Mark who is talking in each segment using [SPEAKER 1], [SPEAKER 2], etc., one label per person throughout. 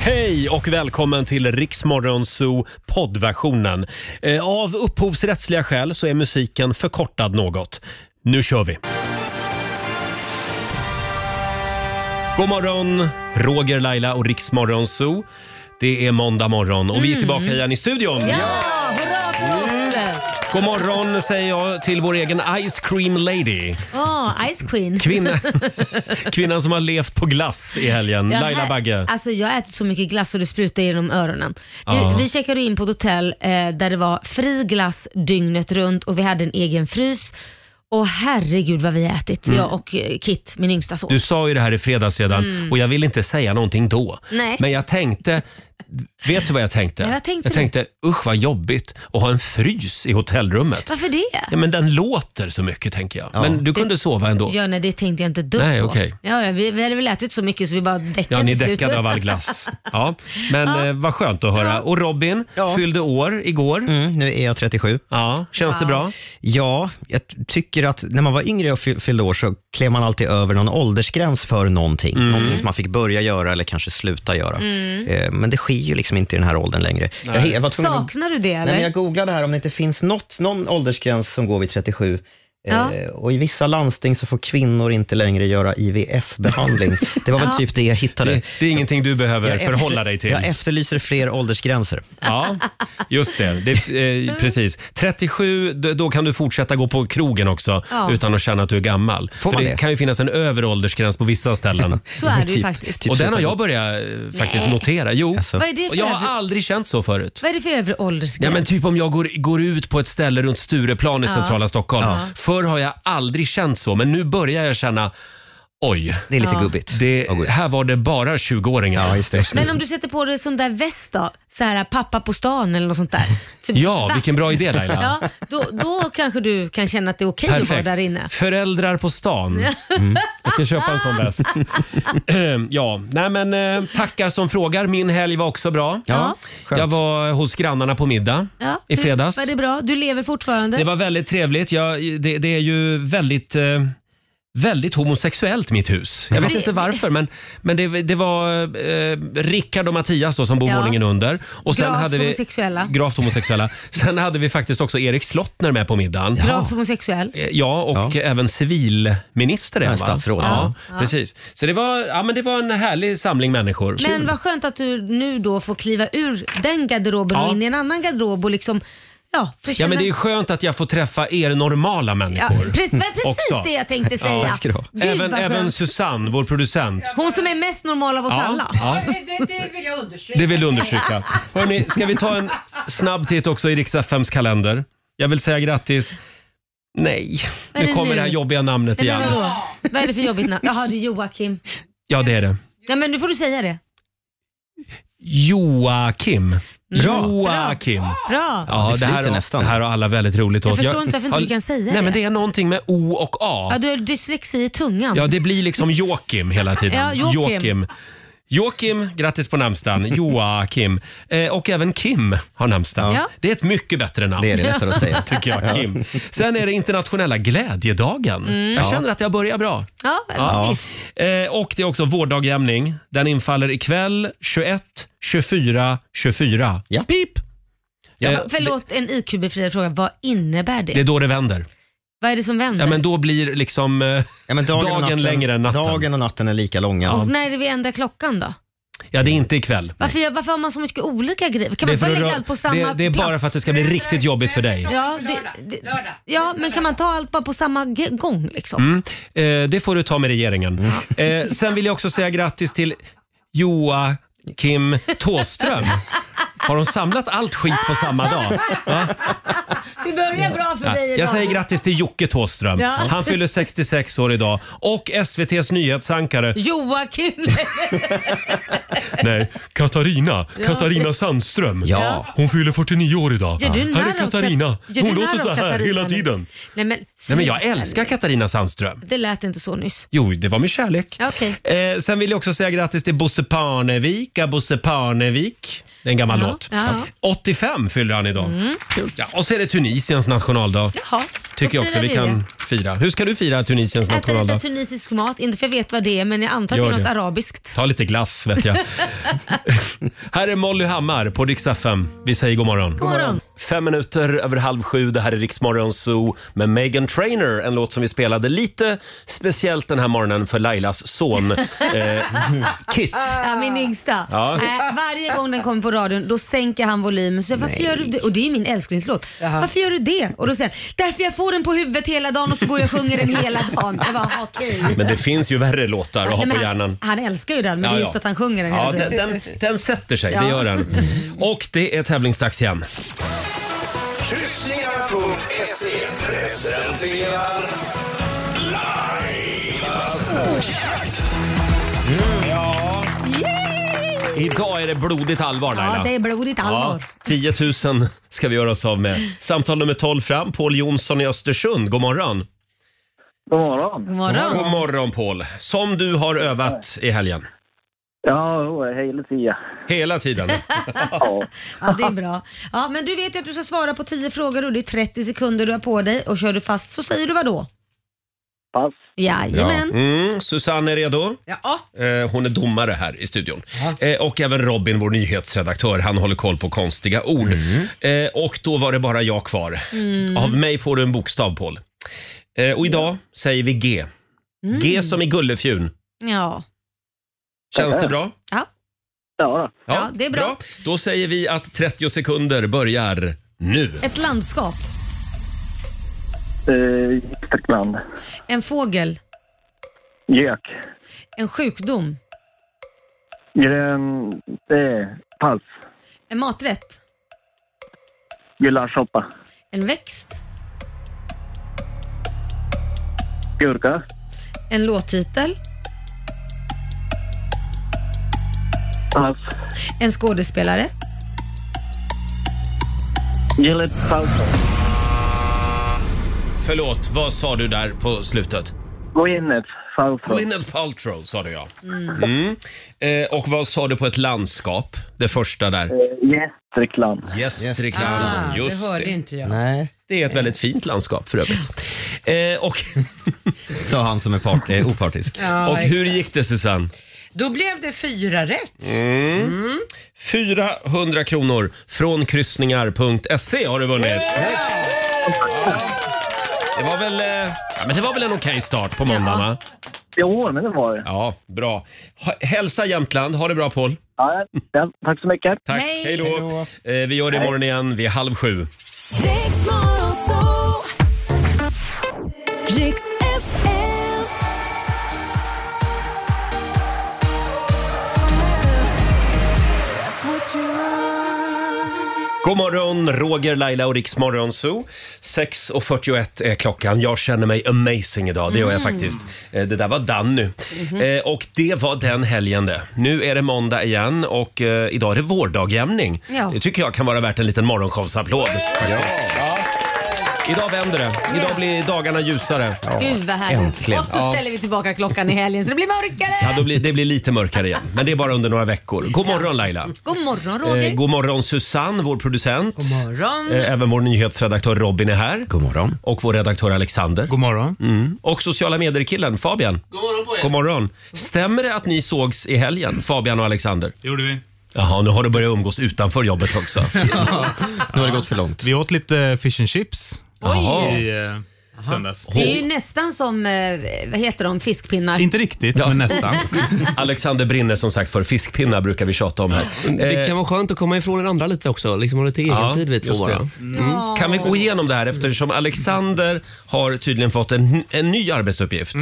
[SPEAKER 1] Hej och välkommen till Riksmorgonzoo poddversionen. Eh, Av upphovsrättsliga skäl så är musiken förkortad något. Nu kör vi! God morgon, Roger, Laila och Riksmorgonzoo. Det är måndag morgon och vi är tillbaka igen i studion.
[SPEAKER 2] Mm. Ja, hurra för oss!
[SPEAKER 1] God morgon säger jag till vår egen Ice Cream Lady.
[SPEAKER 2] Ja, Ice Queen.
[SPEAKER 1] Kvinna, kvinnan som har levt på glass i helgen.
[SPEAKER 2] Ja,
[SPEAKER 1] Laila
[SPEAKER 2] här-
[SPEAKER 1] Bagge.
[SPEAKER 2] Alltså jag har ätit så mycket glass så det sprutar genom öronen.
[SPEAKER 1] Ja.
[SPEAKER 2] Vi, vi checkade in på ett hotell eh, där det var fri glass dygnet runt och vi hade en egen frys. Och herregud vad vi har ätit, jag och eh, Kit, min yngsta son.
[SPEAKER 1] Mm. Du sa ju det här i fredags redan och jag ville inte säga någonting då.
[SPEAKER 2] Mm. Nej.
[SPEAKER 1] Men jag tänkte, vet du vad jag tänkte?
[SPEAKER 2] Ja, vad tänkte
[SPEAKER 1] jag tänkte, usch vad jobbigt att ha en frys i hotellrummet.
[SPEAKER 2] Varför det?
[SPEAKER 1] Ja, men den låter så mycket tänker jag. Men du kunde sova ändå.
[SPEAKER 2] Ja, nej, det tänkte jag inte ett dugg
[SPEAKER 1] Nej,
[SPEAKER 2] på.
[SPEAKER 1] okej.
[SPEAKER 2] Ja, ja, vi, vi hade väl ätit så mycket så vi bara däckade
[SPEAKER 1] Ja, ni
[SPEAKER 2] till slut.
[SPEAKER 1] däckade av all glass. Ja. Men eh, vad skönt att höra. Och Robin
[SPEAKER 3] Ja.
[SPEAKER 1] fyllde år igår.
[SPEAKER 3] Mm, nu är jag 37.
[SPEAKER 1] Ja, känns det bra?
[SPEAKER 3] Ja, jag t- tycker att när man var yngre och fy- fyllde år så klev man alltid över någon åldersgräns för någonting.
[SPEAKER 2] Mm.
[SPEAKER 3] Någonting som man fick börja göra eller kanske sluta göra. Eh, Men det sker ju liksom inte i den här åldern längre. Jag, he- jag var tvungen att,
[SPEAKER 2] Saknar du det
[SPEAKER 3] nej,
[SPEAKER 2] eller?
[SPEAKER 3] men jag googlade här om det inte finns något, någon åldersgräns som går vid 37. Eh,
[SPEAKER 2] Ja.
[SPEAKER 3] Och I vissa landsting så får kvinnor inte längre göra IVF-behandling. Det var väl typ det jag hittade.
[SPEAKER 1] Det, det är ingenting du behöver
[SPEAKER 3] Jag
[SPEAKER 1] förhålla
[SPEAKER 3] efter-
[SPEAKER 1] dig till.
[SPEAKER 3] Jag efterlyser fler åldersgränser.
[SPEAKER 1] Ja, just det. det eh, precis. 37, d- då kan du fortsätta gå på krogen också
[SPEAKER 2] Ja.
[SPEAKER 1] utan att känna att du är gammal.
[SPEAKER 3] Får
[SPEAKER 1] För
[SPEAKER 3] man
[SPEAKER 1] det
[SPEAKER 3] det?
[SPEAKER 1] kan ju finnas en övre åldersgräns på vissa ställen.
[SPEAKER 2] Så är det ju
[SPEAKER 3] Typ-
[SPEAKER 2] faktiskt.
[SPEAKER 3] typ
[SPEAKER 1] Och den har
[SPEAKER 3] sluta-
[SPEAKER 1] jag börjat eh, faktiskt
[SPEAKER 2] Nej.
[SPEAKER 1] notera. Jo,
[SPEAKER 3] Alltså.
[SPEAKER 2] Vad är det för
[SPEAKER 1] jag har
[SPEAKER 2] övre-
[SPEAKER 1] aldrig känt så förut.
[SPEAKER 2] Vad är det för övre åldersgräns?
[SPEAKER 1] Ja, men typ om jag går, går ut på ett ställe runt Stureplan i centrala Stockholm.
[SPEAKER 3] Ja.
[SPEAKER 1] Förr har jag aldrig känt så, men nu börjar jag känna Oj,
[SPEAKER 3] Det är lite
[SPEAKER 2] Ja.
[SPEAKER 3] gubbigt.
[SPEAKER 1] det,
[SPEAKER 3] att gå ut.
[SPEAKER 1] här var det bara 20-åringar.
[SPEAKER 3] Ja, just det.
[SPEAKER 2] Men om du sätter på dig sån där väst då? Så här, pappa på stan eller något sånt där. Typ
[SPEAKER 1] Ja,
[SPEAKER 2] vakt.
[SPEAKER 1] vilken bra idé Laila.
[SPEAKER 2] Ja, då, då kanske du kan känna att det är okej att vara
[SPEAKER 1] Perfekt.
[SPEAKER 2] där inne.
[SPEAKER 1] Föräldrar på stan. Mm. Jag ska köpa en sån väst. Ehm, ja, nej men eh, tackar som frågar. Min helg var också bra.
[SPEAKER 2] Ja.
[SPEAKER 3] skönt.
[SPEAKER 1] Jag var hos grannarna på middag
[SPEAKER 2] Ja,
[SPEAKER 1] i
[SPEAKER 2] hur-
[SPEAKER 1] fredags.
[SPEAKER 2] Var det bra? Du lever fortfarande?
[SPEAKER 1] Det var väldigt trevligt. Jag, det, det är ju väldigt... Eh, Väldigt homosexuellt mitt hus. Jag vet
[SPEAKER 2] det-
[SPEAKER 1] inte varför men, men det, det var eh, Rickard och Mattias då, som bor
[SPEAKER 2] Ja.
[SPEAKER 1] våningen under. Och
[SPEAKER 2] Gravt homosexuella.
[SPEAKER 1] Gravt homosexuella. Sen hade vi faktiskt också Erik Slottner med på middagen.
[SPEAKER 2] Gravt homosexuell?
[SPEAKER 1] Eh, Ja, och även civilminister är han, va?
[SPEAKER 3] statsråd,
[SPEAKER 1] Ja,
[SPEAKER 3] ja.
[SPEAKER 1] precis. Så det var, ja, men det var en härlig samling människor.
[SPEAKER 2] Men vad skönt att du nu då får kliva ur den garderoben
[SPEAKER 1] Ja.
[SPEAKER 2] och in i en annan garderob och liksom, ja, för
[SPEAKER 1] Ja,
[SPEAKER 2] känna-
[SPEAKER 1] men det är skönt att jag får träffa er normala
[SPEAKER 2] ja,
[SPEAKER 1] människor.
[SPEAKER 2] precis, men precis
[SPEAKER 1] Också.
[SPEAKER 2] det jag tänkte säga.
[SPEAKER 3] tack ska du ha.
[SPEAKER 2] Gud,
[SPEAKER 1] Även,
[SPEAKER 2] vad
[SPEAKER 1] även
[SPEAKER 2] skönt.
[SPEAKER 1] Susanne, vår producent.
[SPEAKER 2] Hon som är mest normal av oss alla.
[SPEAKER 1] ja,
[SPEAKER 4] Det, det vill jag understryka.
[SPEAKER 1] det vill du understryka. Hörrni, ska vi ta en snabb titt också i riks FMs kalender? Jag vill säga grattis. Nej,
[SPEAKER 2] är
[SPEAKER 1] nu
[SPEAKER 2] det
[SPEAKER 1] kommer
[SPEAKER 2] nu?
[SPEAKER 1] det här jobbiga namnet
[SPEAKER 2] Nej,
[SPEAKER 1] igen.
[SPEAKER 2] men vadå? Vad är det för jobbigt namn? Jaha, det är Joakim.
[SPEAKER 1] Ja, det är det.
[SPEAKER 2] Ja, men nu får du säga det.
[SPEAKER 1] Joakim. Joakim.
[SPEAKER 2] Mm. Bra.
[SPEAKER 1] Ja,
[SPEAKER 3] det
[SPEAKER 1] det, här,
[SPEAKER 3] flyter
[SPEAKER 1] har,
[SPEAKER 3] nästan.
[SPEAKER 1] det här har alla väldigt roligt åt.
[SPEAKER 2] Jag förstår inte varför inte
[SPEAKER 1] har-
[SPEAKER 2] du kan säga
[SPEAKER 1] Nej,
[SPEAKER 2] det.
[SPEAKER 1] men det är någonting med O och A.
[SPEAKER 2] Ja, du har dyslexi i tungan.
[SPEAKER 1] Ja, det blir liksom Joakim hela tiden.
[SPEAKER 2] Ja, Joakim.
[SPEAKER 1] Joakim. Joakim, grattis på namnsdagen. Joakim. Eh, och även Kim har namnsdag.
[SPEAKER 2] Ja.
[SPEAKER 1] Det är ett mycket bättre namn.
[SPEAKER 3] Det är det lättare att säga.
[SPEAKER 1] Tycker jag, Kim. Sen är det internationella glädjedagen. Jag känner att jag börjar bra.
[SPEAKER 2] Mm. Ja,
[SPEAKER 1] Ja.
[SPEAKER 2] visst.
[SPEAKER 1] Eh, och det är också vårdagjämning. Den infaller ikväll 21, 24, 24.
[SPEAKER 3] Ja.
[SPEAKER 1] Pip!
[SPEAKER 3] Ja.
[SPEAKER 1] Eh,
[SPEAKER 2] Förlåt, en IQ-befriad fråga. Vad innebär det?
[SPEAKER 1] det är då det vänder.
[SPEAKER 2] Vad är det som vänder?
[SPEAKER 1] Ja, men då blir liksom... Eh,
[SPEAKER 3] Ja, men dagen
[SPEAKER 1] Dagen
[SPEAKER 3] och natten,
[SPEAKER 1] längre än natten.
[SPEAKER 3] Dagen och natten är lika långa.
[SPEAKER 2] Och när är det vi ändrar klockan då?
[SPEAKER 1] ja, det är inte ikväll.
[SPEAKER 2] Varför, gör- varför har man så mycket olika grejer? Kan
[SPEAKER 1] Det är,
[SPEAKER 2] man
[SPEAKER 1] för
[SPEAKER 2] bara
[SPEAKER 1] att
[SPEAKER 2] lägga
[SPEAKER 1] rö-
[SPEAKER 2] allt på samma
[SPEAKER 1] det, det är
[SPEAKER 2] plats?
[SPEAKER 1] bara för att det ska bli riktigt jobbigt för dig.
[SPEAKER 2] Ja, det,
[SPEAKER 4] Lördag.
[SPEAKER 2] det,
[SPEAKER 4] Lördag.
[SPEAKER 2] ja, men kan man ta allt bara på samma g- gång liksom?
[SPEAKER 1] Mm. Eh, det får du ta med regeringen.
[SPEAKER 2] Mm.
[SPEAKER 1] Eh, sen vill jag också säga grattis till Joakim Tåström. Har de samlat allt skit på samma dag?
[SPEAKER 2] Det börjar bra för dig idag.
[SPEAKER 1] Jag säger grattis till Jocke Tåström.
[SPEAKER 2] Ja.
[SPEAKER 1] Han fyller 66 år idag. Och SVTs nyhetsankare
[SPEAKER 2] Joakim!
[SPEAKER 1] Nej, Katarina. Katarina Sandström.
[SPEAKER 3] Ja.
[SPEAKER 1] Hon fyller 49 år idag.
[SPEAKER 2] Gör du narr
[SPEAKER 1] Här
[SPEAKER 2] av
[SPEAKER 1] är Katarina.
[SPEAKER 2] Kat- gör du
[SPEAKER 1] Hon
[SPEAKER 2] narr
[SPEAKER 1] låter
[SPEAKER 2] av
[SPEAKER 1] så här
[SPEAKER 2] Katarina
[SPEAKER 1] hela
[SPEAKER 2] nu?
[SPEAKER 1] tiden.
[SPEAKER 2] Nej men,
[SPEAKER 1] Nej, men jag älskar Katarina Sandström.
[SPEAKER 2] Det lät inte så nyss.
[SPEAKER 1] Jo, det var med kärlek.
[SPEAKER 2] Ja, okej.
[SPEAKER 1] Eh, sen vill jag också säga grattis till Bosse Parnevik. Ah, Bosse Parnevik. Det är en gammal
[SPEAKER 2] Ja,
[SPEAKER 1] låt.
[SPEAKER 2] ja.
[SPEAKER 1] 85 fyller han idag. Ja, och så är det Tunisiens nationaldag.
[SPEAKER 2] Jaha,
[SPEAKER 1] Tycker
[SPEAKER 2] då
[SPEAKER 1] jag också
[SPEAKER 2] firar
[SPEAKER 1] vi kan
[SPEAKER 2] det.
[SPEAKER 1] fira. Hur ska du fira Tunisiens
[SPEAKER 2] Äta lite
[SPEAKER 1] nationaldag?
[SPEAKER 2] tunisisk mat, inte för jag vet vad det är men jag antar att det
[SPEAKER 1] Gör
[SPEAKER 2] är något
[SPEAKER 1] det.
[SPEAKER 2] arabiskt.
[SPEAKER 1] Ta lite glass vet jag. här är Molly Hammar på Dix FM. Vi säger god morgon.
[SPEAKER 2] God morgon.
[SPEAKER 1] Fem minuter över halv sju. Det här är Riksmorgon Zoo med Megan Trainer. En låt som vi spelade lite speciellt den här morgonen för Lailas son eh, Kit.
[SPEAKER 2] Ja, min yngsta.
[SPEAKER 1] Ja.
[SPEAKER 2] Nej, varje gång den kommer på radion då sänker han volymen. Så jag, varför gör du det? Och det är ju min älsklingslåt. Varför gör du det? Och då säger han, därför jag får den på huvudet hela dagen och så går jag och sjunger den hela dagen. Jag bara, okej.
[SPEAKER 1] Men det finns ju värre låtar att ha
[SPEAKER 2] Nej,
[SPEAKER 1] på
[SPEAKER 2] men
[SPEAKER 1] hjärnan.
[SPEAKER 2] Han, han älskar ju den men det är just att han sjunger den
[SPEAKER 1] ja,
[SPEAKER 2] hela
[SPEAKER 1] den,
[SPEAKER 2] tiden.
[SPEAKER 1] den, den sätter sig, det
[SPEAKER 2] Ja.
[SPEAKER 1] gör den. Och det är tävlingsdags igen.
[SPEAKER 4] Kryssningar.se E presenterar Lailas ordjakt.
[SPEAKER 1] Idag är det blodigt allvar Laila.
[SPEAKER 2] Ja, det är blodigt allvar.
[SPEAKER 1] 10 000 ska vi göra oss av med. Samtal nummer 12 fram, Paul Jonsson i Östersund. God morgon.
[SPEAKER 5] God morgon.
[SPEAKER 2] God morgon.
[SPEAKER 1] God morgon Paul. Som du har övat i helgen.
[SPEAKER 5] Ja, jo, hela tiden.
[SPEAKER 1] Hela tiden.
[SPEAKER 5] Ja.
[SPEAKER 2] Ja, det är bra. Ja, men du vet ju att du ska svara på 10 frågor och det är 30 sekunder du har på dig och kör du fast så säger du vad då?
[SPEAKER 5] Pass.
[SPEAKER 2] Jajamän.
[SPEAKER 1] Mm, Susanne är redo.
[SPEAKER 6] Ja.
[SPEAKER 1] Eh, hon är domare här i studion. Eh, och även Robin, vår nyhetsredaktör, han håller koll på konstiga ord.
[SPEAKER 2] Mm.
[SPEAKER 1] Eh, och då var det bara jag kvar. Av mig får du en bokstav Paul. Eh, och idag säger vi G.
[SPEAKER 2] Mm.
[SPEAKER 1] G som i Gullefjun.
[SPEAKER 2] Ja.
[SPEAKER 1] Känns det bra?
[SPEAKER 2] Ja.
[SPEAKER 5] Ja, då.
[SPEAKER 2] Ja, det är bra.
[SPEAKER 1] Då säger vi att 30 sekunder börjar nu.
[SPEAKER 2] Ett landskap.
[SPEAKER 5] Eh, Gästrikland.
[SPEAKER 2] En fågel.
[SPEAKER 5] Gök.
[SPEAKER 2] En sjukdom.
[SPEAKER 5] Grön... Eh, pass.
[SPEAKER 2] En maträtt.
[SPEAKER 5] Gulaschsoppa.
[SPEAKER 2] En växt.
[SPEAKER 5] Gurka.
[SPEAKER 2] En låttitel.
[SPEAKER 5] Pass.
[SPEAKER 2] En skådespelare.
[SPEAKER 5] Gillet. Pass.
[SPEAKER 1] Förlåt, vad sa du där på slutet?
[SPEAKER 5] Gwyneth. Pass.
[SPEAKER 1] Gwyneth Paltrow sa du ja. Mm. Eh, och vad sa du på ett landskap? Det första där.
[SPEAKER 5] Gästrikland.
[SPEAKER 1] Gästrikland.
[SPEAKER 6] Ah,
[SPEAKER 1] Just
[SPEAKER 6] det hörde
[SPEAKER 1] det.
[SPEAKER 6] inte jag.
[SPEAKER 3] Nej,
[SPEAKER 1] Det är ett väldigt fint landskap för övrigt. Eh, och
[SPEAKER 3] sa han som är part, eh, opartisk.
[SPEAKER 6] Ja,
[SPEAKER 1] och hur
[SPEAKER 6] exakt.
[SPEAKER 1] gick det Susanne?
[SPEAKER 6] Då blev det fyra rätt.
[SPEAKER 1] 400 kronor från kryssningar.se E har du vunnit. Det var väl, eh, ja, men det var väl en okej start på måndagen va?
[SPEAKER 5] Jo, men det var det.
[SPEAKER 1] Ja, bra. Ha- Hälsa Jämtland. Ha det bra Paul.
[SPEAKER 5] Ja, ja, tack så mycket.
[SPEAKER 1] Tack.
[SPEAKER 2] Hej.
[SPEAKER 1] Hej då. Eh, Vi gör det imorgon igen vid halv sju.
[SPEAKER 7] Riks Morgonzoo. Riks FM.
[SPEAKER 1] God morgon, Roger, Laila och Riks Morgonzoo. 6.41 är klockan. Jag känner mig amazing idag, det gör
[SPEAKER 2] Mm.
[SPEAKER 1] jag faktiskt. Eh, Det där var Danny.
[SPEAKER 2] Mhm.
[SPEAKER 1] Eh, Och det var den helgen det. Nu är det måndag igen och eh, idag är det vårdagjämning.
[SPEAKER 2] Ja.
[SPEAKER 1] Det tycker jag kan vara värt en liten morgonshowsapplåd. Ja. Idag vänder det. Idag blir dagarna ljusare.
[SPEAKER 2] Gud vad härligt.
[SPEAKER 3] äntligen.
[SPEAKER 2] Och så ställer vi tillbaka klockan i helgen så det blir
[SPEAKER 1] Ja,
[SPEAKER 2] mörkare.
[SPEAKER 1] då blir, det blir lite mörkare igen, men det är bara under några veckor. God morgon Laila!
[SPEAKER 2] God morgon
[SPEAKER 1] Eh,
[SPEAKER 2] Roger.
[SPEAKER 1] god morgon Susanne, vår producent.
[SPEAKER 6] Morgon.
[SPEAKER 1] Eh, Även vår nyhetsredaktör Robin är här.
[SPEAKER 3] God morgon.
[SPEAKER 1] Och vår redaktör Alexander.
[SPEAKER 8] God morgon.
[SPEAKER 1] Mm. Och sociala medier-killen Fabian. God morgon på er. God morgon. Stämmer det att ni sågs i helgen, Fabian och Alexander?
[SPEAKER 8] Det gjorde vi.
[SPEAKER 1] Jaha, nu har du börjat umgås utanför jobbet också.
[SPEAKER 3] Nu har det gått för långt.
[SPEAKER 8] Vi åt lite fish and chips
[SPEAKER 1] Jaha.
[SPEAKER 8] i eh, söndags.
[SPEAKER 2] Det är ju nästan som, eh, vad heter de, fiskpinnar.
[SPEAKER 8] Inte riktigt, men nästan.
[SPEAKER 1] Alexander brinner som sagt för fiskpinnar brukar vi tjata om här. Eh,
[SPEAKER 9] Det kan vara skönt att komma ifrån den andra lite också. Liksom ha lite egen
[SPEAKER 1] Ja,
[SPEAKER 9] tid vi två
[SPEAKER 1] just det. Mm.
[SPEAKER 9] bara.
[SPEAKER 1] Kan vi gå igenom det här eftersom Alexander har tydligen fått en, en ny arbetsuppgift.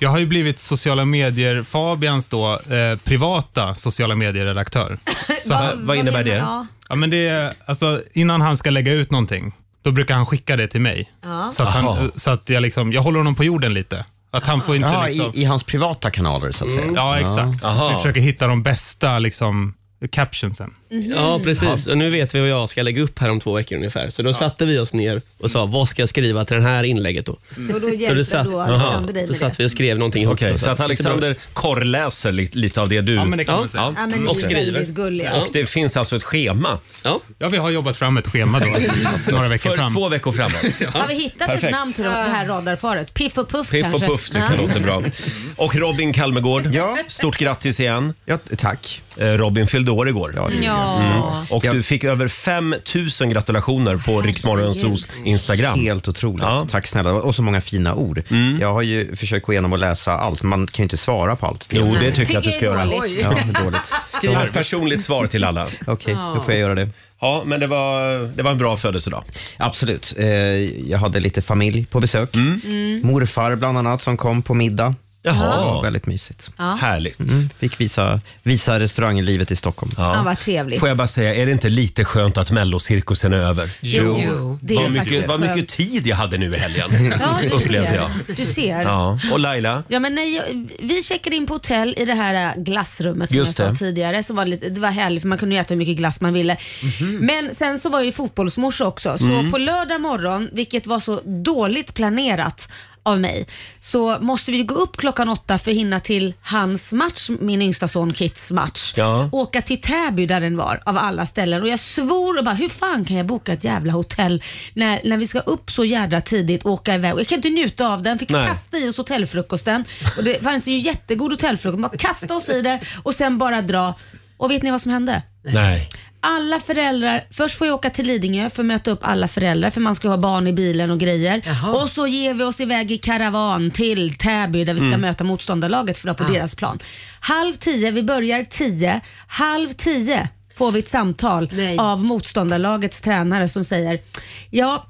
[SPEAKER 8] Jag har ju blivit sociala medier, Fabians då, eh, privata sociala medier-redaktör. Så
[SPEAKER 1] Va-
[SPEAKER 8] här,
[SPEAKER 1] vad innebär
[SPEAKER 2] menar-
[SPEAKER 1] det?
[SPEAKER 2] Ja.
[SPEAKER 8] ja, men det är, alltså, innan han ska lägga ut någonting, då brukar han skicka det till mig.
[SPEAKER 2] Ja.
[SPEAKER 8] Så att,
[SPEAKER 1] Aha.
[SPEAKER 8] han, så att jag, liksom, jag håller honom på jorden lite. Att han får inte
[SPEAKER 3] Ja,
[SPEAKER 8] liksom...
[SPEAKER 9] Mm.
[SPEAKER 3] i, i hans privata kanaler så att säga.
[SPEAKER 8] Ja, exakt.
[SPEAKER 1] Aha.
[SPEAKER 8] Vi försöker hitta de bästa liksom, captionsen.
[SPEAKER 9] Ja,
[SPEAKER 6] Mm.
[SPEAKER 9] precis. Och nu vet vi vad jag ska lägga upp här om två veckor ungefär. Så då satte vi oss ner och sa, vad ska jag skriva till det här inlägget då?
[SPEAKER 2] Och då
[SPEAKER 9] Så,
[SPEAKER 2] hjälper
[SPEAKER 9] det satt,
[SPEAKER 2] då Alexander dig
[SPEAKER 9] så
[SPEAKER 2] med
[SPEAKER 9] satt
[SPEAKER 2] det.
[SPEAKER 9] vi och skrev någonting ihop.
[SPEAKER 1] Okej,
[SPEAKER 9] då,
[SPEAKER 1] så att Alexander korrläser lite, lite av det du...
[SPEAKER 8] Ja, men det kan man säga.
[SPEAKER 2] Ja, men ni
[SPEAKER 9] och
[SPEAKER 2] är
[SPEAKER 9] skriver.
[SPEAKER 2] väldigt gulliga.
[SPEAKER 1] Och det finns alltså ett schema
[SPEAKER 9] Ja.
[SPEAKER 8] Ja, vi har jobbat fram ett schema då, några veckor
[SPEAKER 1] för
[SPEAKER 8] fram.
[SPEAKER 1] två veckor framåt.
[SPEAKER 2] Har vi hittat ett
[SPEAKER 1] Perfekt.
[SPEAKER 2] namn till det här radarparet? Piff och Puff
[SPEAKER 1] Piff och
[SPEAKER 2] kanske?
[SPEAKER 1] Puff tycker jag låter bra. Och Robin Kalmegård,
[SPEAKER 3] Ja.
[SPEAKER 1] stort grattis igen.
[SPEAKER 3] Ja, tack.
[SPEAKER 1] Eh, Robin fyllde år igår.
[SPEAKER 2] Ja.
[SPEAKER 1] Mm. Och
[SPEAKER 3] Ja.
[SPEAKER 1] du fick över 5 000 gratulationer på Riksmorgonsos Instagram.
[SPEAKER 3] Helt otroligt.
[SPEAKER 1] Ja.
[SPEAKER 3] Tack snälla. Och så många fina ord.
[SPEAKER 9] Mm.
[SPEAKER 3] Jag har ju försökt gå igenom och läsa allt. Man kan ju inte svara på allt.
[SPEAKER 1] Jo, det tycker jag att du ska
[SPEAKER 2] Tycker det är
[SPEAKER 1] göra.
[SPEAKER 2] dåligt.
[SPEAKER 3] Ja, vad dåligt.
[SPEAKER 1] Skriv ett personligt svar till alla.
[SPEAKER 3] Okej, då får jag göra det.
[SPEAKER 1] Ja, men det var, det var en bra födelsedag.
[SPEAKER 3] Absolut. Eh, jag hade lite familj på besök.
[SPEAKER 9] Mm.
[SPEAKER 3] Morfar bland annat som kom på middag. Det var
[SPEAKER 1] Jaha,
[SPEAKER 3] väldigt mysigt.
[SPEAKER 1] härligt.
[SPEAKER 3] Fick visa, visa restauranglivet i Stockholm.
[SPEAKER 2] Mm. Ja, vad trevligt.
[SPEAKER 1] Får jag bara säga, är det inte lite skönt att mellocirkusen är över?
[SPEAKER 2] Jo, jo, det är
[SPEAKER 1] Vad mycket,
[SPEAKER 2] faktiskt
[SPEAKER 1] vad mycket
[SPEAKER 2] skönt.
[SPEAKER 1] tid jag hade nu i helgen,
[SPEAKER 2] Ja, du
[SPEAKER 1] upplevde jag.
[SPEAKER 2] ser. Du ser. Ja.
[SPEAKER 1] Ja. Och Laila?
[SPEAKER 2] men när jag, vi checkade in på hotell i det här äh, glassrummet som
[SPEAKER 1] Just
[SPEAKER 2] jag
[SPEAKER 1] det.
[SPEAKER 2] sa tidigare. Så var det, lite, det var härligt för man kunde ju äta hur mycket glass man ville.
[SPEAKER 1] Mhm.
[SPEAKER 2] Men sen så var jag ju fotbollsmorsa också. Så
[SPEAKER 1] Mm.
[SPEAKER 2] på lördag morgon, vilket var så dåligt planerat av mig, så måste vi gå upp klockan åtta för att hinna till hans match, min yngsta son Kits match.
[SPEAKER 1] Ja.
[SPEAKER 2] åka till Täby där den var av alla ställen och jag svor och bara hur fan kan jag boka ett jävla hotell när, när vi ska upp så jädra tidigt och åka iväg. Och Jag kan inte njuta av den. Fick
[SPEAKER 1] Nej.
[SPEAKER 2] kasta i oss hotellfrukosten och det fanns ju jättegod hotellfrukost. Man kasta oss i det och sen bara dra. Och vet ni vad som hände?
[SPEAKER 1] Nej.
[SPEAKER 2] alla föräldrar, först får jag åka till Lidingö för att möta upp alla föräldrar för man ska ha barn i bilen och grejer. Och så ger vi oss iväg i karavan till Täby där vi ska möta motståndarlaget för att vara på deras plan. Halv tio, vi börjar tio, halv tio får vi ett samtal
[SPEAKER 6] Nej.
[SPEAKER 2] av motståndarlagets tränare som säger ja,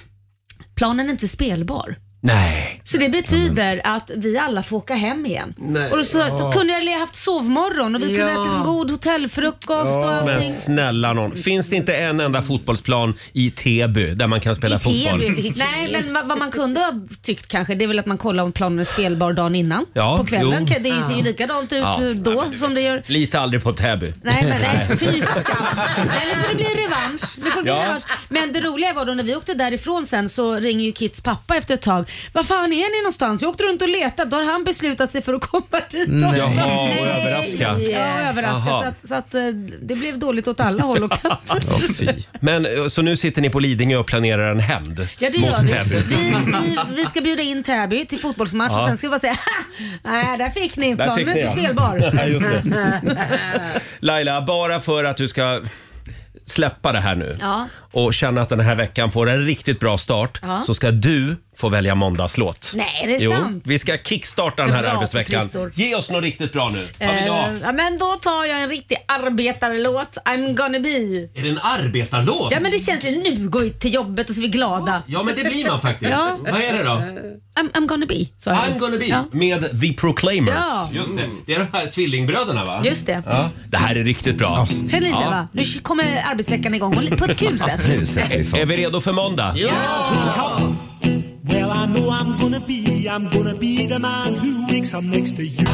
[SPEAKER 2] planen är inte spelbar.
[SPEAKER 1] Nej.
[SPEAKER 2] Så det betyder att vi alla får åka hem igen. och så då kunde jag ha haft sovmorgon och vi kunde
[SPEAKER 6] Ja.
[SPEAKER 2] ha ätit en god hotellfrukost och
[SPEAKER 1] Men
[SPEAKER 2] allting.
[SPEAKER 1] snälla någon. finns det inte en enda fotbollsplan i Täby där man kan spela
[SPEAKER 2] I
[SPEAKER 1] fotboll?
[SPEAKER 2] TV. Nej, men vad- vad man kunde ha tyckt kanske, det är väl att man kollar om planen är spelbar dagen innan.
[SPEAKER 1] Ja,
[SPEAKER 2] på kvällen.
[SPEAKER 1] jo.
[SPEAKER 2] Det ser ju likadant ut
[SPEAKER 1] Ja,
[SPEAKER 2] då som det gör.
[SPEAKER 1] Lite aldrig på Täby.
[SPEAKER 2] Nej, men nej, fy typ skam. Nej, nu får det bli revansch. Nu får det bli
[SPEAKER 1] Ja.
[SPEAKER 2] revansch. Men det roliga var då när vi åkte därifrån sen så ringer ju Kits pappa efter ett tag. Var fan är ni någonstans? Jag åkte runt och letade. Då har han beslutat sig för att komma dit också.
[SPEAKER 1] Mm. Jaha, vad överraska.
[SPEAKER 2] Ja, överraska.
[SPEAKER 1] Jaha.
[SPEAKER 2] Så, att, så att eh, det blev dåligt åt alla håll och kanter.
[SPEAKER 3] Ja, fy.
[SPEAKER 1] Men eh, så nu sitter ni på Lidingö och planerar en hämnd
[SPEAKER 2] Ja det
[SPEAKER 1] mot
[SPEAKER 2] gör vi.
[SPEAKER 1] Täby?
[SPEAKER 2] Vi, vi. vi ska bjuda in Täby till fotbollsmatch och sen ska vi bara säga "Ha! Nej, där fick ni.
[SPEAKER 1] Där fick
[SPEAKER 2] Planen är inte
[SPEAKER 1] ni, ja.
[SPEAKER 2] spelbar.
[SPEAKER 1] Nej, just det. Laila, bara för att du ska släppa det här nu
[SPEAKER 2] Ja.
[SPEAKER 1] och känna att den här veckan får en riktigt bra start
[SPEAKER 2] Ja.
[SPEAKER 1] så ska du få välja måndagslåt.
[SPEAKER 2] Nej, är det
[SPEAKER 1] Jo,
[SPEAKER 2] sant?
[SPEAKER 1] vi ska kickstarta den här
[SPEAKER 2] Bra,
[SPEAKER 1] arbetsveckan.
[SPEAKER 2] Trissor.
[SPEAKER 1] Ge oss något riktigt bra nu. Vad vill du ha?
[SPEAKER 2] Eh, ja, men då tar jag en riktig arbetarlåt. I'm gonna be.
[SPEAKER 1] Är det en arbetarlåt?
[SPEAKER 2] Ja men det känns lite nu går vi till jobbet och så är vi glada.
[SPEAKER 1] Ja, men det blir man faktiskt.
[SPEAKER 2] Ja.
[SPEAKER 1] Vad är det då?
[SPEAKER 2] I'm, I'm gonna be. sa jag.
[SPEAKER 1] I'm gonna be
[SPEAKER 2] Ja.
[SPEAKER 1] med The Proclaimers.
[SPEAKER 2] Ja.
[SPEAKER 1] Just det. det är de här tvillingbröderna va?
[SPEAKER 2] Just det.
[SPEAKER 1] Ja. Det här är riktigt bra.
[SPEAKER 2] Känner ni det
[SPEAKER 1] Ja.
[SPEAKER 2] va? Nu kommer arbetsveckan igång på ett kul sätt.
[SPEAKER 3] Nu sätter vi fart.
[SPEAKER 1] Är vi redo för måndag?
[SPEAKER 10] Well, I know I'm gonna be, I'm gonna be the man who wakes up next to you.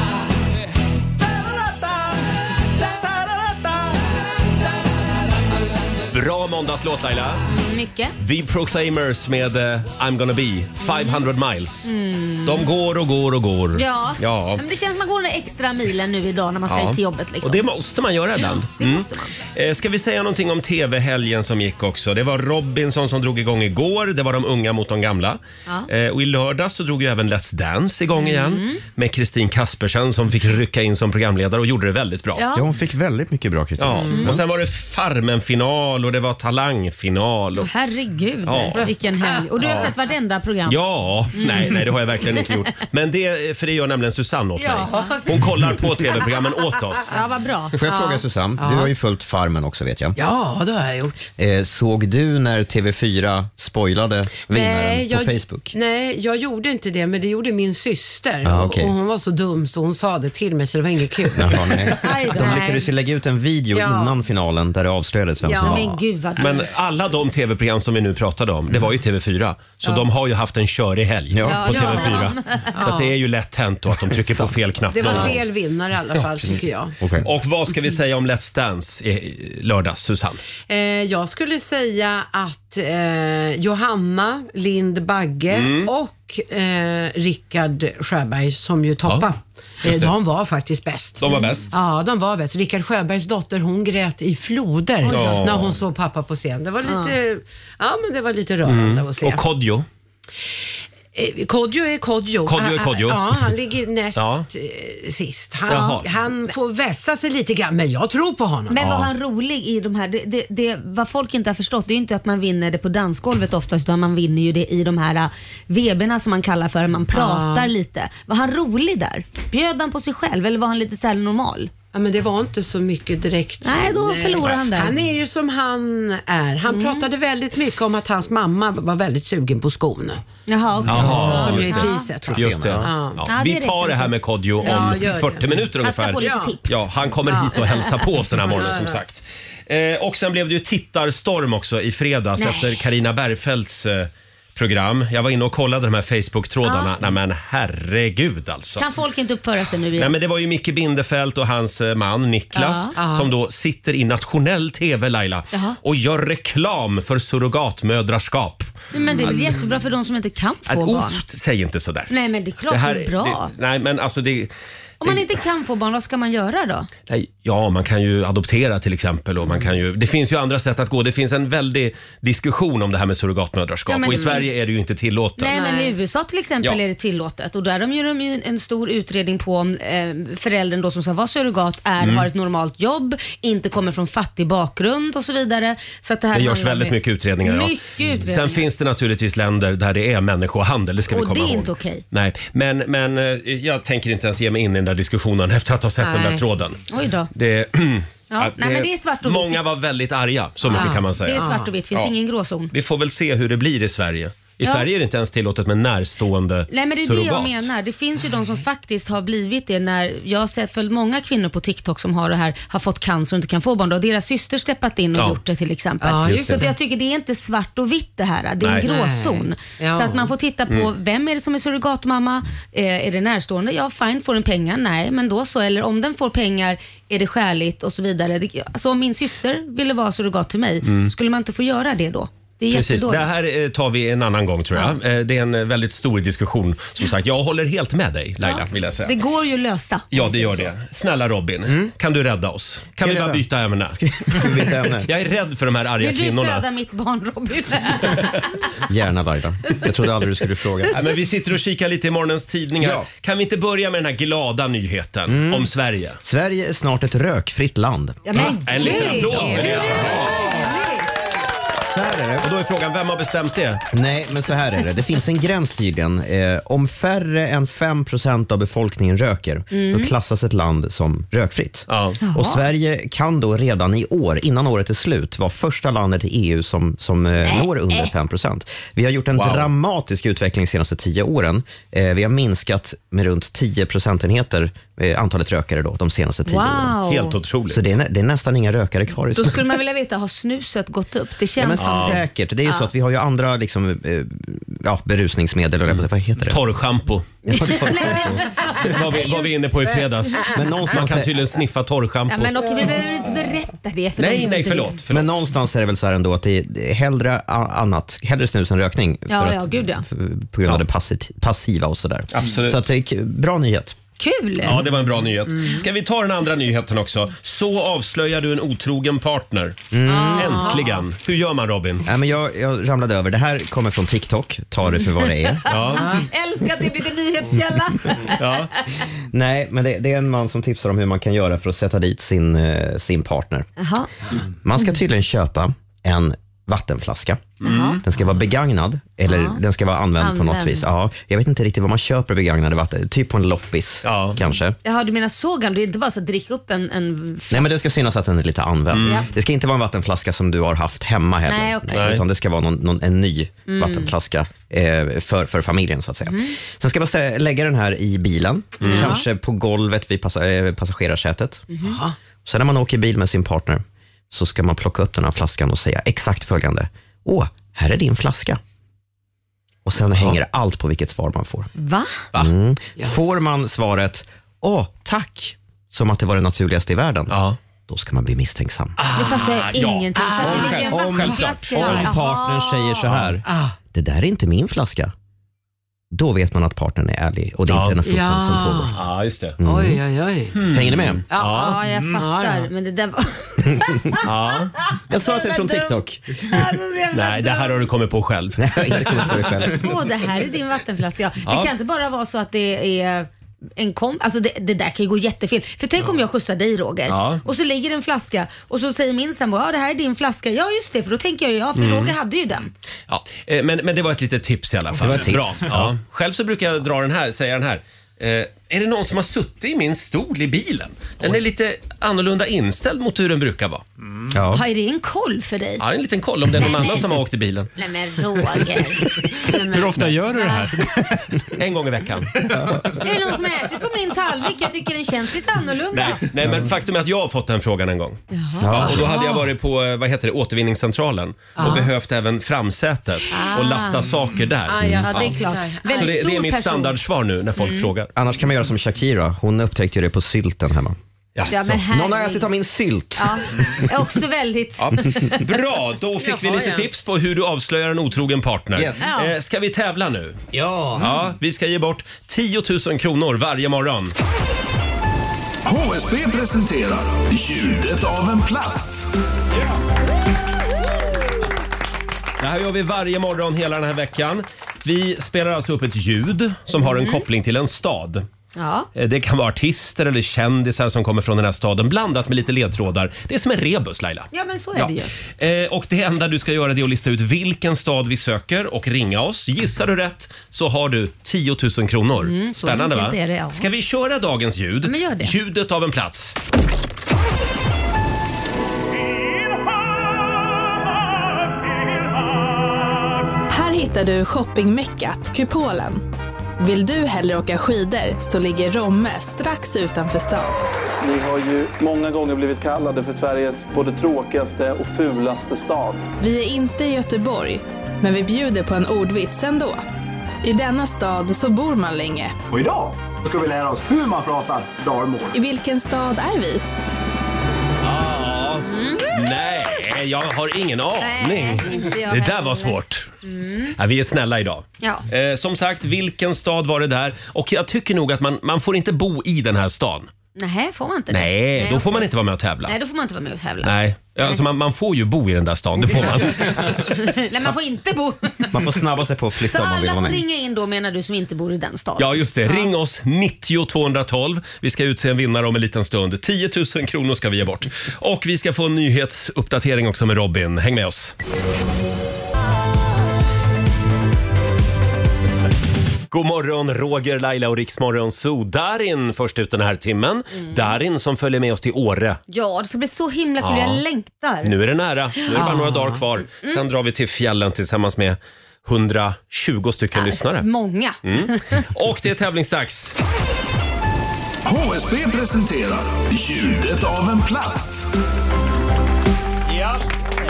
[SPEAKER 1] Bra måndagslåt Laila.
[SPEAKER 2] Mycket.
[SPEAKER 1] The Proclaimers med eh, I'm gonna be 500 miles. De går och går och går.
[SPEAKER 2] Mm. Ja.
[SPEAKER 1] ja.
[SPEAKER 2] Men det känns som man går den där extra milen nu idag när man ska
[SPEAKER 1] Ja.
[SPEAKER 2] till jobbet liksom.
[SPEAKER 1] Och det måste man göra ibland.
[SPEAKER 2] det måste man.
[SPEAKER 1] Eh, Ska vi säga någonting om TV-helgen som gick också? Det var Robinson som drog igång igår. Det var de unga mot de gamla.
[SPEAKER 2] Ja. Mm.
[SPEAKER 1] Eh, Och i lördags så drog ju även Let's Dance igång igen med Kristin Kaspersen som fick rycka in som programledare och gjorde det väldigt bra.
[SPEAKER 2] Ja. Mm.
[SPEAKER 3] Ja, hon fick väldigt mycket bra kritik.
[SPEAKER 1] Ja. Och sen var det Farmen-final och det var Talangfinal. Och...
[SPEAKER 2] Herregud,
[SPEAKER 1] Ja.
[SPEAKER 2] vilken helg. Och du har sett vartenda program.
[SPEAKER 1] Ja,
[SPEAKER 2] Mm.
[SPEAKER 1] nej, nej det har jag verkligen inte gjort. Men det, för det gör nämligen Susanne åt
[SPEAKER 6] Ja.
[SPEAKER 1] mig. Hon kollar på TV-programmen åt oss.
[SPEAKER 2] Ja, vad bra.
[SPEAKER 3] Får jag fråga Susanne, du har ju följt Farmen också vet jag.
[SPEAKER 9] Ja, det har jag gjort.
[SPEAKER 3] Eh, såg du när TV4 spoilade vinnaren på Facebook?
[SPEAKER 6] nej, jag gjorde inte det, men det gjorde min syster.
[SPEAKER 3] Ja, okej.
[SPEAKER 6] och hon var så dum så hon sa det till mig så det var inget kul.
[SPEAKER 3] Jaha, nej.
[SPEAKER 2] Aj då.
[SPEAKER 3] De lyckades ju lägga ut en video
[SPEAKER 6] Ja.
[SPEAKER 3] innan finalen där det avslöjades vem som
[SPEAKER 6] Ja.
[SPEAKER 3] vann.
[SPEAKER 2] Men gud vad
[SPEAKER 1] Men alla de tv-program som vi nu pratade om, det var ju TV4. Så
[SPEAKER 11] Ja.
[SPEAKER 1] de har ju haft en körig helg
[SPEAKER 11] Ja.
[SPEAKER 1] på
[SPEAKER 6] Ja, det har
[SPEAKER 1] TV4.
[SPEAKER 6] de.
[SPEAKER 1] Så att det är ju lätt hänt då att de trycker på fel knapp.
[SPEAKER 6] Det
[SPEAKER 1] någon
[SPEAKER 6] var
[SPEAKER 1] gång.
[SPEAKER 6] fel vinnare i alla fall tycker jag.
[SPEAKER 1] Och vad ska vi säga om Let's Dance i lördags, Susanne?
[SPEAKER 6] Eh, jag skulle säga att eh, Johanna Lind Bagge
[SPEAKER 1] Mm.
[SPEAKER 6] och eh, Rickard Sjöberg som ju toppa. eh,
[SPEAKER 1] just det.
[SPEAKER 6] de var faktiskt bäst.
[SPEAKER 1] De var bäst.
[SPEAKER 6] Ja, de var bäst. Rickard Sjöbergs dotter hon grät i floder
[SPEAKER 1] Oj då. Ja.
[SPEAKER 6] när hon såg pappa på scen. Det var lite, ja. men det var lite rörande
[SPEAKER 1] Mm.
[SPEAKER 6] att se.
[SPEAKER 1] Och Kodjo.
[SPEAKER 6] Eh, Kodjo är Kodjo.
[SPEAKER 1] Kodjo är
[SPEAKER 6] Ah, ah,
[SPEAKER 1] Kodjo.
[SPEAKER 6] Ja, han ligger näst
[SPEAKER 1] Ja.
[SPEAKER 6] eh, sist.
[SPEAKER 1] Jaha.
[SPEAKER 6] Han, han får vässa sig lite grann, men jag tror på honom.
[SPEAKER 2] Men var han rolig i de här, det, det, det, vad folk inte har förstått, det är ju inte att man vinner det på dansgolvet oftast utan man vinner ju det i de här äh, veberna som man kallar för, man pratar
[SPEAKER 6] Ah.
[SPEAKER 2] lite. Var han rolig där? Bjöd han på sig själv eller var han lite såhär normal?
[SPEAKER 6] Ja, men det var inte så mycket direkt.
[SPEAKER 2] Nej, då förlorar han Mm. där.
[SPEAKER 6] Han är ju som han är. Han pratade väldigt mycket om att hans mamma var väldigt sugen på skon.
[SPEAKER 2] Jaha, okej.
[SPEAKER 1] Jaha,
[SPEAKER 6] Som
[SPEAKER 1] just
[SPEAKER 6] är
[SPEAKER 1] det.
[SPEAKER 6] priset. tror jag.
[SPEAKER 1] Just det.
[SPEAKER 6] Ja.
[SPEAKER 1] Ja.
[SPEAKER 6] Ja, det
[SPEAKER 1] Vi
[SPEAKER 6] räcker
[SPEAKER 1] tar det här
[SPEAKER 6] inte.
[SPEAKER 1] med Kodjo om
[SPEAKER 6] Ja, gör det.
[SPEAKER 1] 40 minuter
[SPEAKER 6] Han ska
[SPEAKER 1] ungefär.
[SPEAKER 6] få lite tips.
[SPEAKER 1] Ja, han kommer
[SPEAKER 6] Ja.
[SPEAKER 1] hit och hälsar på oss den här morgonen
[SPEAKER 6] Ja,
[SPEAKER 1] som
[SPEAKER 6] ja.
[SPEAKER 1] sagt. Eh, och sen blev det ju tittarstorm också i fredags
[SPEAKER 2] Nej.
[SPEAKER 1] efter Karina Bergfeldts eh, program. Jag var inne och kollade de här Facebook-trådarna.
[SPEAKER 6] Ah.
[SPEAKER 2] Ja.
[SPEAKER 1] Nej men herregud alltså.
[SPEAKER 2] Kan folk inte uppföra sig nu igen?
[SPEAKER 1] Nej, men det var ju Micke Bindefeld och hans eh, man Niklas
[SPEAKER 2] Ja.
[SPEAKER 6] Ah.
[SPEAKER 1] som då sitter i nationell tv Laila
[SPEAKER 2] Jaha.
[SPEAKER 1] och gör reklam för surrogatmödraskap.
[SPEAKER 2] Men det är väl jättebra för de som inte kan få
[SPEAKER 1] Att,
[SPEAKER 2] barn?
[SPEAKER 1] uff, säg inte sådär.
[SPEAKER 2] Nej men det är klart det, är bra.
[SPEAKER 1] det- nej men alltså det,
[SPEAKER 2] Om man inte kan få barn, vad ska man göra då?
[SPEAKER 1] nej, ja man kan ju adoptera till exempel och man kan ju, det finns ju andra sätt att gå. Det finns en väldig diskussion om det här med surrogatmödraskap
[SPEAKER 2] Ja, men-
[SPEAKER 1] och i Sverige är det ju inte tillåtet.
[SPEAKER 2] Nej, men i USA till exempel
[SPEAKER 1] Ja.
[SPEAKER 2] är det tillåtet och där de gör de ju en stor utredning på om eh, föräldern då som ska vara surrogat är,
[SPEAKER 1] Mm.
[SPEAKER 2] har ett normalt jobb, inte kommer från fattig bakgrund och så vidare. Så att det, här
[SPEAKER 1] Det görs
[SPEAKER 2] handlar om
[SPEAKER 1] väldigt
[SPEAKER 2] det.
[SPEAKER 1] mycket utredningar. Ja. Mm.
[SPEAKER 2] Mycket utredningar.
[SPEAKER 1] Sen finns det naturligtvis länder där det är människohandel, det ska vi
[SPEAKER 2] och
[SPEAKER 1] komma
[SPEAKER 2] det är
[SPEAKER 1] ihåg.
[SPEAKER 2] inte okej.
[SPEAKER 1] Nej, men, men eh, jag tänker inte ens ge mig in i den där diskussionen efter att ha sett den där
[SPEAKER 2] Nej.
[SPEAKER 1] tråden.
[SPEAKER 2] Oj då.
[SPEAKER 1] Det,
[SPEAKER 2] Ja, nej, men det är svart och vitt.
[SPEAKER 1] många var väldigt arga, så mycket
[SPEAKER 2] Ja,
[SPEAKER 1] kan man säga.
[SPEAKER 2] Det är svart och vitt, finns
[SPEAKER 1] Ja.
[SPEAKER 2] ingen gråzon.
[SPEAKER 1] Vi får väl se hur det blir i Sverige. I
[SPEAKER 2] Ja.
[SPEAKER 1] Sverige är det inte ens tillåtet med närstående
[SPEAKER 2] Nej men det är
[SPEAKER 1] surrogat.
[SPEAKER 2] det jag menar. Det finns ju de som faktiskt har blivit det när jag har sett följt många kvinnor på TikTok som har det här, har fått cancer och inte kan få barn. Då har deras syster steppat in och
[SPEAKER 1] Ja.
[SPEAKER 2] gjort det till exempel.
[SPEAKER 1] Ja, just
[SPEAKER 2] så att
[SPEAKER 1] det.
[SPEAKER 2] jag tycker det är inte svart och vitt det här. Det är en
[SPEAKER 1] Nej.
[SPEAKER 2] gråzon.
[SPEAKER 1] Nej. Ja.
[SPEAKER 2] Så att man får titta på
[SPEAKER 1] Mm.
[SPEAKER 2] vem är det som är surrogatmamma? Eh, är det närstående? Ja fine, får den pengar? Nej, men då så. Eller om den får pengar, är det skäligt och så vidare. Det- Alltså om min syster ville vara surrogat till mig,
[SPEAKER 1] Mm.
[SPEAKER 2] skulle man inte få göra det då? Det är
[SPEAKER 1] Precis. Det
[SPEAKER 2] jättedåligt.
[SPEAKER 1] här eh, tar vi en annan gång tror jag. Eh, Det är en eh, väldigt stor diskussion. Som sagt, jag håller helt med dig Laila, vill jag säga.
[SPEAKER 2] Det går ju att lösa.
[SPEAKER 1] Ja, det gör det. Snälla Robin, kan du rädda oss? Kan vi bara byta ämne? Jag är rädd för de här arga
[SPEAKER 2] Vill du
[SPEAKER 1] kvinnorna.
[SPEAKER 2] föda mitt barn Robin?
[SPEAKER 1] Gärna Laila. Jag trodde aldrig du skulle fråga. Nej, men vi sitter och kikar lite i morgonens tidningar.
[SPEAKER 3] Ja.
[SPEAKER 1] Kan vi inte börja med den här glada nyheten
[SPEAKER 3] Mm.
[SPEAKER 1] om Sverige?
[SPEAKER 3] Sverige är snart ett rökfritt land.
[SPEAKER 2] Ja, men
[SPEAKER 1] En liten
[SPEAKER 2] gud.
[SPEAKER 1] applåd för det.
[SPEAKER 3] Så här är det.
[SPEAKER 1] Och då är frågan, vem har bestämt det?
[SPEAKER 3] Nej, men så här är det. Det finns en gräns tydligen. Eh, om färre än 5 av befolkningen röker,
[SPEAKER 11] Mm.
[SPEAKER 3] då klassas ett land som rökfritt.
[SPEAKER 11] Jaha.
[SPEAKER 3] Och Sverige kan då redan i år, innan året är slut, vara första landet i EU som, som eh, når under 5 Vi har gjort en dramatisk utveckling de senaste tio åren. Eh, vi har minskat med runt 10 procentenheter eh, antalet rökare då, de senaste tio
[SPEAKER 2] Wow.
[SPEAKER 3] åren.
[SPEAKER 2] Helt
[SPEAKER 3] otroligt. Så det är, nä- det är nästan inga rökare kvar i
[SPEAKER 2] Då
[SPEAKER 3] Sverige.
[SPEAKER 2] skulle man vilja veta, har snuset gått upp? Det
[SPEAKER 3] Ja, men
[SPEAKER 2] känns som...
[SPEAKER 3] säkert. Det är ju så att vi har ju andra liksom, eh, ja, berusningsmedel, eller vad heter det?
[SPEAKER 1] Torrschampo.
[SPEAKER 2] Nej.
[SPEAKER 1] Vad vi, vad vi är inne på i fredags.
[SPEAKER 3] Men
[SPEAKER 1] Man
[SPEAKER 3] någonstans
[SPEAKER 1] kan
[SPEAKER 3] är-
[SPEAKER 1] tydligen sniffa torrschampo.
[SPEAKER 2] Ja, men okej, vi behöver inte berätta det. För de som inte vet.
[SPEAKER 3] Men någonstans är det väl så här ändå att det är- det är hellre a- annat, hellre snus än rökning.
[SPEAKER 2] Ja,
[SPEAKER 3] för
[SPEAKER 2] ja,
[SPEAKER 3] att,
[SPEAKER 2] gud, ja.
[SPEAKER 3] f- På grund av det passit- passiva och sådär.
[SPEAKER 1] Absolut.
[SPEAKER 3] Så att det är k- bra nyhet.
[SPEAKER 2] Kul!
[SPEAKER 1] Ja, det var en bra nyhet. Ska vi ta den andra nyheten också? Så avslöjar du en otrogen partner. Äntligen! Hur gör man Robin?
[SPEAKER 3] Nej, men jag, jag ramlade över. Det här kommer från TikTok. Ta det för vad det är.
[SPEAKER 2] Älskar att det blir en nyhetskälla.
[SPEAKER 3] Nej, men det, det är en man som tipsar om hur man kan göra för att sätta dit sin, eh, sin partner.
[SPEAKER 2] Jaha.
[SPEAKER 3] Man
[SPEAKER 2] Mm.
[SPEAKER 3] ska tydligen köpa en vattenflaska.
[SPEAKER 2] Jaha.
[SPEAKER 3] Den ska vara begagnad eller
[SPEAKER 2] Ja.
[SPEAKER 3] den ska vara använd, på något
[SPEAKER 2] Använd.
[SPEAKER 3] vis. Ja, jag vet inte riktigt vad man köper begagnade vatten. Typ på en loppis kanske.
[SPEAKER 2] Jaha, du menar så gammal? Det är inte bara så att dricka upp en... en...
[SPEAKER 3] Nej, men det ska synas att den är lite använd.
[SPEAKER 2] Mm. Ja.
[SPEAKER 3] Det ska inte vara en vattenflaska som du har haft hemma heller.
[SPEAKER 2] Nej, okej. Nej.
[SPEAKER 3] Utan det ska vara någon, någon, en ny
[SPEAKER 2] Mm.
[SPEAKER 3] vattenflaska eh, för, för familjen så att säga. Sen ska man stä- lägga den här i bilen,
[SPEAKER 11] Mm.
[SPEAKER 3] kanske på golvet vid passa, eh, passagerarsätet.
[SPEAKER 2] Mm-hmm.
[SPEAKER 3] Sen när man åker bil med sin partner så ska man plocka upp den här flaskan och säga exakt följande. Åh, här är din flaska. Och sen hänger allt på vilket svar man får.
[SPEAKER 2] Va?
[SPEAKER 3] Mm. Får man svaret åh, tack, som att det var det naturligaste i världen, då ska man bli misstänksam.
[SPEAKER 1] Ah,
[SPEAKER 2] Nu fattar jag
[SPEAKER 3] ja.
[SPEAKER 2] ingenting. För att det ligger en vattenflaska där. Ah.
[SPEAKER 3] Om partnern
[SPEAKER 2] Jaha.
[SPEAKER 3] säger så här, det där är inte min flaska. Då vet man att partnern är ärlig och det är inte en fuffens som
[SPEAKER 2] Ja. Mm.
[SPEAKER 3] pågår.
[SPEAKER 1] Ja, just det.
[SPEAKER 6] Oj, oj, oj.
[SPEAKER 1] Mm.
[SPEAKER 3] Hänger ni med?
[SPEAKER 2] Ja, ja. jag fattar. Men det där var...
[SPEAKER 1] Ja.
[SPEAKER 3] Jag sa att det är från
[SPEAKER 2] Jävla dum.
[SPEAKER 3] TikTok.
[SPEAKER 2] Alltså, så jävla
[SPEAKER 1] Nej, det här har du kommit på själv. Nej,
[SPEAKER 3] jag har inte kommit på det själv.
[SPEAKER 2] Åh, det här är din vattenflaska. Ja. Det
[SPEAKER 1] Ja.
[SPEAKER 2] kan inte bara vara så att det är en kom, alltså det, det där kan ju gå jättefel. För tänk om jag skjutsar dig Roger
[SPEAKER 1] Ja.
[SPEAKER 2] och så ligger en flaska och så säger min sambo ja det här är din flaska. Ja just det för då tänker jag ju ja för
[SPEAKER 1] Mm.
[SPEAKER 2] Roger hade ju den.
[SPEAKER 1] Ja, eh, men, men det var ett litet tips i alla fall.
[SPEAKER 3] Det var ett tips.
[SPEAKER 1] Bra. Ja.
[SPEAKER 3] Ja.
[SPEAKER 1] Själv så brukar jag dra den här, säga den här. Eh, är det någon som har suttit i min stol i bilen? Den är lite annorlunda inställd mot hur den brukar vara.
[SPEAKER 3] Ja.
[SPEAKER 2] Har det en koll för dig?
[SPEAKER 1] Ja, det är en liten koll om det är någon
[SPEAKER 2] Nej, men-
[SPEAKER 1] annan som har åkt i bilen.
[SPEAKER 2] Nej men Roger.
[SPEAKER 1] Hur ofta gör du det här? En gång i veckan.
[SPEAKER 2] är det någon som har ätit på min tallrik? Jag tycker den känns lite annorlunda.
[SPEAKER 1] Nej, nej, men faktum är att jag har fått den frågan en gång. Ja, och då hade jag varit på eh, vad heter det, återvinningscentralen
[SPEAKER 2] Ja.
[SPEAKER 1] och behövt även framsätet och lassa saker där.
[SPEAKER 2] Ah, ja, det är klart.
[SPEAKER 1] Så
[SPEAKER 2] Väldigt
[SPEAKER 1] det, det är
[SPEAKER 2] stor
[SPEAKER 1] mitt
[SPEAKER 2] person.
[SPEAKER 1] standardsvar nu när folk
[SPEAKER 2] Mm.
[SPEAKER 1] frågar.
[SPEAKER 3] Annars kan man göra som Shakira, hon upptäckte ju det på sylten hemma.
[SPEAKER 2] Jaså. Ja, men herregud.
[SPEAKER 3] Någon har ätit av min sylt.
[SPEAKER 2] Ja, jag är också väldigt...
[SPEAKER 1] Ja. Bra, då fick vi
[SPEAKER 2] Jaha,
[SPEAKER 1] lite
[SPEAKER 2] ja.
[SPEAKER 1] tips på hur du avslöjar en otrogen partner.
[SPEAKER 2] Yes. Ja.
[SPEAKER 1] Eh, Ska vi tävla nu? Ja. ja! Vi ska ge bort 10 000 kronor varje morgon.
[SPEAKER 4] HSB presenterar Ljudet av en plats.
[SPEAKER 1] Det här gör vi varje morgon hela den här veckan. Vi spelar alltså upp ett ljud som har en
[SPEAKER 2] Mm.
[SPEAKER 1] koppling till en stad.
[SPEAKER 2] Ja.
[SPEAKER 1] Eh, Det kan vara artister eller kändisar som kommer från den här staden blandat med lite ledtrådar. Det är som en rebus Laila.
[SPEAKER 2] ja men så är
[SPEAKER 1] Ja.
[SPEAKER 2] det ju.
[SPEAKER 1] Eh, Och det enda du ska göra det är att lista ut vilken stad vi söker och ringa oss. Gissar du rätt så har du 10 000 kronor.
[SPEAKER 2] Mm, så
[SPEAKER 1] Spännande va?
[SPEAKER 2] enkelt är det, ja.
[SPEAKER 1] Ska vi köra dagens ljud?
[SPEAKER 2] Ja, men gör det.
[SPEAKER 1] Ljudet av en plats.
[SPEAKER 11] Här hittar du shoppingmeckat Kupolen. Vill du hellre åka skidor så ligger Romme strax utanför stan.
[SPEAKER 12] Ni har ju många gånger blivit kallade för Sveriges både tråkigaste och fulaste stad.
[SPEAKER 11] Vi är inte i Göteborg, men vi bjuder på en ordvits ändå. I denna stad så bor man länge.
[SPEAKER 4] Och idag ska vi lära oss hur man pratar dalmål.
[SPEAKER 11] I vilken stad är vi?
[SPEAKER 1] Ja. Nej, jag har ingen aning.
[SPEAKER 2] Mm. Nej, inte jag
[SPEAKER 1] det där
[SPEAKER 2] heller.
[SPEAKER 1] var svårt.
[SPEAKER 2] Mm.
[SPEAKER 1] Ja, vi är snälla idag.
[SPEAKER 2] Ja.
[SPEAKER 1] Eh, som sagt, vilken stad var det där? Och jag tycker nog att man, man får inte bo i den här stan.
[SPEAKER 2] Nej, får man inte det?
[SPEAKER 1] Nej, då
[SPEAKER 2] okej.
[SPEAKER 1] får man inte vara med och tävla.
[SPEAKER 2] Nej, då får man inte vara med och tävla.
[SPEAKER 1] Nej, alltså man, man får ju bo i den där stan, det får man.
[SPEAKER 2] Nej, man får inte bo...
[SPEAKER 3] Man får snabba sig på att
[SPEAKER 2] Så
[SPEAKER 3] flytta om man vill
[SPEAKER 2] alla
[SPEAKER 3] vara
[SPEAKER 2] får
[SPEAKER 3] med.
[SPEAKER 2] ringa in då menar du som inte bor i den staden?
[SPEAKER 1] Ja, just det. Ring oss 90 212. Vi ska utse en vinnare om en liten stund. 10 000 kronor ska vi ge bort. Och vi ska få en nyhetsuppdatering också med Robin. Häng med oss. God morgon, Roger, Laila och Riksmorgon Zoo. Darin först ut den här timmen. Darin som följer med oss till Åre.
[SPEAKER 2] Ja, det ska bli så himla kul.
[SPEAKER 1] Ja.
[SPEAKER 2] Jag längtar.
[SPEAKER 1] Nu är det nära. Nu är det bara
[SPEAKER 2] Ah.
[SPEAKER 1] några dagar kvar. Sen drar vi till fjällen tillsammans med 120 stycken lyssnare.
[SPEAKER 2] Många.
[SPEAKER 1] Mm. Och det är tävlingsdags.
[SPEAKER 4] HSB presenterar Ljudet av en plats.
[SPEAKER 1] Ja,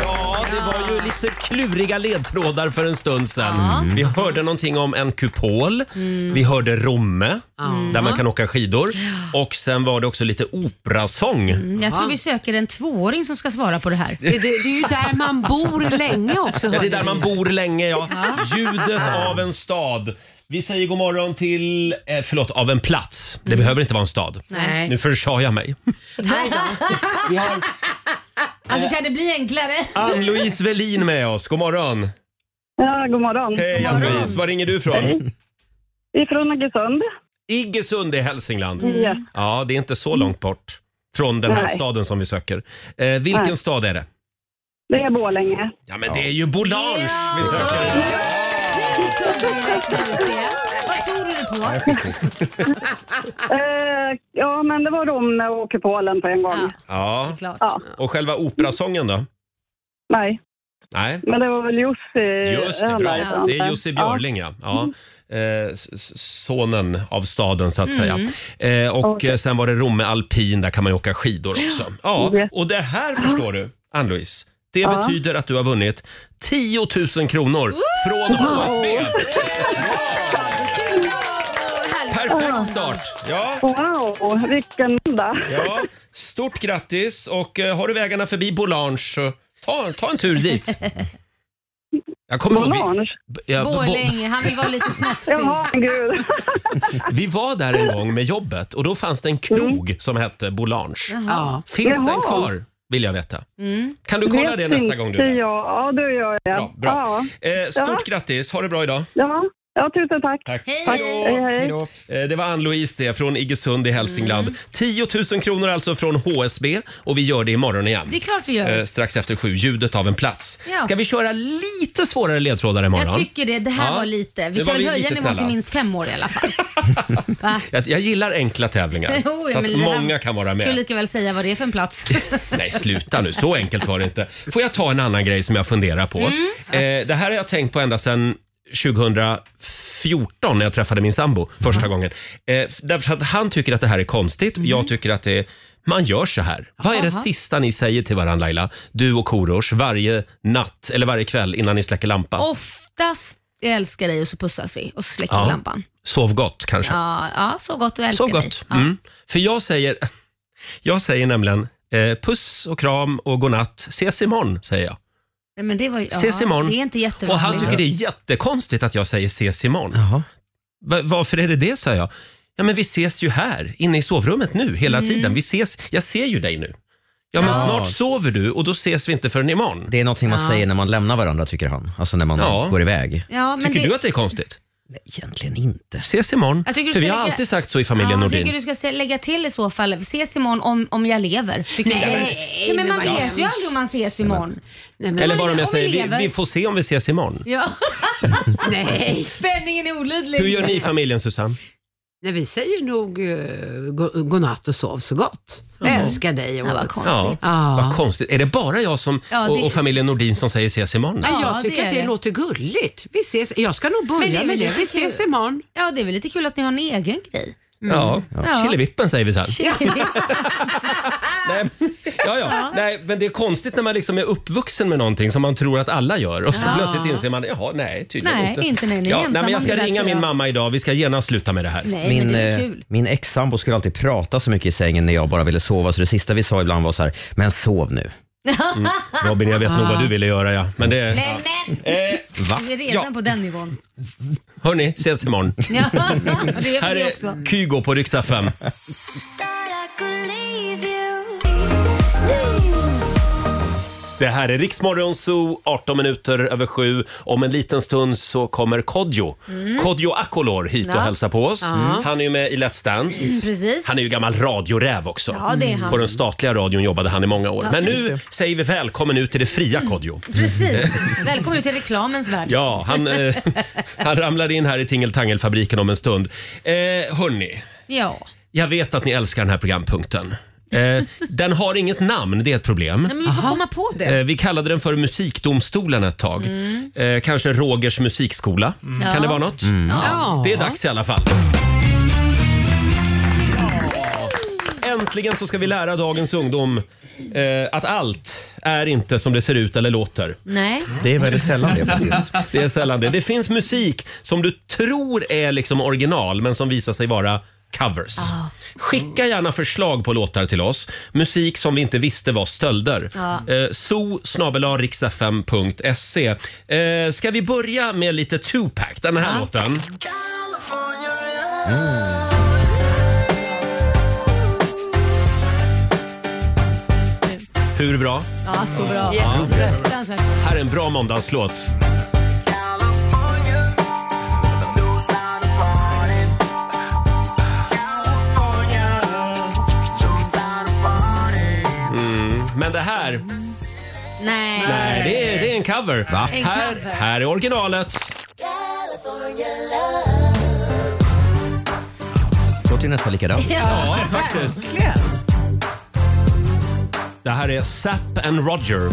[SPEAKER 1] ja det var ju lite kluriga ledtrådar för en stund sedan. Mm. Vi hörde någonting om en kupol.
[SPEAKER 13] Mm.
[SPEAKER 1] Vi hörde Romme,
[SPEAKER 2] Ja.
[SPEAKER 1] där man kan åka skidor. Och sen var det också lite operasång.
[SPEAKER 2] Mm, Jag tror vi söker en tvååring som ska svara på det här.
[SPEAKER 1] Det- det-
[SPEAKER 6] är ju där man bor länge också,
[SPEAKER 1] Ja, det är
[SPEAKER 6] hörde
[SPEAKER 1] där
[SPEAKER 6] vi.
[SPEAKER 1] man bor länge, ja. Ljudet av en stad. Vi säger god morgon till, eh, förlåt, av en plats. Det behöver inte vara en stad.
[SPEAKER 2] Nej.
[SPEAKER 1] Nu försa jag mig. Vi har-
[SPEAKER 2] Alltså kan det bli enklare?
[SPEAKER 1] Ann-Louise Velin med oss, god morgon.
[SPEAKER 14] Ja, god morgon.
[SPEAKER 1] Hej Ann-Louise, var ringer du ifrån?
[SPEAKER 14] Ifrån Iggesund.
[SPEAKER 1] Iggesund i Hälsingland.
[SPEAKER 14] Mm. Yes.
[SPEAKER 1] Ja, det är inte så långt bort från den här
[SPEAKER 14] Nej.
[SPEAKER 1] staden som vi söker. Eh, vilken
[SPEAKER 14] Nej.
[SPEAKER 1] stad är det?
[SPEAKER 14] Det är Borlänge.
[SPEAKER 1] Ja, men det är ju Bolange vi söker.
[SPEAKER 2] Vad tror du på?
[SPEAKER 6] Ah.
[SPEAKER 14] Eh, ja, men det var Romme och kupolen på en gång.
[SPEAKER 6] Ah.
[SPEAKER 1] Ja.
[SPEAKER 14] Ja,
[SPEAKER 1] Och själva operasången då?
[SPEAKER 14] nej.
[SPEAKER 1] Nej.
[SPEAKER 14] Men det var väl Jussi.
[SPEAKER 1] Just det,
[SPEAKER 14] han
[SPEAKER 1] bra.
[SPEAKER 14] därifrån.
[SPEAKER 1] Det är Jussi Björling, ja. ja. Eh, s- s- sonen av staden, så att
[SPEAKER 14] Mm.
[SPEAKER 1] säga. Eh, och eh, sen var det Romme alpin, där kan man ju åka skidor också. Ja,
[SPEAKER 14] Yes.
[SPEAKER 1] och det här förstår du, Ann-Louise. Det
[SPEAKER 14] Ja.
[SPEAKER 1] betyder att du har vunnit 10 000 kronor från HSB. Perfekt start! Ja.
[SPEAKER 14] Wow, vilken enda.
[SPEAKER 1] Ja, stort grattis och eh, har du vägarna förbi Bolange så ta, ta en tur dit. Jag kommer ihåg, vi, b- ja, b- bo-
[SPEAKER 2] Borlänge, han vill vara lite snofsig. Jaha,
[SPEAKER 14] gud.
[SPEAKER 1] vi var där en gång med jobbet och då fanns det en krog som hette Bolange.
[SPEAKER 2] Jaha.
[SPEAKER 1] Finns den
[SPEAKER 14] Mm. Jaha.
[SPEAKER 1] kvar? Vill jag veta.
[SPEAKER 2] Mm.
[SPEAKER 1] Kan du kolla
[SPEAKER 14] Vet
[SPEAKER 1] det nästa
[SPEAKER 14] inte
[SPEAKER 1] gång du är där?
[SPEAKER 14] jag. Ja, det gör jag.
[SPEAKER 1] Bra, bra.
[SPEAKER 14] Ja.
[SPEAKER 1] Eh,
[SPEAKER 14] Ja.
[SPEAKER 1] stort grattis, ha det bra idag.
[SPEAKER 14] Ja. ja, tusen tack.
[SPEAKER 1] Tack.
[SPEAKER 14] tack. Hej, hej.
[SPEAKER 1] Eh, Det var Ann-Louise det från Iggesund i Hälsingland.
[SPEAKER 2] Mm.
[SPEAKER 1] 10 000 kronor alltså från HSB och vi gör det imorgon igen.
[SPEAKER 2] Det är klart vi gör.
[SPEAKER 1] Eh, Strax efter sju, ljudet av en plats.
[SPEAKER 2] Ja.
[SPEAKER 1] Ska vi köra lite svårare ledtrådar imorgon?
[SPEAKER 2] Jag tycker det. Det här
[SPEAKER 1] Ja.
[SPEAKER 2] var lite. Vi
[SPEAKER 1] Det var
[SPEAKER 2] kan väl
[SPEAKER 1] vi
[SPEAKER 2] höja
[SPEAKER 1] lite
[SPEAKER 2] nivån till
[SPEAKER 1] snälla.
[SPEAKER 2] minst fem år i alla fall.
[SPEAKER 1] Jag, jag gillar enkla tävlingar.
[SPEAKER 2] Jo, ja,
[SPEAKER 1] så att
[SPEAKER 2] men det här-
[SPEAKER 1] många kan vara
[SPEAKER 2] Kan du
[SPEAKER 1] med.
[SPEAKER 2] lika väl säga vad det är för en plats?
[SPEAKER 1] Nej, sluta nu. Så enkelt var det inte. Får jag ta en annan grej som jag funderar på?
[SPEAKER 2] Mm.
[SPEAKER 1] Eh, det här har jag tänkt på ända sedan 2014 när jag träffade min sambo första
[SPEAKER 2] Mm.
[SPEAKER 1] gången. Eh, f- därför att han tycker att det här är konstigt. Jag tycker att det är, man gör så här. Vad är det
[SPEAKER 9] Aha.
[SPEAKER 1] sista ni säger till varandra Laila? Du och Korosh varje natt eller varje kväll innan ni släcker lampan?
[SPEAKER 2] Oftast jag älskar dig och så pussas vi och så släcker
[SPEAKER 1] Ja.
[SPEAKER 2] vi lampan.
[SPEAKER 1] Sov gott kanske?
[SPEAKER 2] Ja, ja, så gott och älskar
[SPEAKER 1] Så
[SPEAKER 2] dig.
[SPEAKER 1] gott.
[SPEAKER 2] Ja.
[SPEAKER 1] Mm. För jag säger, jag säger nämligen eh, puss och kram och godnatt. Ses imorgon, säger jag.
[SPEAKER 2] Nej, men det var ju, ja,
[SPEAKER 1] Ses imorgon.
[SPEAKER 2] Det är inte jättevanligt.
[SPEAKER 1] Och han tycker det är jättekonstigt att jag säger ses imorgon. Va- varför är det det, sa jag. Ja, men vi ses ju här, inne i sovrummet nu, hela
[SPEAKER 2] Mm.
[SPEAKER 1] tiden. Vi ses, jag ser ju dig nu. Ja, men
[SPEAKER 3] Ja.
[SPEAKER 1] snart sover du och då ses vi inte förrän imorgon.
[SPEAKER 3] Det är någonting man
[SPEAKER 2] Ja.
[SPEAKER 3] säger när man lämnar varandra, tycker han. Alltså när man
[SPEAKER 1] Ja.
[SPEAKER 3] går iväg.
[SPEAKER 2] Ja, men
[SPEAKER 1] Tycker
[SPEAKER 2] det-
[SPEAKER 1] du att det är konstigt?
[SPEAKER 3] Nej, egentligen inte.
[SPEAKER 1] Ses imorgon.
[SPEAKER 2] Jag tycker du
[SPEAKER 1] För vi
[SPEAKER 2] ska
[SPEAKER 1] har
[SPEAKER 2] lägga-
[SPEAKER 1] alltid sagt så i familjen
[SPEAKER 2] ja, Jag tycker
[SPEAKER 1] Nordin.
[SPEAKER 2] du ska se- lägga till i så fall, ses imorgon om, om jag lever. Tycker
[SPEAKER 6] Nej,
[SPEAKER 2] jag.
[SPEAKER 6] men-
[SPEAKER 2] Nej, men man
[SPEAKER 6] men vad
[SPEAKER 2] vet ju
[SPEAKER 6] hemskt.
[SPEAKER 2] aldrig om man ses imorgon. Nej, men-
[SPEAKER 1] Eller bara om jag
[SPEAKER 2] vi
[SPEAKER 1] säger,
[SPEAKER 2] lever.
[SPEAKER 1] vi, vi får se om vi ses imorgon.
[SPEAKER 2] Ja. Nej. Spänningen är olidlig.
[SPEAKER 1] Hur gör ni i familjen, Susanne?
[SPEAKER 6] Nej, vi säger nog uh, go- godnatt och sov så gott. Jag
[SPEAKER 1] Jaha.
[SPEAKER 6] älskar dig. Och...
[SPEAKER 2] Ja, vad konstigt.
[SPEAKER 1] Ja, vad konstigt. Är det bara jag som,
[SPEAKER 6] Ja, det-
[SPEAKER 1] och, och familjen Nordin som säger ses imorgon?
[SPEAKER 6] Nej,
[SPEAKER 2] Ja,
[SPEAKER 6] jag tycker
[SPEAKER 2] det är
[SPEAKER 6] att det,
[SPEAKER 2] det.
[SPEAKER 6] låter gulligt. Vi ses. Jag ska nog börja med det. Vi ses imorgon.
[SPEAKER 2] Ja, det är väl lite kul att ni har en egen grej.
[SPEAKER 1] Ja,
[SPEAKER 2] Ja.
[SPEAKER 1] killevippen säger vi sen.
[SPEAKER 2] Chili-
[SPEAKER 1] Nej, men, ja, ja. Nej, men det är konstigt när man liksom är uppvuxen med någonting som man tror att alla gör och så
[SPEAKER 2] Ja.
[SPEAKER 1] plötsligt inser man, jaha, nej, tydligen
[SPEAKER 2] Nej,
[SPEAKER 1] inte.
[SPEAKER 2] inte när ni är
[SPEAKER 1] ja, nej,
[SPEAKER 2] ensamma
[SPEAKER 1] men jag
[SPEAKER 2] om
[SPEAKER 1] ska
[SPEAKER 2] det där,
[SPEAKER 1] ringa
[SPEAKER 2] tror
[SPEAKER 1] min
[SPEAKER 2] jag.
[SPEAKER 1] mamma idag. Vi ska gärna sluta med det här.
[SPEAKER 2] Nej, men
[SPEAKER 3] Min,
[SPEAKER 2] det är
[SPEAKER 3] eh,
[SPEAKER 2] kul.
[SPEAKER 3] min ex-sambo skulle alltid prata så mycket i sängen när jag bara ville sova, så det sista vi sa ibland var så här, men sov nu.
[SPEAKER 1] Mm. Robin, jag vet nog vad du ville göra, ja. Men det...
[SPEAKER 2] Nej,
[SPEAKER 1] Ja.
[SPEAKER 2] men.
[SPEAKER 1] Eh, va?
[SPEAKER 2] Vi är redan
[SPEAKER 1] Ja,
[SPEAKER 2] på den nivån.
[SPEAKER 1] hörni, ses imorgon.
[SPEAKER 2] Ja, det är
[SPEAKER 1] Här
[SPEAKER 2] vi också.
[SPEAKER 1] är Kygo på riksdag 5. Det här är Riksmorgon Zoo, 18 minuter över sju. Om en liten stund så kommer Kodjo.
[SPEAKER 2] Mm.
[SPEAKER 1] Kodjo Akolor hit
[SPEAKER 2] Ja.
[SPEAKER 1] och hälsar på oss. Mm.
[SPEAKER 2] Ja.
[SPEAKER 1] Han är ju med i Let's Dance.
[SPEAKER 2] Mm, precis.
[SPEAKER 1] Han är ju gammal radioräv också.
[SPEAKER 2] Ja, det är han.
[SPEAKER 1] På den statliga radion jobbade han i många år.
[SPEAKER 2] Ja,
[SPEAKER 1] Men
[SPEAKER 2] just
[SPEAKER 1] nu
[SPEAKER 2] det. Mm.
[SPEAKER 1] säger vi välkommen ut till det fria Kodjo.
[SPEAKER 2] Precis. Välkommen ut i reklamens värld.
[SPEAKER 1] Ja, han, eh, han ramlade in här i Tingeltangelfabriken om en stund. Eh, hörni,
[SPEAKER 2] Ja.
[SPEAKER 1] jag vet att ni älskar den här programpunkten. Eh, den har inget namn, det är ett problem.
[SPEAKER 2] Nej, men vi får komma på
[SPEAKER 1] Eh,
[SPEAKER 2] det.
[SPEAKER 1] Vi kallade den för Musikdomstolen ett tag.
[SPEAKER 2] Mm.
[SPEAKER 1] Eh, kanske Rogers musikskola.
[SPEAKER 2] Ja.
[SPEAKER 1] Kan det vara något?
[SPEAKER 2] Mm. Ja.
[SPEAKER 1] Det är dags i alla fall. Äntligen så ska vi lära dagens ungdom eh, att allt är inte som det ser ut eller låter.
[SPEAKER 2] Nej.
[SPEAKER 3] Det är väldigt sällan det faktiskt.
[SPEAKER 1] Det är sällan det. Det finns musik som du tror är liksom original men som visar sig vara covers. Skicka gärna förslag på låtar till oss. Musik som vi inte visste var stölder.
[SPEAKER 2] Ja.
[SPEAKER 1] Eh, so riksfm.se. Eh, ska vi börja med lite Tupac, den här låten. Mm. Hur bra?
[SPEAKER 2] Ja, så bra.
[SPEAKER 1] Ja.
[SPEAKER 2] Fruktansvärt.
[SPEAKER 1] Här är en bra måndagslåt. Mm. Men det här,
[SPEAKER 2] Nej.
[SPEAKER 1] nej, det är, det är en cover.
[SPEAKER 2] En
[SPEAKER 1] Här,
[SPEAKER 2] cover.
[SPEAKER 1] här är originalet.
[SPEAKER 3] Låter ju nästan likadant.
[SPEAKER 1] Ja, faktiskt. Det här är Zapp and Roger.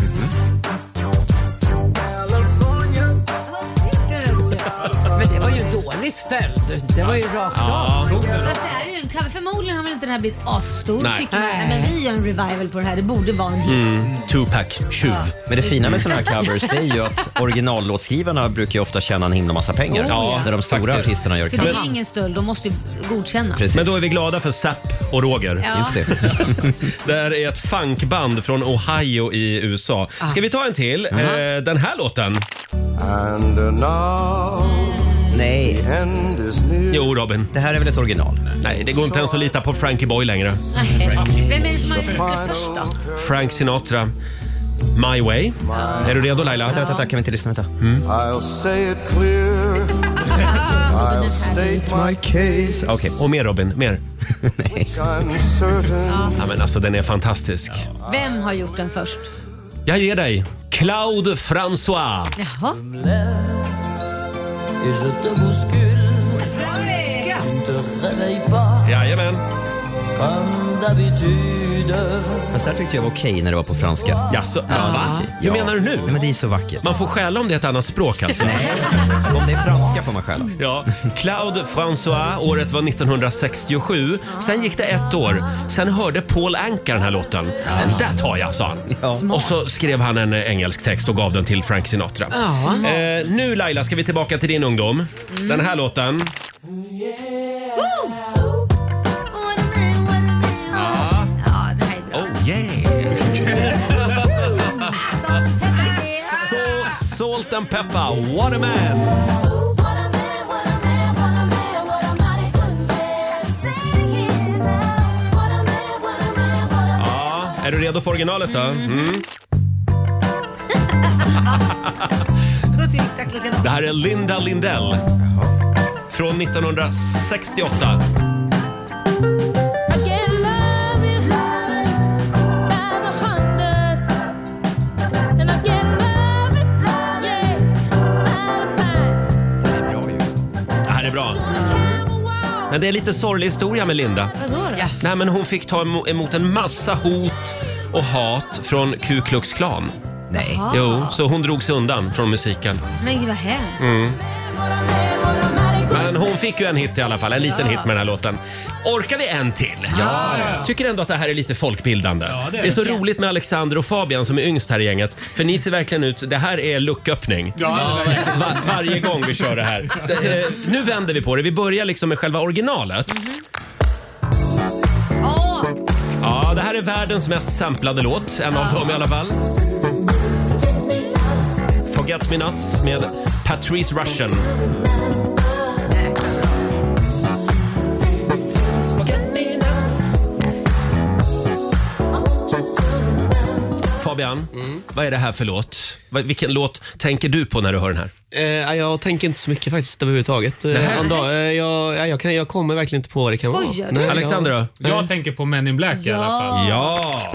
[SPEAKER 6] men det var ju en dålig stöld. Det var ju rakt
[SPEAKER 1] Ja.
[SPEAKER 6] av.
[SPEAKER 2] Fast det här är ju en cover. Förmodligen har väl inte den här blivit asstor
[SPEAKER 1] Nej.
[SPEAKER 2] tycker man.
[SPEAKER 1] Nej.
[SPEAKER 2] Nej. Men vi gör en revival på det här. Det borde vara en hit.
[SPEAKER 1] Mm, Tupac, tjuv.
[SPEAKER 2] Ja.
[SPEAKER 3] Men det fina med sådana här covers det är ju att originallåtskrivarna brukar ju ofta tjäna en himla massa pengar.
[SPEAKER 2] Oh, ja.
[SPEAKER 3] När de stora artisterna gör
[SPEAKER 2] Så det
[SPEAKER 3] covers.
[SPEAKER 2] är ingen stöld. De måste ju godkänna.
[SPEAKER 1] Men då är vi glada för Zapp och Roger.
[SPEAKER 2] Ja. Just
[SPEAKER 1] det. här är ett funkband från Ohio i USA. Ska vi ta en till? Eh, den här låten.
[SPEAKER 3] Nej.
[SPEAKER 1] Jo, Robin.
[SPEAKER 3] Det här är väl ett original?
[SPEAKER 1] Nej, det går inte ens att lita på Frankie Boy längre.
[SPEAKER 2] Nej. Vem är det som har gjort det först då?
[SPEAKER 1] Frank Sinatra. My way. Är du redo Laila?
[SPEAKER 3] Vänta, vänta, kan vi inte lyssna? Vänta.
[SPEAKER 1] Mm.
[SPEAKER 13] I'll say it clear. I'll state my case.
[SPEAKER 1] Okej, och mer Robin, mer. Nej.
[SPEAKER 13] I'm certain.
[SPEAKER 1] Ja, men alltså den är fantastisk.
[SPEAKER 2] Vem har gjort den först?
[SPEAKER 1] Jag ger dig Claude François.
[SPEAKER 2] Jaha.
[SPEAKER 1] Jajamän.
[SPEAKER 3] Fast det här tyckte jag var okej när det var på franska.
[SPEAKER 1] Jaså, ja, va? Hur menar du nu?
[SPEAKER 3] Nej, men det är så vackert.
[SPEAKER 1] Man får skälla om det är ett annat språk alltså.
[SPEAKER 3] Om det är franska får man skälla.
[SPEAKER 1] Ja, Claude François, året var 1967. Sen gick det ett år. Sen hörde Paul Anka den här låten. Den där tar jag, sa han. Och så skrev han en eh, engelsk text och gav den till Frank Sinatra.
[SPEAKER 7] Ja.
[SPEAKER 1] Eh, nu Laila ska vi tillbaka till din ungdom. Den här låten. Ja.
[SPEAKER 2] Ja, det här är bra.
[SPEAKER 1] Oh yeah! Så, salt and pepper, what a man! Ja, är du redo för originalet då? Mm.
[SPEAKER 2] Låter ju exakt likadant.
[SPEAKER 1] Det här är Linda Lindell. Från 1968. Det här är bra. Men det är lite sorglig historia med Linda. Nej, men hon fick ta emo- emot en massa hot och hat från Ku Klux Klan.
[SPEAKER 3] Nej.
[SPEAKER 2] Jaha.
[SPEAKER 1] Jo, så hon drog sig undan från musiken.
[SPEAKER 2] Men gud vad hemskt.
[SPEAKER 1] Mm. Men hon fick ju en hit i alla fall, en liten
[SPEAKER 2] Ja.
[SPEAKER 1] hit med den här låten. Orkar vi en till?
[SPEAKER 7] Ja,
[SPEAKER 1] ja. Tycker ändå att det här är lite folkbildande.
[SPEAKER 7] det
[SPEAKER 1] det,
[SPEAKER 7] är
[SPEAKER 1] är så roligt med Alexander och Fabian som är yngst här i gänget. För ni ser verkligen ut, det här är lucköppning.
[SPEAKER 7] Ja, det är det.
[SPEAKER 1] Va- varje gång vi kör det här. Det, eh, nu vänder vi på det, vi börjar liksom med själva originalet. Ja, det här är världens mest samplade låt, en av dem i alla fall. Forget Me Nuts med Patrice Russian. Fabian, vad är det här för låt? Vad- Vilken låt tänker du på när du hör den här?
[SPEAKER 9] Eh, jag tänker inte så mycket faktiskt överhuvudtaget.
[SPEAKER 1] Nej.
[SPEAKER 9] Eh, Anda, eh, jag, ja, jag, kan, jag kommer verkligen inte på vad det kan
[SPEAKER 2] Skojar
[SPEAKER 9] vara.
[SPEAKER 2] du? Alexander
[SPEAKER 1] då?
[SPEAKER 15] Mm.
[SPEAKER 8] Jag tänker på Men in Black i alla fall.
[SPEAKER 1] Ja!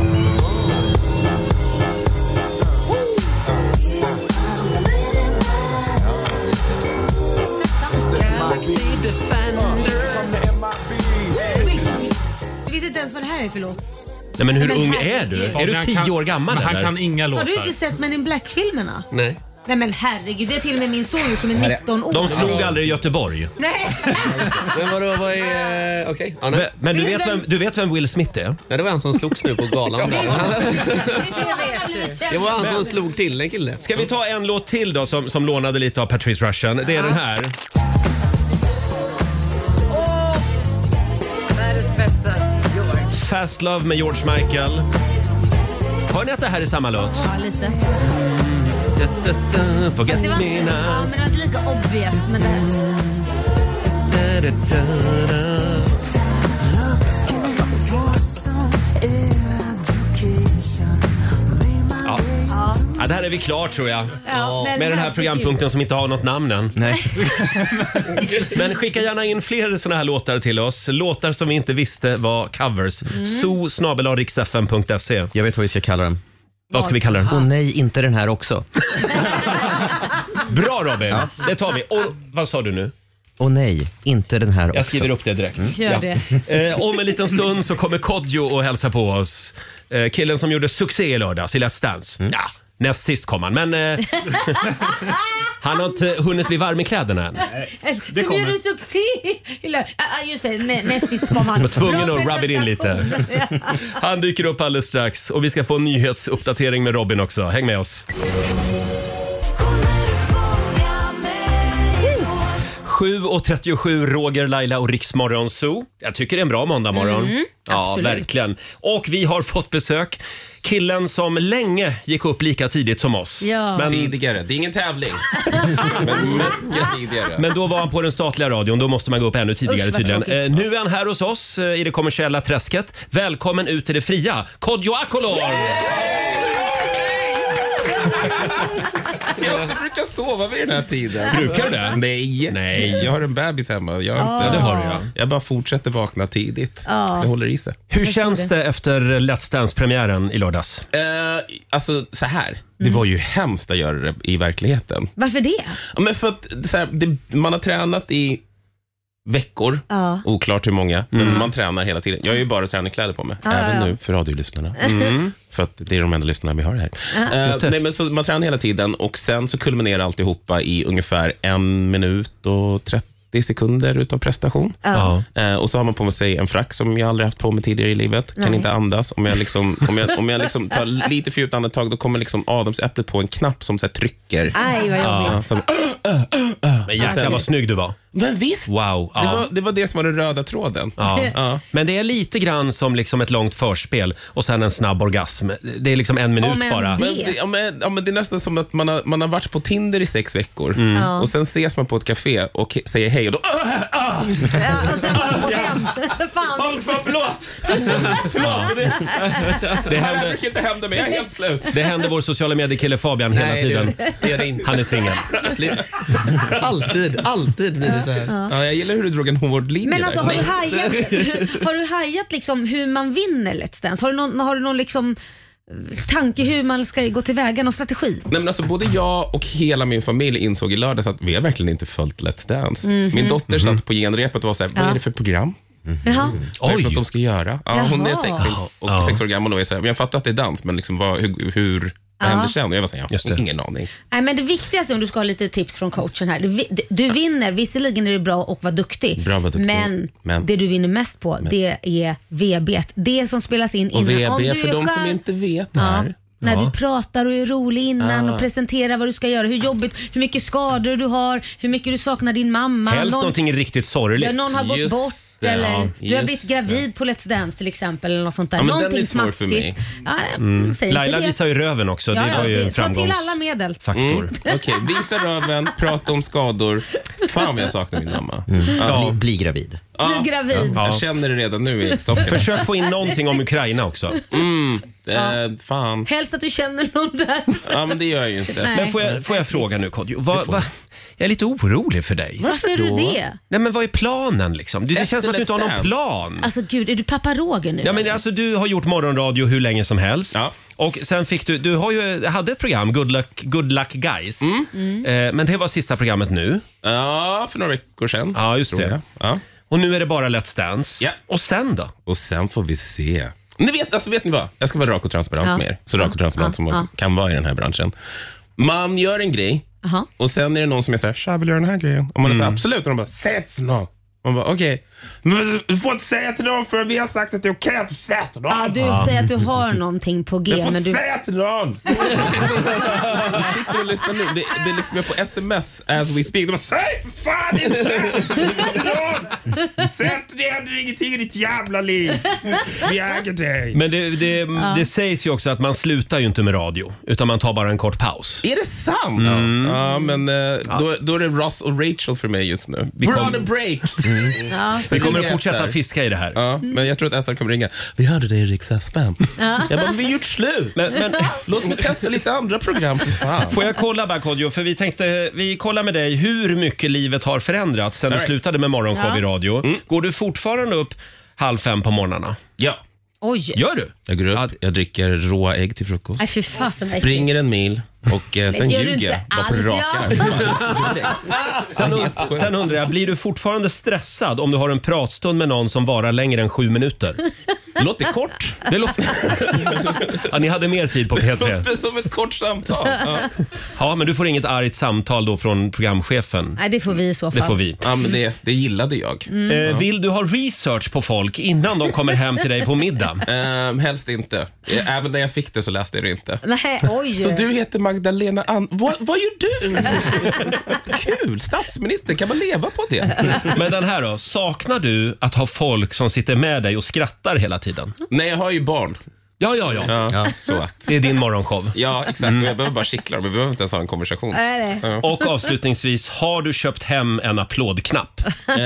[SPEAKER 2] Du vet inte ens vad det här är för låt.
[SPEAKER 1] Nej, men hur
[SPEAKER 2] Men
[SPEAKER 1] ung är
[SPEAKER 2] herregud.
[SPEAKER 1] du? Är du
[SPEAKER 2] Fabian
[SPEAKER 1] tio
[SPEAKER 2] kan-
[SPEAKER 1] år gammal
[SPEAKER 8] men han
[SPEAKER 1] eller?
[SPEAKER 8] kan inga
[SPEAKER 2] Har du inte sett Men in Black-filmerna?
[SPEAKER 1] Nej.
[SPEAKER 2] Nej men herregud, det är till och med min son gjort som är 19 år.
[SPEAKER 1] De slog aldrig Göteborg.
[SPEAKER 2] Nej!
[SPEAKER 9] Men vadå, vad är... eh, Okej. Ja, nej.
[SPEAKER 1] Men, men du, vet vem, du vet vem Will Smith är?
[SPEAKER 9] Nej, det var han som slogs nu på galan. Det var han som slog till en kille.
[SPEAKER 1] Ska vi ta en låt till då som, som lånade lite av Patrice Russian? Det är den här.
[SPEAKER 6] Världens bästa George.
[SPEAKER 1] Fast Love med George Michael. Hör ni att det här är samma låt?
[SPEAKER 2] Ja, lite.
[SPEAKER 1] Forget
[SPEAKER 2] Fast det var
[SPEAKER 1] me
[SPEAKER 2] inte, ja, men
[SPEAKER 1] now.
[SPEAKER 2] det var inte lika obvious. Men det här.
[SPEAKER 1] Ja.
[SPEAKER 2] Ja.
[SPEAKER 1] Ja, där är vi klar tror jag.
[SPEAKER 2] Ja, men
[SPEAKER 1] Med den här
[SPEAKER 2] herregud.
[SPEAKER 1] programpunkten som inte har något namn än.
[SPEAKER 3] Nej.
[SPEAKER 1] Men skicka gärna in fler såna här låtar till oss. Låtar som vi inte visste var covers. Mm. so
[SPEAKER 3] Jag vet vad vi ska kalla den.
[SPEAKER 1] Vad ska vi kalla den?
[SPEAKER 3] Åh nej, inte den här också.
[SPEAKER 1] Bra Robin! Det tar vi. Och, vad sa du nu?
[SPEAKER 3] Åh nej, inte den här också.
[SPEAKER 1] Jag skriver upp det direkt.
[SPEAKER 2] Gör det.
[SPEAKER 1] Eh, om en liten stund så kommer Kodjo och hälsa på oss. Eh, killen som gjorde succé i lördags i Let's Dance. Ja, Näst sist kom han, men eh, han har inte hunnit bli varm i kläderna än.
[SPEAKER 2] Det Eh, Som gjorde succé! Eller, ah, just det, nä- näst sist kom han.
[SPEAKER 1] Jag var tvungen
[SPEAKER 2] Bra
[SPEAKER 1] att rub it in lite.
[SPEAKER 2] presentation. Ja.
[SPEAKER 1] Han dyker upp alldeles strax och vi ska få en nyhetsuppdatering med Robin också. Häng med oss. 7.37, Roger, Laila och Riksmorgon Zoo. Jag tycker det är en bra måndagmorgon.
[SPEAKER 15] Mm,
[SPEAKER 1] ja,
[SPEAKER 15] absolut.
[SPEAKER 1] verkligen. Och vi har fått besök. Killen som länge gick upp lika tidigt som oss.
[SPEAKER 15] Ja.
[SPEAKER 1] Tidigare. Det är ingen tävling.
[SPEAKER 15] Men mycket tidigare.
[SPEAKER 1] Men då var han på den statliga radion. Då måste man gå upp ännu tidigare
[SPEAKER 15] Usch, vad
[SPEAKER 1] tydligen.
[SPEAKER 15] tråkigt.
[SPEAKER 1] Eh, nu är han här hos oss eh, i det kommersiella träsket. Välkommen ut till det fria. Kodjo Akolor!
[SPEAKER 15] Jag brukar sova vid den här tiden.
[SPEAKER 1] Brukar du det?
[SPEAKER 15] Nej.
[SPEAKER 1] Nej.
[SPEAKER 15] Jag har en bebis hemma. Jag, har
[SPEAKER 1] Ja,
[SPEAKER 15] inte,
[SPEAKER 1] det har du, ja.
[SPEAKER 15] jag bara fortsätter vakna tidigt.
[SPEAKER 1] Ja.
[SPEAKER 15] Det håller i sig.
[SPEAKER 1] Hur känns det efter Let's Dance-premiären i lördags?
[SPEAKER 15] Eh, alltså så
[SPEAKER 2] Mm.
[SPEAKER 15] här. Det var ju hemskt att göra det i verkligheten.
[SPEAKER 2] Varför det?
[SPEAKER 15] Ja, men för att så här, det, man har tränat i veckor.
[SPEAKER 2] Ja. Mm.
[SPEAKER 15] Oklart hur många, men man tränar hela tiden. Jag har ju bara träningskläder på mig,
[SPEAKER 2] Ja,
[SPEAKER 15] även
[SPEAKER 2] ja, ja.
[SPEAKER 15] nu för radiolyssnarna.
[SPEAKER 2] Mm.
[SPEAKER 15] För att det är de enda lyssnarna vi har här.
[SPEAKER 2] Ja.
[SPEAKER 15] Eh,
[SPEAKER 2] Just det.
[SPEAKER 15] nej, men så man tränar hela tiden och sen så kulminerar alltihopa i ungefär en minut och 30 sekunder utav prestation.
[SPEAKER 2] Ja.
[SPEAKER 15] Eh, och så har man på sig en frack som jag aldrig haft på mig tidigare i livet. Kan
[SPEAKER 2] Nej.
[SPEAKER 15] inte andas. Om jag, liksom, om jag, om jag liksom tar lite för djupt andetag, då kommer liksom adamsäpplet på en knapp som så här trycker.
[SPEAKER 2] Aj, vad jobbigt.
[SPEAKER 15] Ja, som,
[SPEAKER 1] Men
[SPEAKER 2] Alltså,
[SPEAKER 1] jäklar vad snygg du var.
[SPEAKER 15] Men visst.
[SPEAKER 1] Wow.
[SPEAKER 15] Det var- det var det som var den röda tråden.
[SPEAKER 1] Ja.
[SPEAKER 15] Ja.
[SPEAKER 1] Men det är lite grann som liksom ett långt förspel och sen en snabb orgasm. Det är liksom en minut bara.
[SPEAKER 15] Men det, ja, men, ja, men det är nästan som att man har, man har varit på Tinder i sex veckor
[SPEAKER 1] Mm. Ja.
[SPEAKER 15] och sen ses man på ett café och he- säger hej och då... Ah,
[SPEAKER 2] Ja, och sen bara gå hem. Fan, oh,
[SPEAKER 15] förlåt! Förlåt! Det, det här brukar inte hända mig, jag är helt slut.
[SPEAKER 1] Det händer vår sociala mediekille Fabian hela
[SPEAKER 9] Nej, det-
[SPEAKER 1] tiden.
[SPEAKER 9] det gör det inte.
[SPEAKER 1] Han är singel.
[SPEAKER 9] Slut. Alltid, alltid blir det så här.
[SPEAKER 2] Ja.
[SPEAKER 15] jag gillar hur du drog en hård linje
[SPEAKER 2] Men alltså har du hajat,
[SPEAKER 9] Nej.
[SPEAKER 2] har du hajat liksom hur man vinner Let's Dance? Har du någon, har du någon liksom tanke hur man ska gå tillväga, någon strategi?
[SPEAKER 15] Nej, men alltså, både jag och hela min familj insåg i lördags att vi har verkligen inte följt Let's Dance.
[SPEAKER 2] Mhm.
[SPEAKER 15] Min dotter satt på genrepet och var såhär, vad
[SPEAKER 2] Ja.
[SPEAKER 15] är det för program?
[SPEAKER 1] Mm.
[SPEAKER 2] Jaha.
[SPEAKER 15] Vad är det för att de ska göra? Ja, hon är
[SPEAKER 2] Jaha.
[SPEAKER 15] sex, och
[SPEAKER 1] Ja.
[SPEAKER 15] sex år gammal och är såhär, men jag fattar att det är dans, men liksom, vad, hur, hur vad
[SPEAKER 2] Ja.
[SPEAKER 15] händer sen? Och jag var såhär, jag har ingen aning.
[SPEAKER 2] Nej, men det viktigaste om du ska ha lite tips från coachen här. Du, vi- du vinner, visserligen är du bra och var duktig.
[SPEAKER 15] Bra, var duktig.
[SPEAKER 2] Men,
[SPEAKER 15] Men.
[SPEAKER 2] det du vinner mest på
[SPEAKER 15] Men.
[SPEAKER 2] det är VB. Det som spelas in
[SPEAKER 15] Och
[SPEAKER 2] innan.
[SPEAKER 15] VB,
[SPEAKER 2] Om du är
[SPEAKER 15] för de som
[SPEAKER 2] skön-
[SPEAKER 15] inte vet det
[SPEAKER 2] Ja.
[SPEAKER 15] här.
[SPEAKER 2] När
[SPEAKER 15] Ja.
[SPEAKER 2] du pratar och är rolig innan
[SPEAKER 15] Ah.
[SPEAKER 2] och presenterar vad du ska göra, hur jobbigt, hur mycket skador du har, hur mycket du saknar din mamma.
[SPEAKER 1] Helst
[SPEAKER 2] Någon-
[SPEAKER 1] någonting riktigt sorgligt.
[SPEAKER 2] Ja, någon har gått
[SPEAKER 1] Just
[SPEAKER 2] bort
[SPEAKER 1] det,
[SPEAKER 2] eller
[SPEAKER 1] ja,
[SPEAKER 2] du har
[SPEAKER 1] just
[SPEAKER 2] blivit gravid på Let's Dance till exempel. Eller något sånt där.
[SPEAKER 1] Ja, men den
[SPEAKER 2] någonting
[SPEAKER 1] är svår för mig.
[SPEAKER 2] smaskigt. Ja,
[SPEAKER 1] Mm.
[SPEAKER 2] säg inte
[SPEAKER 1] Laila
[SPEAKER 2] det.
[SPEAKER 1] visar ju röven också.
[SPEAKER 2] Ja,
[SPEAKER 1] det
[SPEAKER 2] ja,
[SPEAKER 1] var ju
[SPEAKER 2] det-
[SPEAKER 1] en
[SPEAKER 2] Ta till
[SPEAKER 1] framgångs...
[SPEAKER 2] alla medel.
[SPEAKER 1] faktor.
[SPEAKER 15] Mm. Okej, visa röven, prata om skador. Fan vad jag saknar min mamma.
[SPEAKER 3] Ja. Bli, bli gravid.
[SPEAKER 2] Bli gravid.
[SPEAKER 15] Mm. Ja. Jag känner det redan nu i stocken.
[SPEAKER 1] Försök få in någonting om Ukraina också.
[SPEAKER 15] Mm, eh, fan.
[SPEAKER 2] Helst att du känner någon där.
[SPEAKER 15] Ja, men det gör jag ju inte.
[SPEAKER 2] Nej.
[SPEAKER 1] Men får jag, får jag fråga nu Kodjo? Vad- vad- Jag är lite orolig för dig.
[SPEAKER 2] Varför är du Då? det?
[SPEAKER 1] Nej men vad är planen liksom? Det, det
[SPEAKER 2] Efter
[SPEAKER 1] känns som att du inte har
[SPEAKER 2] Let's
[SPEAKER 1] någon
[SPEAKER 2] Dance.
[SPEAKER 1] plan.
[SPEAKER 2] Alltså gud, är du pappa Roger nu?
[SPEAKER 1] Ja, men alltså, du har gjort morgonradio hur länge som helst. Och sen fick du, du har ju, hade ett program, Good Luck, Good Luck Guys. Eh, men det var sista programmet nu.
[SPEAKER 15] Ja, för några veckor sedan.
[SPEAKER 1] Ja, just
[SPEAKER 15] tror
[SPEAKER 1] det.
[SPEAKER 15] jag.
[SPEAKER 1] Och nu är det bara Let's Dance. Och sen då?
[SPEAKER 15] Och sen får vi se. Ni vet, alltså vet ni vad? Jag ska vara rak och transparent
[SPEAKER 1] Ja.
[SPEAKER 15] med er. Så rak
[SPEAKER 1] Ja,
[SPEAKER 15] och transparent
[SPEAKER 1] ja,
[SPEAKER 15] som man
[SPEAKER 1] ja.
[SPEAKER 15] kan vara i den här branschen. Man gör en grej
[SPEAKER 2] Jaha.
[SPEAKER 15] och sen är det någon som är såhär, tja vill du göra den här grejen? Och man
[SPEAKER 1] Mm.
[SPEAKER 15] är såhär, absolut. Och de bara, säg inte till någon. Man bara, okej. Men Du får inte säga till någon förrän vi har sagt att det är okej att du säger till någon.
[SPEAKER 2] Ja, du säger att du har någonting på
[SPEAKER 15] Jag
[SPEAKER 2] G.
[SPEAKER 15] får
[SPEAKER 2] Men
[SPEAKER 15] inte
[SPEAKER 2] du...
[SPEAKER 15] säga till någon! Jag sitter och lyssnar nu. Det, det är liksom, jag får sms as we speak. De bara, säg för fan inte till någon! Säg inte det händer ingenting i ditt jävla liv. Vi äger dig.
[SPEAKER 1] Men det, det,
[SPEAKER 15] Ja.
[SPEAKER 1] det sägs ju också att man slutar ju inte med radio, utan man tar bara en kort paus.
[SPEAKER 15] Är det sant?
[SPEAKER 1] Mm.
[SPEAKER 15] Ja, men eh, då, då är det Ross och Rachel för mig just nu. Mm.
[SPEAKER 1] Vi
[SPEAKER 15] We're
[SPEAKER 1] kom-
[SPEAKER 15] on a break!
[SPEAKER 2] Ja.
[SPEAKER 1] Vi kommer att
[SPEAKER 15] ringer
[SPEAKER 1] fortsätta
[SPEAKER 15] SR.
[SPEAKER 1] fiska i det här.
[SPEAKER 15] Ja, men jag tror att SR kommer ringa. Vi hörde dig i Rix FM.
[SPEAKER 2] Ja.
[SPEAKER 15] Jag bara, men vi har gjort slut.
[SPEAKER 1] Men- men-
[SPEAKER 15] Låt mig testa lite andra program för fan.
[SPEAKER 1] Får jag kolla bara Kodjo, för vi tänkte, vi kollar med dig hur mycket livet har förändrats sen du
[SPEAKER 15] Alright.
[SPEAKER 1] slutade med morgonshow
[SPEAKER 2] Ja.
[SPEAKER 1] i radio. Går du fortfarande upp halv fem på morgnarna?
[SPEAKER 15] Ja.
[SPEAKER 2] Oj.
[SPEAKER 1] Gör du?
[SPEAKER 15] Jag går upp, jag dricker råa ägg till frukost.
[SPEAKER 2] Nej, fy fasen vad äckligt.
[SPEAKER 15] Springer en mil och eh, sen
[SPEAKER 2] Det gör du
[SPEAKER 15] ljuger jag
[SPEAKER 2] inte
[SPEAKER 15] bara på
[SPEAKER 2] alls,
[SPEAKER 15] raka
[SPEAKER 2] ja.
[SPEAKER 1] Sen, und- sen undrar jag, blir du fortfarande stressad om du har en pratstund med någon som varar längre än sju minuter? Det låter kort. Det låter... ja, ni hade mer tid på P3.
[SPEAKER 15] Låter som ett kort samtal. Ja.
[SPEAKER 1] Ja, men du får inget argt samtal då från programchefen.
[SPEAKER 2] Nej, det får vi i så fall.
[SPEAKER 1] Det får vi. Ja, men det, det gillade jag.
[SPEAKER 2] Mm.
[SPEAKER 1] Eh, vill du ha research på folk innan de kommer hem till dig på middag?
[SPEAKER 15] Um, helst inte. Eh, Även när jag fick det så läste jag det inte.
[SPEAKER 2] Nej, oj.
[SPEAKER 15] Så du heter Magdalena An... Vad, vad gör du? Kul! Statsminister, kan man leva på det?
[SPEAKER 1] Men den här då? Saknar du att ha folk som sitter med dig och skrattar hela tiden?
[SPEAKER 15] Nej, jag har ju barn.
[SPEAKER 1] Ja, ja, Mm. ja.
[SPEAKER 15] Ja, så att.
[SPEAKER 1] Det är din morgonshow.
[SPEAKER 15] Ja, exakt. Och Jag behöver bara kittla dem. Vi behöver inte ens ha en konversation.
[SPEAKER 2] Nej, nej.
[SPEAKER 1] Och avslutningsvis, har du köpt hem en applådknapp?
[SPEAKER 15] Eh,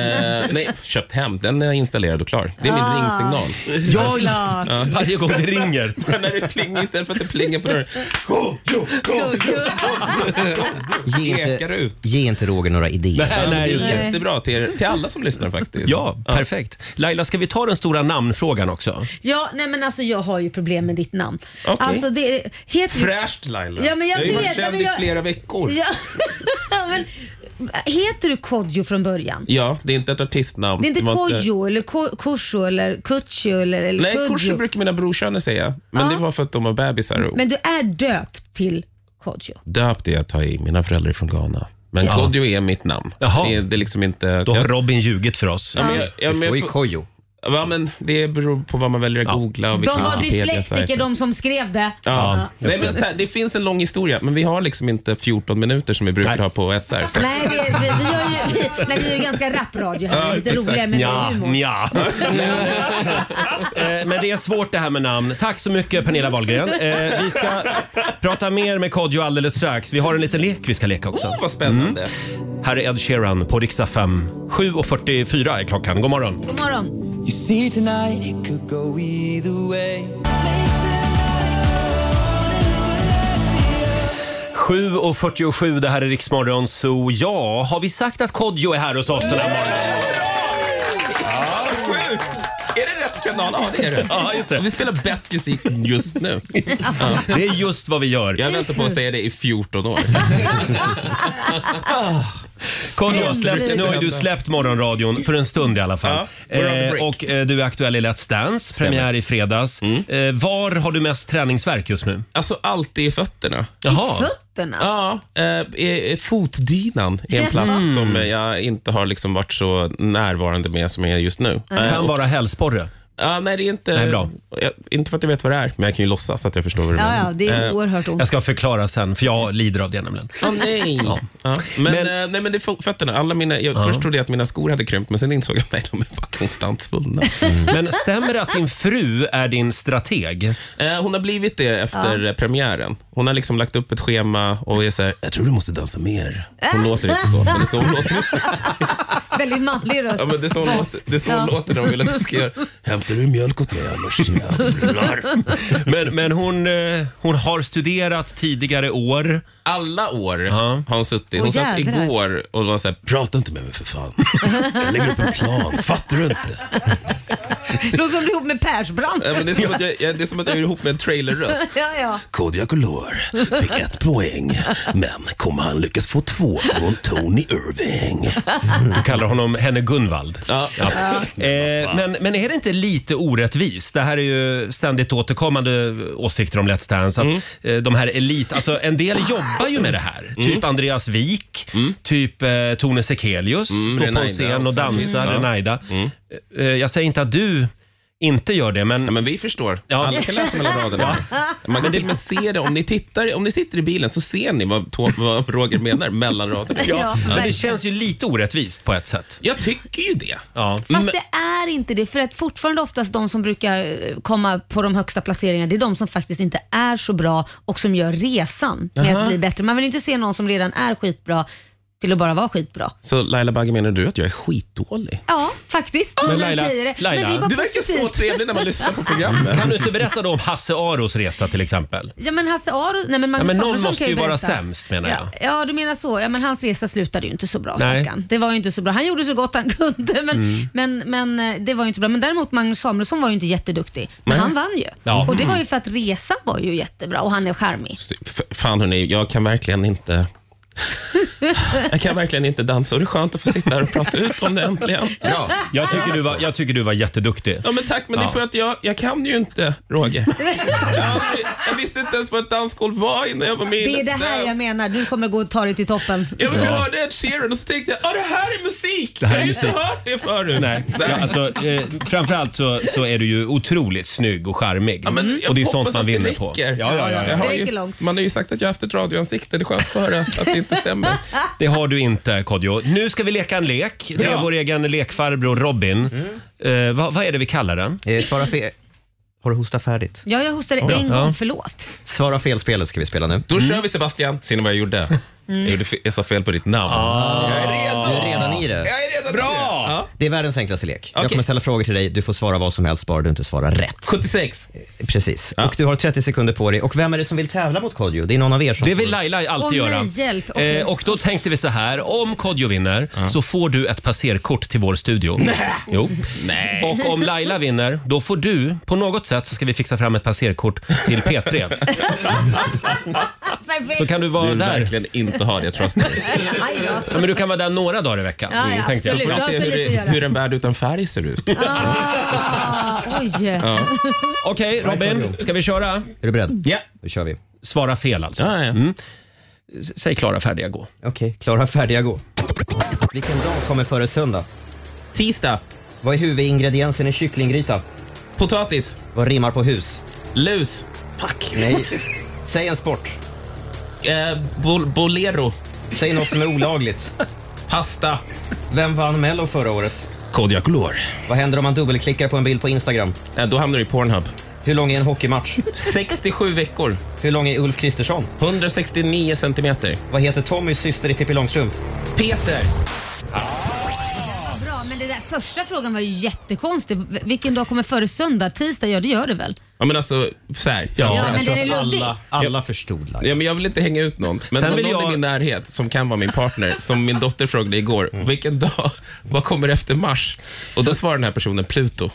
[SPEAKER 15] nej, köpt hem. Den är installerad och klar. Det är min
[SPEAKER 1] Ah.
[SPEAKER 15] ringsignal.
[SPEAKER 1] Ja, ja.
[SPEAKER 15] Ja.
[SPEAKER 1] Varje gång det ringer.
[SPEAKER 15] Men när det plingar istället för att det plingar på dörren. Go, go, go, go, go, go.
[SPEAKER 3] Ge
[SPEAKER 15] Ekar
[SPEAKER 3] inte,
[SPEAKER 15] ut.
[SPEAKER 3] ge inte Roger några idéer.
[SPEAKER 15] Ja, men det är jättebra till, er, till alla som lyssnar faktiskt.
[SPEAKER 1] Ja, perfekt. Laila, ska vi ta den stora namnfrågan också?
[SPEAKER 2] Ja, nej men alltså jag har ju problem med ditt namn.
[SPEAKER 1] Okej.
[SPEAKER 2] Alltså det heter ju-
[SPEAKER 15] Fräscht Laila.
[SPEAKER 2] Ja, men jag
[SPEAKER 15] har ju
[SPEAKER 2] vet,
[SPEAKER 15] varit
[SPEAKER 2] ja,
[SPEAKER 15] känd
[SPEAKER 2] men jag-
[SPEAKER 15] i flera veckor.
[SPEAKER 2] Ja, men, heter du Kodjo från början?
[SPEAKER 15] Ja, det är inte ett artistnamn.
[SPEAKER 2] Det är inte
[SPEAKER 15] var
[SPEAKER 2] Kodjo eller Ko- Korso eller Kutjo eller, eller
[SPEAKER 15] Nej,
[SPEAKER 2] Kodjo.
[SPEAKER 15] kurser brukar mina brorsöner säga. Men
[SPEAKER 2] Ja.
[SPEAKER 15] det var för att de var bebisar. Och
[SPEAKER 2] Men du är döpt till Kodjo.
[SPEAKER 15] Döpt är jag ta i. Mina föräldrar är från Ghana. Men
[SPEAKER 1] Ja.
[SPEAKER 15] Kodjo är mitt namn.
[SPEAKER 1] Jaha.
[SPEAKER 15] Det är, det är liksom inte...
[SPEAKER 1] Då har Robin ljugit för oss.
[SPEAKER 15] Ja, men jag- ja, men jag får-
[SPEAKER 1] Kojo.
[SPEAKER 15] Ja, men det beror på vad man väljer att googla och
[SPEAKER 2] De
[SPEAKER 15] vilken
[SPEAKER 2] var
[SPEAKER 15] Wikipedia-sajt.
[SPEAKER 2] dyslektiker de som skrev det.
[SPEAKER 15] Ja.
[SPEAKER 2] Ja.
[SPEAKER 15] Nej, men så här, det finns en lång historia, men vi har liksom inte 14 minuter som vi brukar ha på SR. Så.
[SPEAKER 2] Nej, det, vi, vi, gör ju, vi, nej, vi gör ju ganska rappradio här. Det är lite roligare med
[SPEAKER 1] Nja,
[SPEAKER 2] vår humor.
[SPEAKER 1] nja. Eh, Men det är svårt det här med namn. Tack så mycket Pernilla Wahlgren. Eh, Vi ska prata mer med Kodjo alldeles strax. Vi har en liten lek vi ska leka också.
[SPEAKER 15] vad spännande.
[SPEAKER 1] Mm. Här är Ed Sheeran på riksdag 5. 7.44 är klockan. God morgon.
[SPEAKER 2] God morgon.
[SPEAKER 10] You see tonight it could go either way.
[SPEAKER 1] 7.47, det här är Riksmorgon Zoo. Ja, har vi sagt att Kodjo är här hos oss den här morgonen?
[SPEAKER 15] Sjukt! Är det rätt kanal? Ja, det är det.
[SPEAKER 1] Ja, just det.
[SPEAKER 15] Vi spelar bäst musik just nu. Ja.
[SPEAKER 1] Det är just vad vi gör.
[SPEAKER 15] Jag väntar på att säga det i 14 år.
[SPEAKER 1] Kodjo, har släppt- nu har ju du släppt morgonradion för en stund i alla fall.
[SPEAKER 15] Ja, we're on a break. Mm.
[SPEAKER 1] eh, och eh, du är aktuell i Let's Dance, premiär i fredags. Eh, var har du mest träningsverk just nu?
[SPEAKER 15] Alltså alltid i fötterna.
[SPEAKER 2] I fötterna?
[SPEAKER 15] Ja, eh, eh, fotdynan är en plats
[SPEAKER 2] Mm.
[SPEAKER 15] som jag inte har liksom varit så närvarande med som jag är just nu.
[SPEAKER 1] Det kan
[SPEAKER 15] och-
[SPEAKER 1] vara hälsporre.
[SPEAKER 15] Ja, nej, det är inte...
[SPEAKER 1] Nej, bra.
[SPEAKER 15] Jag, inte för att jag vet vad det är, men jag kan ju låtsas att jag förstår vad du
[SPEAKER 2] Ja,
[SPEAKER 15] menar.
[SPEAKER 2] ja, det är
[SPEAKER 15] Eh,
[SPEAKER 2] oerhört ont.
[SPEAKER 1] Jag ska förklara sen, för jag lider av det nämligen.
[SPEAKER 15] Åh nej. Ja. Men, eh, nej, men det är fo- fötterna. Alla mina, jag Först trodde jag att mina skor hade krympt, men sen insåg jag att nej, de är bara konstant svullna.
[SPEAKER 1] Men stämmer det att din fru är din strateg?
[SPEAKER 15] Eh, Hon har blivit det efter eh, premiären. Hon har liksom lagt upp ett schema och är så här, jag tror du måste dansa mer. Hon låter inte så, men det är så hon låter.
[SPEAKER 2] Väldigt manlig röst.
[SPEAKER 15] Ja, men det är så hon låter, det är så hon låter när hon vill att jag ska göra. Hämtar du mjölk åt mig annars? jävlar?"
[SPEAKER 1] Men, men hon, eh, hon har studerat tidigare år.
[SPEAKER 15] Alla år har hon suttit. Hon
[SPEAKER 1] Åh,
[SPEAKER 15] satt
[SPEAKER 1] jädrar.
[SPEAKER 15] igår och var så här, prata inte med mig för fan. Jag lägger upp en plan, fattar du inte?
[SPEAKER 2] Låter som du är ihop med Persbrandt.
[SPEAKER 15] Ja, men det, är som att jag, jag- det är som att jag gör ihop med en trailerröst.
[SPEAKER 2] Ja, ja.
[SPEAKER 15] Kodjo Akolor fick ett poäng, men kommer han lyckas få två från Tony Irving?
[SPEAKER 1] Du kallar honom henne Gunvald.
[SPEAKER 15] Ja.
[SPEAKER 1] Eh, men, men är det inte lite orättvist? Det här är ju ständigt återkommande åsikter om Let's Dance. Att, eh, de här elit, alltså, en del jobbar ju med det här.
[SPEAKER 15] Mm.
[SPEAKER 1] Typ Andreas Wik, typ eh, Tone Sekelius.
[SPEAKER 15] Mm,
[SPEAKER 1] står på en
[SPEAKER 15] Renaida
[SPEAKER 1] scen och
[SPEAKER 15] också.
[SPEAKER 1] dansar.
[SPEAKER 15] Mm.
[SPEAKER 1] Renaida. Eh, jag säger inte att du inte gör det, men...
[SPEAKER 15] men vi förstår. Alla kan läsa mellan raderna. Man kan till och med se det. Om ni, tittar, om ni sitter i bilen så ser ni vad, Tom- vad Roger menar mellan raderna.
[SPEAKER 1] Ja, Ja, men det verkligen.
[SPEAKER 15] känns
[SPEAKER 1] ju lite orättvist på ett sätt.
[SPEAKER 15] Jag tycker ju det.
[SPEAKER 1] Ja.
[SPEAKER 2] Fast det är inte det, för att fortfarande oftast de som brukar eh, komma på de högsta placeringarna, det är de som faktiskt inte är så bra och som gör resan med
[SPEAKER 15] Jaha.
[SPEAKER 2] att bli bättre. Man vill inte se någon som redan är skitbra till att bara vara skitbra.
[SPEAKER 15] Så Laila Bagge, menar du att jag är skitdålig?
[SPEAKER 2] Ja, faktiskt.
[SPEAKER 1] Men
[SPEAKER 2] Jag
[SPEAKER 1] Laila-
[SPEAKER 2] säger det.
[SPEAKER 1] Laila,
[SPEAKER 2] men det är bara
[SPEAKER 1] du
[SPEAKER 15] verkar så
[SPEAKER 2] positivt.
[SPEAKER 15] trevlig när man lyssnar på programmet.
[SPEAKER 1] Kan du inte berätta då om Hasse Aros resa till exempel?
[SPEAKER 2] Ja men Hasse Aro, nej men Magnus
[SPEAKER 1] Ja, men någon
[SPEAKER 2] Samuelsson
[SPEAKER 1] måste
[SPEAKER 2] kan
[SPEAKER 1] ju vara
[SPEAKER 2] berätta.
[SPEAKER 1] sämst, menar jag.
[SPEAKER 2] Ja, ja du menar så. Ja, men hans resa slutade ju inte så bra
[SPEAKER 1] Nej.
[SPEAKER 2] stackarn. Det var ju inte så bra. Han gjorde så gott han kunde men,
[SPEAKER 1] Mm.
[SPEAKER 2] men, men eh, det var ju inte bra. Men däremot Magnus Samuelsson var ju inte jätteduktig. Men
[SPEAKER 15] Nej.
[SPEAKER 2] han vann ju.
[SPEAKER 15] Ja.
[SPEAKER 2] Och det var ju
[SPEAKER 1] Mm.
[SPEAKER 2] för att
[SPEAKER 15] Typ,
[SPEAKER 2] resan var ju jättebra och han är charmig.
[SPEAKER 15] F- fan hörni, jag kan verkligen inte... Jag kan verkligen inte dansa och det är skönt att få sitta här och prata ut om det äntligen.
[SPEAKER 1] Ja, jag tycker du var, jag tycker du var jätteduktig.
[SPEAKER 15] Ja men tack, men det är
[SPEAKER 1] Ja.
[SPEAKER 15] för att jag, jag kan ju inte, Roger. Jag, har aldrig- jag visste inte ens vad ett dansgolv var innan jag var med i
[SPEAKER 2] Det är
[SPEAKER 15] Let's
[SPEAKER 2] det här
[SPEAKER 15] Dance.
[SPEAKER 2] jag menar. Du kommer gå och ta dig till toppen.
[SPEAKER 15] Ja, men jag hörde Ed Sheeran och så tänkte jag, ah, det här är musik!
[SPEAKER 1] Det här är
[SPEAKER 15] jag har
[SPEAKER 1] musik.
[SPEAKER 15] inte hört det förut.
[SPEAKER 1] Nej, ja, alltså, eh, framförallt så, så är du ju otroligt snygg och charmig. Mm.
[SPEAKER 15] jag
[SPEAKER 2] Mm.
[SPEAKER 1] och det är sånt
[SPEAKER 15] hoppas
[SPEAKER 1] man
[SPEAKER 15] att det
[SPEAKER 1] vinner på. Ja,
[SPEAKER 15] räcker.
[SPEAKER 1] ja, ja,
[SPEAKER 15] Jag
[SPEAKER 1] ja.
[SPEAKER 15] har ju, man har ju sagt att jag har haft ett radioansikte, det är skönt att höra att det inte stämmer.
[SPEAKER 1] Det har du inte Kodjo. Nu ska vi leka en lek. Det är
[SPEAKER 15] Ja. Mm.
[SPEAKER 1] vår egen lekfarbror Robin. Eh, vad, vad är det vi kallar den?
[SPEAKER 3] Eh, Svara fel. Har du hostat färdigt?
[SPEAKER 2] Ja, jag hostade
[SPEAKER 3] Ja.
[SPEAKER 2] en
[SPEAKER 3] Ja.
[SPEAKER 2] gång. Förlåt.
[SPEAKER 3] Svara fel-spelet ska vi spela nu.
[SPEAKER 16] Då
[SPEAKER 15] Mm.
[SPEAKER 16] kör vi Sebastian. Ser ni vad jag gjorde?
[SPEAKER 2] Mm.
[SPEAKER 16] Jag, gjorde fe- jag sa fel på ditt namn.
[SPEAKER 15] Ah.
[SPEAKER 16] Jag är redo.
[SPEAKER 3] Du är redan i det.
[SPEAKER 16] Jag är redan Bra! I det. Ja.
[SPEAKER 3] Det är världens enklaste lek. Jag kommer ställa frågor till dig. Du får svara vad som helst bara du inte svarar rätt.
[SPEAKER 16] 76.
[SPEAKER 3] Precis. Och du har 30 sekunder på dig. Och vem är det som vill tävla mot Kodjo? Det är någon av er som...
[SPEAKER 1] Det vill Laila alltid
[SPEAKER 2] Åh, nej,
[SPEAKER 1] göra. Eh,
[SPEAKER 2] hjälp. Okej.
[SPEAKER 1] och då tänkte vi så här, om Kodjo vinner så får du ett passerkort till vår studio. Nej. Jo. Nej. Och om Laila vinner, då får du, på något sätt så ska vi fixa fram ett passerkort till P3.
[SPEAKER 2] Perfekt.
[SPEAKER 1] Så kan du vara
[SPEAKER 16] Du vill
[SPEAKER 1] där.
[SPEAKER 16] verkligen inte ha det, trust me.
[SPEAKER 2] Aj då.
[SPEAKER 1] Ja, men du kan vara där några dagar i veckan.
[SPEAKER 2] Ja, ja,
[SPEAKER 1] Mm, tänkte
[SPEAKER 2] absolut.
[SPEAKER 1] jag.
[SPEAKER 2] Du har så lite att göra.
[SPEAKER 16] Hur en värld utan färg ser ut.
[SPEAKER 2] Ah, oj.
[SPEAKER 1] Ja. Okej, Robin. Ska vi köra? Är
[SPEAKER 3] du beredd?
[SPEAKER 16] Ja.
[SPEAKER 3] Då kör vi.
[SPEAKER 1] Svara fel alltså. Mm. S- Säg klara, färdiga, gå.
[SPEAKER 3] Okej, klara, färdiga, gå. Vilken dag kommer före söndag?
[SPEAKER 16] Tisdag.
[SPEAKER 3] Vad är huvudingrediensen i kycklinggryta?
[SPEAKER 16] Potatis.
[SPEAKER 3] Vad rimmar på hus?
[SPEAKER 16] Lus. Fuck.
[SPEAKER 3] Nej. Säg en sport.
[SPEAKER 16] Eh, bol- bolero.
[SPEAKER 3] Säg något som är olagligt.
[SPEAKER 16] Pasta.
[SPEAKER 3] Vem vann Mello förra året?
[SPEAKER 16] Kodiak Lore.
[SPEAKER 3] Vad händer om man dubbelklickar på en bild på Instagram?
[SPEAKER 16] Eh, då hamnar du i Pornhub.
[SPEAKER 3] Hur lång är en hockeymatch?
[SPEAKER 16] 67 veckor.
[SPEAKER 3] Hur lång är Ulf Kristersson?
[SPEAKER 16] 169 centimeter.
[SPEAKER 3] Vad heter Tommys syster i Pippi Långstrump?
[SPEAKER 16] Peter.
[SPEAKER 2] Bra, men det där första frågan var ju jättekonstig. V- Vilken dag kommer före söndag? Tisdag? Ja, det gör det väl?
[SPEAKER 16] Ja men alltså, så här.
[SPEAKER 2] Ja, men
[SPEAKER 1] alltså.
[SPEAKER 2] den är luddig.
[SPEAKER 3] alla förstod
[SPEAKER 16] Ja, men jag vill inte hänga ut någon. Men
[SPEAKER 1] Sen
[SPEAKER 16] om
[SPEAKER 1] vill
[SPEAKER 16] någon
[SPEAKER 1] jag-
[SPEAKER 16] i min närhet som kan vara min partner, som min dotter frågade igår,
[SPEAKER 1] Mm.
[SPEAKER 16] vilken dag, vad kommer efter mars? Och då svarar den här personen Pluto.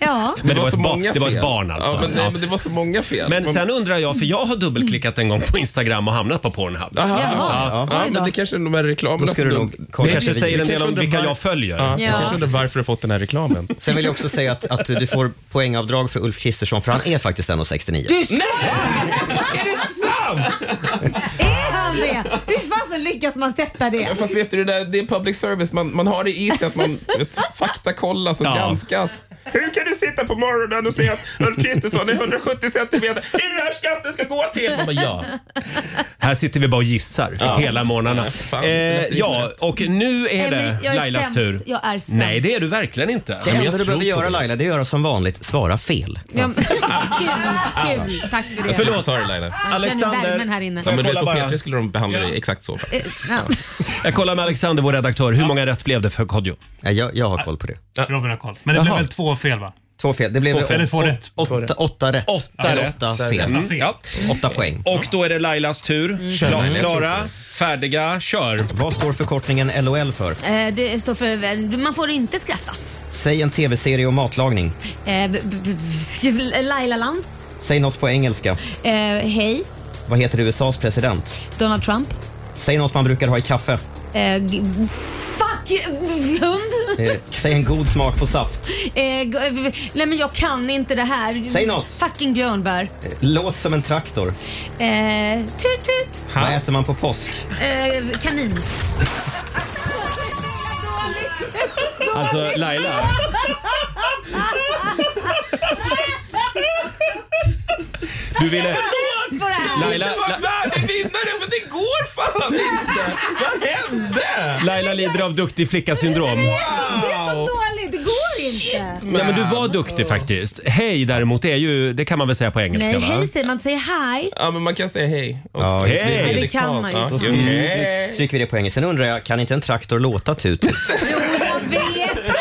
[SPEAKER 2] Ja.
[SPEAKER 1] Men det var
[SPEAKER 16] så
[SPEAKER 1] ett ba-
[SPEAKER 16] många
[SPEAKER 1] det var ett
[SPEAKER 16] fel.
[SPEAKER 1] barn alltså.
[SPEAKER 16] Ja, men, nej,
[SPEAKER 1] Ja.
[SPEAKER 16] men det var så många fel.
[SPEAKER 1] Men
[SPEAKER 16] Man-
[SPEAKER 1] sen undrar jag, för jag har dubbelklickat en gång på Instagram och hamnat på Pornhub.
[SPEAKER 16] Jaha.
[SPEAKER 1] Ja.
[SPEAKER 16] Ja, men det kanske är de här reklamerna
[SPEAKER 1] Då ska du nog kolla. Det kanske säger en del om vilka jag följer.
[SPEAKER 16] Ja,
[SPEAKER 1] Ja.
[SPEAKER 16] Jag kanske undrar varför du har fått den här reklamen.
[SPEAKER 3] Sen vill jag också säga att, att du får poängavdrag för Ulf Kristersson, för han är faktiskt 1,69.
[SPEAKER 2] Du är
[SPEAKER 16] Är det sant?
[SPEAKER 2] han det? Hur fasen lyckas man sätta
[SPEAKER 16] Ja,
[SPEAKER 2] det?
[SPEAKER 16] Fast vet du, det, där, det är public service. Man, man har det i sig att man vet, faktakollas och
[SPEAKER 1] Ja.
[SPEAKER 16] granskas. Hur kan du sitta på morgonen och säga att Ulf Kristersson är 170 centimeter? Är det det här skatten ska gå till? Man bara, ja.
[SPEAKER 1] Här sitter vi bara och gissar hela morgnarna. eh,
[SPEAKER 16] lätt
[SPEAKER 1] ja,
[SPEAKER 16] gissat.
[SPEAKER 1] och nu
[SPEAKER 2] Nej,
[SPEAKER 1] är
[SPEAKER 2] men
[SPEAKER 1] det
[SPEAKER 2] jag är
[SPEAKER 1] Lailas
[SPEAKER 2] sämst.
[SPEAKER 1] tur.
[SPEAKER 2] Jag är sämst.
[SPEAKER 1] Nej, det är du verkligen inte.
[SPEAKER 3] Det
[SPEAKER 1] Men jag
[SPEAKER 3] enda du
[SPEAKER 1] tror
[SPEAKER 3] behöver
[SPEAKER 1] på
[SPEAKER 3] göra
[SPEAKER 1] dig.
[SPEAKER 3] Laila, det är att göra som vanligt, svara fel.
[SPEAKER 2] Ja, men- kul, kul. Tack för det.
[SPEAKER 16] Förlåt. Ta det Laila.
[SPEAKER 2] Alexander. känner värmen här inne.
[SPEAKER 16] Ja, men du vet,
[SPEAKER 1] Kolla
[SPEAKER 16] på
[SPEAKER 1] bara.
[SPEAKER 16] P3 skulle de behandla dig exakt så. faktiskt.
[SPEAKER 2] Eh, Ja.
[SPEAKER 1] Jag kollar med Alexander, vår redaktör. Hur många rätt blev det för Kodjo?
[SPEAKER 3] Jag, jag har koll på det.
[SPEAKER 17] Robin har koll. Men det
[SPEAKER 1] Jaha.
[SPEAKER 17] blev väl två fel va?
[SPEAKER 3] Två fel. Det blev
[SPEAKER 17] Två fel. Eller två
[SPEAKER 3] åt-
[SPEAKER 17] rätt.
[SPEAKER 3] Åtta, åtta rätt.
[SPEAKER 1] Åtta
[SPEAKER 3] Eller
[SPEAKER 1] rätt.
[SPEAKER 3] Åtta fel.
[SPEAKER 1] Mm. Ja.
[SPEAKER 3] Åtta poäng.
[SPEAKER 1] Och då är det Lailas tur. Kla-
[SPEAKER 3] Mm.
[SPEAKER 1] Klara, färdiga, kör.
[SPEAKER 3] Vad står förkortningen LOL för?
[SPEAKER 2] Eh, Det står för eh, man får inte skratta.
[SPEAKER 3] Säg en tv-serie om matlagning.
[SPEAKER 2] Eh, b- b- b- Lailaland.
[SPEAKER 3] Säg något på engelska.
[SPEAKER 2] Eh, Hej.
[SPEAKER 3] Vad heter USAs president?
[SPEAKER 2] Donald Trump.
[SPEAKER 3] Säg något man brukar ha i kaffe.
[SPEAKER 2] Eh, g- Fuck eh, hund.
[SPEAKER 3] Eh, Säg en god smak på saft.
[SPEAKER 2] Eh, g- eh, Nej men jag kan inte det här.
[SPEAKER 3] Säg något.
[SPEAKER 2] Fucking björnbär.
[SPEAKER 3] Eh, Låt som en traktor.
[SPEAKER 2] Eh, tut tut.
[SPEAKER 3] Vad äter man på påsk?
[SPEAKER 2] Eh, kanin.
[SPEAKER 1] Alltså Laila. Du ville... Laila,
[SPEAKER 16] Jag var värdig vinnare, men det går fan inte! Vad hände?
[SPEAKER 1] Laila lider av duktig flicka-syndrom.
[SPEAKER 2] Det är så dåligt, det går inte.
[SPEAKER 1] Nej men du var duktig faktiskt. Hej däremot, det är ju, det kan man väl säga på engelska
[SPEAKER 2] Nej,
[SPEAKER 1] va?
[SPEAKER 2] hej säger man, säger hi.
[SPEAKER 16] Ja, men man kan säga hej
[SPEAKER 3] Ja,
[SPEAKER 16] Det är
[SPEAKER 1] hej.
[SPEAKER 16] dialektalt.
[SPEAKER 2] Ja, det kan man ju.
[SPEAKER 16] Ja,
[SPEAKER 3] Då
[SPEAKER 16] jo,
[SPEAKER 3] stryker
[SPEAKER 16] hej.
[SPEAKER 3] stryker vi det på engelska. Sen undrar jag, kan inte en traktor låta tut?
[SPEAKER 2] Jo, jag vet.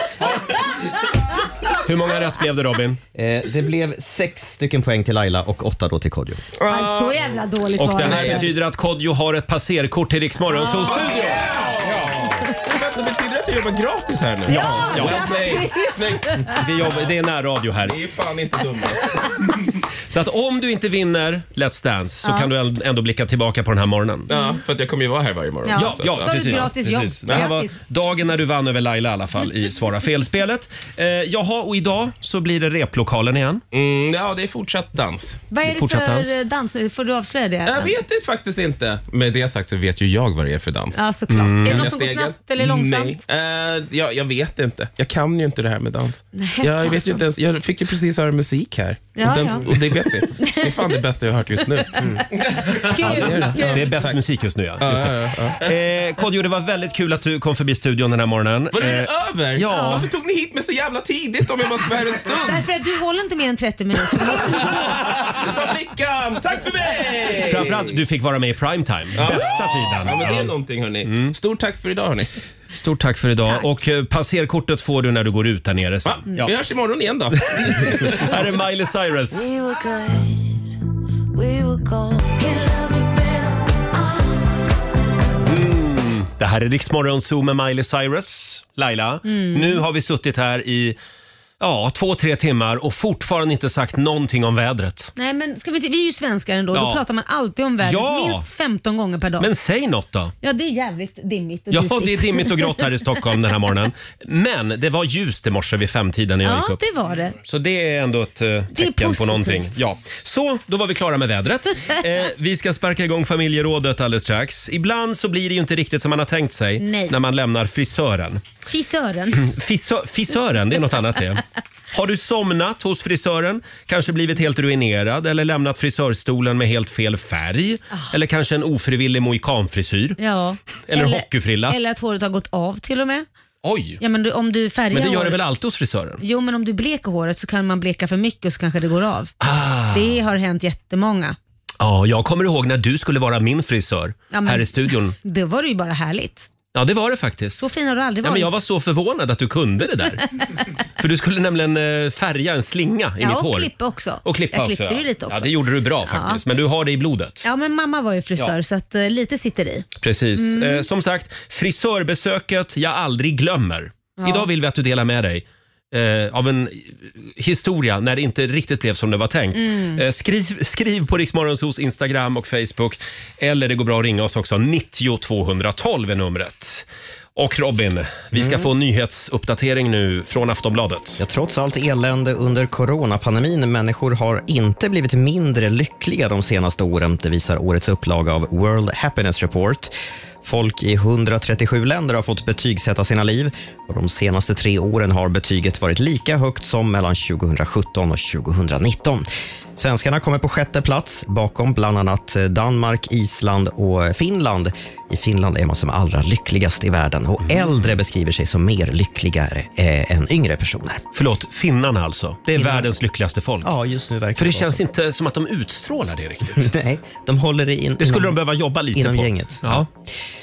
[SPEAKER 1] Hur många rätt blev det Robin?
[SPEAKER 3] Eh, det blev sex stycken poäng till Laila och åtta då till Kodjo.
[SPEAKER 2] Aj, så jävla dåligt
[SPEAKER 1] Och
[SPEAKER 2] var
[SPEAKER 1] det
[SPEAKER 2] det. Ah.
[SPEAKER 1] här betyder att Kodjo har ett passerkort till Riksmorgon. Så studio!
[SPEAKER 16] Men det betyder att sitter och jobbar gratis här nu.
[SPEAKER 1] Ja, ja.
[SPEAKER 16] Well played.
[SPEAKER 1] Snyggt. Vi jobbar, det är närradio här.
[SPEAKER 16] Ni är fan inte dumma.
[SPEAKER 1] Så att om du inte vinner Let's Dance så
[SPEAKER 2] Ja.
[SPEAKER 1] kan du äl- ändå blicka tillbaka på den här morgonen.
[SPEAKER 16] Ja, för att jag kommer ju vara här varje morgon.
[SPEAKER 1] Ja,
[SPEAKER 16] Så
[SPEAKER 15] Alltså,
[SPEAKER 1] ja,
[SPEAKER 16] att, ja.
[SPEAKER 1] precis.
[SPEAKER 2] Då har du ett gratis jobb.
[SPEAKER 1] precis. Det här var
[SPEAKER 2] Grattis.
[SPEAKER 1] dagen när du vann över Laila i alla fall i Svara fel-spelet. Eh, jaha, och idag så blir det replokalen igen.
[SPEAKER 16] Mm, ja, det är fortsatt dans.
[SPEAKER 2] Vad är det
[SPEAKER 16] Fortsatt dans.
[SPEAKER 2] för dans nu? Får du avslöja det?
[SPEAKER 1] Äh.
[SPEAKER 16] Jag vet det faktiskt inte. Med det sagt så vet ju jag vad det är för dans.
[SPEAKER 2] Ja, såklart. Är det något som går snabbt eller långsamt?
[SPEAKER 16] Nej. Eh, ja, jag vet inte. Jag kan ju inte det här med dans.
[SPEAKER 2] Nej,
[SPEAKER 16] jag, vet
[SPEAKER 2] alltså.
[SPEAKER 16] ju inte ens, jag fick ju precis höra musik här.
[SPEAKER 2] Ja,
[SPEAKER 16] och, den,
[SPEAKER 2] ja.
[SPEAKER 16] och det vet ni. Det är fan det bästa jag har hört just nu.
[SPEAKER 1] Ja,
[SPEAKER 16] kul.
[SPEAKER 1] Det är bäst musik just nu ja. Just det. Eh, Kodjo, det var väldigt kul att du kom förbi studion den här morgonen.
[SPEAKER 16] Var det
[SPEAKER 1] Eh,
[SPEAKER 16] över?
[SPEAKER 1] Ja.
[SPEAKER 16] Varför tog ni hit mig så jävla tidigt om jag bara ska vara här en stund?
[SPEAKER 2] Därför att du håller inte mer än 30 minuter.
[SPEAKER 16] Sa flickan, tack för mig!
[SPEAKER 1] Framförallt, du fick vara med i primetime. Bästa tiden.
[SPEAKER 16] Ja, men det är någonting hörni. Stort tack för idag hörni.
[SPEAKER 1] Stort tack för idag. Och eh, passerkortet får du när du går ut där nere sen.
[SPEAKER 16] Vi hörs imorgon igen då.
[SPEAKER 1] Här är Miley Cyrus.
[SPEAKER 7] We were good, we were gold. Can love me better.
[SPEAKER 1] Mm. Det här är Riksmorgon Zoo med Miley Cyrus. Laila,
[SPEAKER 7] Mm.
[SPEAKER 1] nu har vi suttit här i ja, två, tre timmar och fortfarande inte sagt någonting om vädret.
[SPEAKER 2] Nej, men ska vi, inte- vi är ju svenskar ändå. Då
[SPEAKER 1] Ja.
[SPEAKER 2] pratar man alltid om vädret
[SPEAKER 1] Ja.
[SPEAKER 2] minst 15 gånger per dag.
[SPEAKER 1] Men säg något då.
[SPEAKER 2] Ja, det är jävligt dimmigt och
[SPEAKER 1] Ja,
[SPEAKER 2] disigt.
[SPEAKER 1] det är dimmigt och grått här i Stockholm den här morgonen. Men det var ljust i morse vid femtiden när jag gick
[SPEAKER 2] Ja,
[SPEAKER 1] upp.
[SPEAKER 2] det var det.
[SPEAKER 1] Så det är ändå ett eh, tecken på
[SPEAKER 2] positivt.
[SPEAKER 1] någonting. Ja. Så, då var vi klara med vädret. Eh, vi ska sparka igång familjerådet alldeles strax. Ibland så blir det ju inte riktigt som man har tänkt sig
[SPEAKER 2] Nej.
[SPEAKER 1] när man lämnar frisören.
[SPEAKER 2] Frisören.
[SPEAKER 1] Mm. Frisö- frisören, det är något annat det. Har du somnat hos frisören? Kanske blivit helt ruinerad eller lämnat frisörstolen med helt fel färg?
[SPEAKER 2] Ah.
[SPEAKER 1] Eller kanske en ofrivillig mohikanfrisyr?
[SPEAKER 2] Ja.
[SPEAKER 1] Eller hockeyfrilla.
[SPEAKER 2] Eller att håret har gått av till och med.
[SPEAKER 1] Oj!
[SPEAKER 2] Ja, men du, om du färgar
[SPEAKER 1] Men det gör det
[SPEAKER 2] håret-
[SPEAKER 1] väl alltid hos frisören?
[SPEAKER 2] Jo, men om du bleker håret så kan man bleka för mycket och så kanske det går av.
[SPEAKER 1] Ah.
[SPEAKER 2] Det har hänt jättemånga.
[SPEAKER 1] Ja, jag kommer ihåg när du skulle vara min frisör
[SPEAKER 2] Ja, men-
[SPEAKER 1] här i studion.
[SPEAKER 2] Det var det ju bara härligt.
[SPEAKER 1] Ja, det var det faktiskt.
[SPEAKER 2] Så fin har du aldrig
[SPEAKER 1] Ja,
[SPEAKER 2] varit.
[SPEAKER 1] men jag var så förvånad att du kunde det där. För du skulle nämligen eh, färga en slinga i
[SPEAKER 2] ja,
[SPEAKER 1] mitt
[SPEAKER 2] och
[SPEAKER 1] hår.
[SPEAKER 2] klippa också.
[SPEAKER 1] Och klippa
[SPEAKER 2] jag
[SPEAKER 1] också.
[SPEAKER 2] klippte
[SPEAKER 1] ja.
[SPEAKER 2] ju lite också.
[SPEAKER 1] Ja, det gjorde du bra
[SPEAKER 2] Ja.
[SPEAKER 1] faktiskt. Men du har det i blodet.
[SPEAKER 2] Ja, men mamma var ju frisör
[SPEAKER 1] Ja.
[SPEAKER 2] så att eh, lite sitter i.
[SPEAKER 1] Precis.
[SPEAKER 2] Mm.
[SPEAKER 1] Eh, som sagt, frisörbesöket jag aldrig glömmer.
[SPEAKER 2] Ja.
[SPEAKER 1] Idag vill vi att du delar med dig eh, av en historia när det inte riktigt blev som det var tänkt.
[SPEAKER 7] Mm.
[SPEAKER 1] Eh, skriv, skriv på Riksmorgonsos Instagram och Facebook. Eller det går bra att ringa oss också. 90 212 är numret. Och Robin, vi ska
[SPEAKER 3] Mm.
[SPEAKER 1] få en nyhetsuppdatering nu från Aftonbladet.
[SPEAKER 3] Ja, trots allt elände under coronapandemin, människor har inte blivit mindre lyckliga de senaste åren. Det visar årets upplaga av World Happiness Report. Folk i 137 länder har fått betygsätta sina liv och de senaste tre åren har betyget varit lika högt som mellan 2017 och 2019. Svenskarna kommer på sjätte plats bakom bland annat Danmark, Island och Finland. I Finland är man som allra lyckligast i världen och äldre beskriver sig som mer lyckligare eh, än yngre personer.
[SPEAKER 1] Förlåt, finnarna alltså? Det är världens lyckligaste folk?
[SPEAKER 3] Ja, just nu verkar
[SPEAKER 1] För det
[SPEAKER 3] vara
[SPEAKER 1] känns
[SPEAKER 3] så.
[SPEAKER 1] inte som att de utstrålar det riktigt.
[SPEAKER 3] Nej, de håller det in.
[SPEAKER 1] Det skulle
[SPEAKER 3] inom-
[SPEAKER 1] de behöva jobba lite
[SPEAKER 3] inom
[SPEAKER 1] på.
[SPEAKER 3] gänget.
[SPEAKER 1] Ja.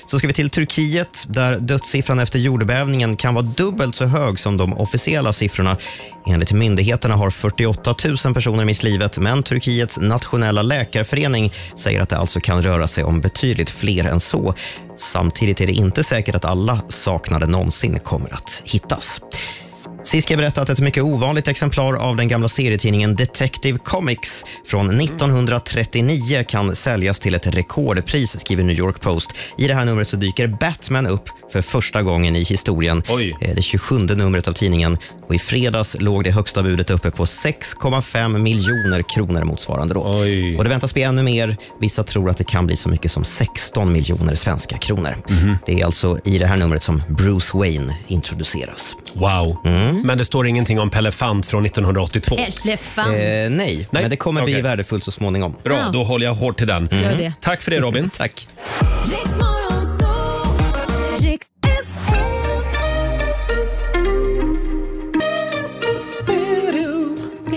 [SPEAKER 3] Så ska vi till Turkiet där dödssiffran efter jordbävningen kan vara dubbelt så hög som de officiella siffrorna. Enligt myndigheterna har 48 000 personer mist livet men Turkiets nationella läkarförening säger att det alltså kan röra sig om betydligt fler än så. Samtidigt är det inte säkert att alla saknade någonsin kommer att hittas. Sist ska jag berätta att ett mycket ovanligt exemplar av den gamla serietidningen Detective Comics från 1939 kan säljas till ett rekordpris, skriver New York Post. I det här numret så dyker Batman upp för första gången i historien. Eh, Det 27 numret av tidningen. Och I fredags låg det högsta budet uppe på 6,5 miljoner kronor motsvarande. Då. Och Det väntas bli ännu mer. Vissa tror att det kan bli så mycket som 16 miljoner svenska kronor. Det är alltså i det här numret som Bruce Wayne introduceras.
[SPEAKER 1] Wow.
[SPEAKER 2] Mm.
[SPEAKER 1] Men det står ingenting om Pelle Fant från 1982.
[SPEAKER 2] Elefant.
[SPEAKER 3] Eh, nej, men det kommer bli
[SPEAKER 1] Okej.
[SPEAKER 3] värdefullt så småningom.
[SPEAKER 1] Bra,
[SPEAKER 2] Ja.
[SPEAKER 1] då håller jag hårt till den.
[SPEAKER 2] Gör det.
[SPEAKER 1] Tack för det Robin.
[SPEAKER 3] Tack.
[SPEAKER 7] Riksmorgon, så. Riks FM.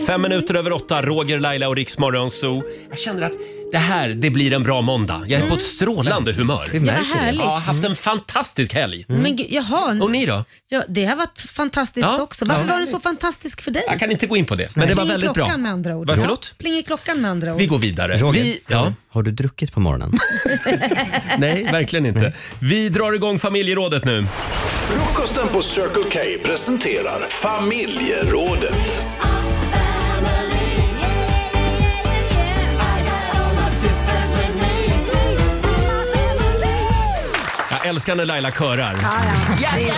[SPEAKER 1] Fem minuter över åtta, Roger, Laila och Riksmorgon Zoo. Jag känner att det här, det blir en bra måndag. Jag är på ett strålande humör.
[SPEAKER 2] Mm. Det Mm. märker vi. härligt.
[SPEAKER 1] Ja, jag har haft en fantastisk helg.
[SPEAKER 2] Men gud, jaha.
[SPEAKER 1] Och ni då?
[SPEAKER 2] Ja, det har varit fantastiskt
[SPEAKER 1] Ja,
[SPEAKER 2] också. Varför
[SPEAKER 1] ja.
[SPEAKER 2] var det så fantastiskt för dig?
[SPEAKER 1] Jag kan inte gå in på det, men det var
[SPEAKER 2] Pling i
[SPEAKER 1] väldigt bra.
[SPEAKER 2] klockan med andra ord.
[SPEAKER 1] Vad, förlåt?
[SPEAKER 2] Pling i klockan med andra ord.
[SPEAKER 1] Vi går vidare.
[SPEAKER 3] Roger,
[SPEAKER 1] Vi,
[SPEAKER 3] har, har du druckit på morgonen?
[SPEAKER 1] nej, verkligen
[SPEAKER 2] Mm.
[SPEAKER 1] inte. Vi drar igång familjerådet nu.
[SPEAKER 4] Frukosten på Circle K presenterar familjerådet.
[SPEAKER 1] Jag älskar när Laila körar.
[SPEAKER 7] Ja, ja,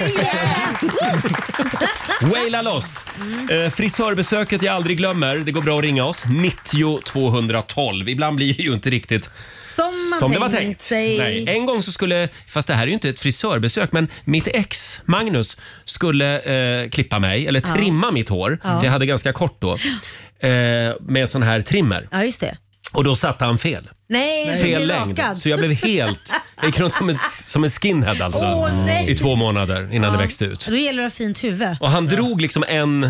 [SPEAKER 7] ja,
[SPEAKER 1] Waila loss! Eh, frisörbesöket jag aldrig glömmer. Det går bra att ringa oss. 90 212. Ibland blir det ju inte riktigt
[SPEAKER 2] Som man
[SPEAKER 1] som det var
[SPEAKER 2] tänkt
[SPEAKER 1] tänkt.
[SPEAKER 2] sig.
[SPEAKER 1] Nej. En gång så skulle, fast det här är ju inte ett frisörbesök, men mitt ex Magnus skulle eh, klippa mig, eller
[SPEAKER 2] Ja.
[SPEAKER 1] trimma mitt hår,
[SPEAKER 2] Ja.
[SPEAKER 1] för jag hade ganska kort då, eh, med en sån här trimmer.
[SPEAKER 2] Ja, just det.
[SPEAKER 1] Och då satte han fel.
[SPEAKER 2] Nej, du blir
[SPEAKER 1] fel längd.
[SPEAKER 2] rakad.
[SPEAKER 1] Så jag blev helt... Jag gick runt som en, som en skinhead alltså.
[SPEAKER 2] Åh, nej.
[SPEAKER 1] I två månader innan det
[SPEAKER 2] Ja.
[SPEAKER 1] växte ut.
[SPEAKER 2] Då gäller det att ha fint huvud.
[SPEAKER 1] Och han drog liksom en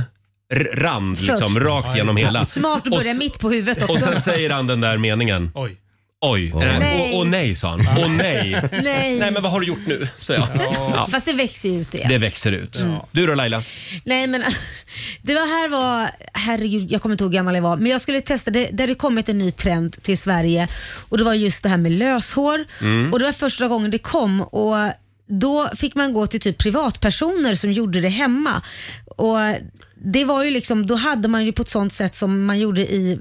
[SPEAKER 1] r- rand liksom,
[SPEAKER 2] Först.
[SPEAKER 1] rakt genom hela.
[SPEAKER 2] Smart att
[SPEAKER 1] Och
[SPEAKER 2] börja
[SPEAKER 1] s-
[SPEAKER 2] mitt på huvudet också.
[SPEAKER 1] Och sen säger han den där meningen. Oj. Oj. Eh,
[SPEAKER 2] Nej.
[SPEAKER 1] Och, och nej sa han. Och nej.
[SPEAKER 2] Nej.
[SPEAKER 1] Nej men vad har du gjort nu? Så jag. Ja.
[SPEAKER 2] Fast det växer ju ut igen.
[SPEAKER 1] Det växer ut.
[SPEAKER 2] Mm.
[SPEAKER 1] Du då Laila?
[SPEAKER 2] Nej men det var här var, herregud jag kommer inte ihåg hur gammal jag var, men jag skulle testa, det, det hade kommit en ny trend till Sverige och det var just det här med löshår
[SPEAKER 7] Mm.
[SPEAKER 2] och det var första gången det kom och då fick man gå till typ privatpersoner som gjorde det hemma. Och det var ju liksom, då hade man ju på ett sånt sätt som man gjorde i eh,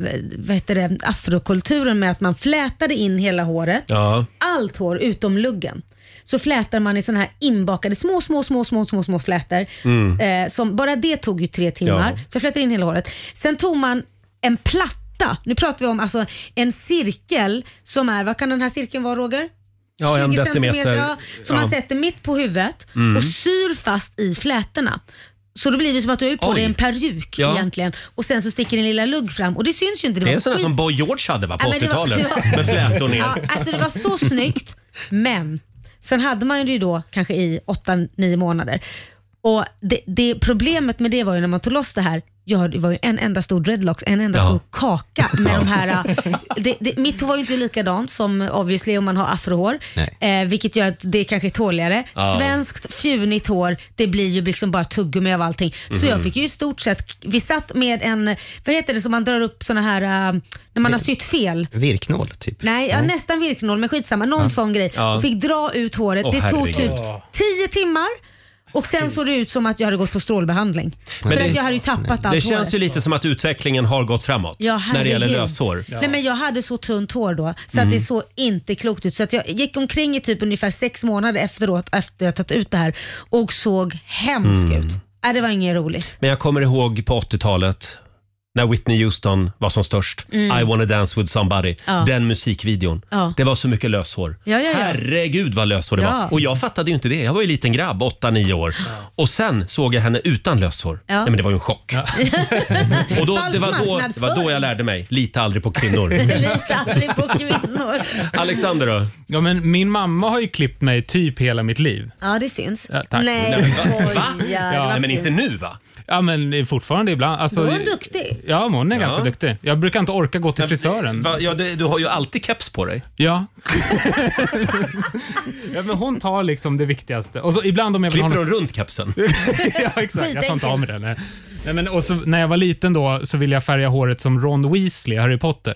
[SPEAKER 2] vad heter det, afrokulturen med att man flätade in hela håret
[SPEAKER 1] Ja.
[SPEAKER 2] allt hår utom luggen. Så flätar man i såna här inbakade små, små, små, små, små, små flätor.
[SPEAKER 7] Mm.
[SPEAKER 2] Eh, som, bara det tog ju tre timmar.
[SPEAKER 7] Ja.
[SPEAKER 2] Så jag flätade in hela håret. Sen tog man en platta. Nu pratar vi om alltså en cirkel som är, vad kan den här cirkeln vara Roger?
[SPEAKER 1] Ja, en
[SPEAKER 2] 20
[SPEAKER 1] decimeter.
[SPEAKER 2] centimeter, ja, som man
[SPEAKER 1] Ja.
[SPEAKER 2] sätter mitt på huvudet
[SPEAKER 1] Mm.
[SPEAKER 2] och syr fast i flätorna. Så då blir det som att du har gjort på
[SPEAKER 1] Oj.
[SPEAKER 2] dig en peruk
[SPEAKER 1] Ja.
[SPEAKER 2] egentligen och sen så sticker din lilla lugg fram och det syns ju inte.
[SPEAKER 1] Det är
[SPEAKER 2] var
[SPEAKER 1] en sån där
[SPEAKER 2] skit-
[SPEAKER 1] som Boy George hade va, på
[SPEAKER 2] Ja, men det var-
[SPEAKER 1] 80-talet.
[SPEAKER 2] det var-
[SPEAKER 1] Med flätor ner.
[SPEAKER 2] Ja, alltså det var så snyggt, men sen hade man ju det ju då kanske i 8-9 månader. Och det, det Problemet med det var ju när man tog loss det här, ja, det var ju en enda stor dreadlocks, en enda
[SPEAKER 7] Ja.
[SPEAKER 2] stor kaka med
[SPEAKER 7] Ja.
[SPEAKER 2] de här. äh, Det, det, mitt hår var ju inte likadant som obviously om man har afrohår,
[SPEAKER 7] Nej.
[SPEAKER 2] eh, vilket gör att det kanske är tåligare.
[SPEAKER 7] Ja.
[SPEAKER 2] Svenskt fjunigt hår, det blir ju liksom bara tuggummi av allting. Så
[SPEAKER 7] Mhm.
[SPEAKER 2] jag fick ju i stort sett, vi satt med en, vad heter det som man drar upp såna här, äh, när man har sytt fel.
[SPEAKER 3] Virknål, typ.
[SPEAKER 2] Nej, ja,
[SPEAKER 3] Nej.
[SPEAKER 2] nästan virknål men skitsamma. Någon
[SPEAKER 3] Ja.
[SPEAKER 2] sån grej.
[SPEAKER 3] Ja.
[SPEAKER 2] Och fick dra ut håret.
[SPEAKER 3] Åh,
[SPEAKER 2] det tog
[SPEAKER 3] herregud.
[SPEAKER 2] typ
[SPEAKER 3] Åh.
[SPEAKER 2] 10 timmar och sen såg det ut som att jag hade gått på strålbehandling.
[SPEAKER 1] Men
[SPEAKER 2] För
[SPEAKER 1] det-
[SPEAKER 2] att jag hade ju tappat allt
[SPEAKER 1] Det
[SPEAKER 2] håret.
[SPEAKER 1] känns ju lite som att utvecklingen har gått framåt
[SPEAKER 2] Ja,
[SPEAKER 1] när det gäller
[SPEAKER 2] herregud.
[SPEAKER 1] löshår.
[SPEAKER 2] Nej, men jag hade så tunt hår då så
[SPEAKER 1] Mm.
[SPEAKER 2] att det såg inte klokt ut. Så att jag gick omkring i typ ungefär sex månader efteråt efter jag tagit ut det här och såg hemsk
[SPEAKER 1] Mm.
[SPEAKER 2] ut. Nej, det var inget roligt.
[SPEAKER 1] Men jag kommer ihåg på 80-talet när Whitney Houston var som störst.
[SPEAKER 2] Mm.
[SPEAKER 1] I wanna dance with somebody.
[SPEAKER 2] Ja.
[SPEAKER 1] Den musikvideon.
[SPEAKER 2] Ja.
[SPEAKER 1] Det var så mycket löshår.
[SPEAKER 2] Ja, ja, ja.
[SPEAKER 1] Herregud vad löshår det
[SPEAKER 2] Ja.
[SPEAKER 1] var. Och jag fattade ju inte det. Jag var ju liten grabb, 8-9 år. Och sen såg jag henne utan löshår.
[SPEAKER 2] Ja.
[SPEAKER 1] Nej, men det var ju en chock. Och då,
[SPEAKER 2] Falsk
[SPEAKER 1] det, var då, det var då jag lärde mig. Lita aldrig på kvinnor.
[SPEAKER 2] Lita aldrig på kvinnor.
[SPEAKER 1] Alexander då?
[SPEAKER 8] Ja, men min mamma har ju klippt mig typ hela mitt liv.
[SPEAKER 2] Ja, det syns.
[SPEAKER 8] Ja, tack.
[SPEAKER 2] Nej,
[SPEAKER 8] Nej, men
[SPEAKER 2] skoja. det var fint.
[SPEAKER 1] nu va?
[SPEAKER 8] Ja, men fortfarande ibland. Alltså,
[SPEAKER 2] Då är hon duktig.
[SPEAKER 8] Ja, men hon är
[SPEAKER 1] Ja.
[SPEAKER 8] ganska duktig. Jag brukar inte orka gå till frisören.
[SPEAKER 1] Va, ja, du, du har ju alltid keps på dig.
[SPEAKER 8] Ja. ja, men hon tar liksom det viktigaste. Och så ibland om jag vill
[SPEAKER 1] Klipper
[SPEAKER 8] ha
[SPEAKER 1] hon runt kepsen?
[SPEAKER 8] ja, exakt. Jag tar inte av mig den. nej. Nej, men, och så, när jag var liten då så ville jag färga håret som Ron Weasley, Harry Potter.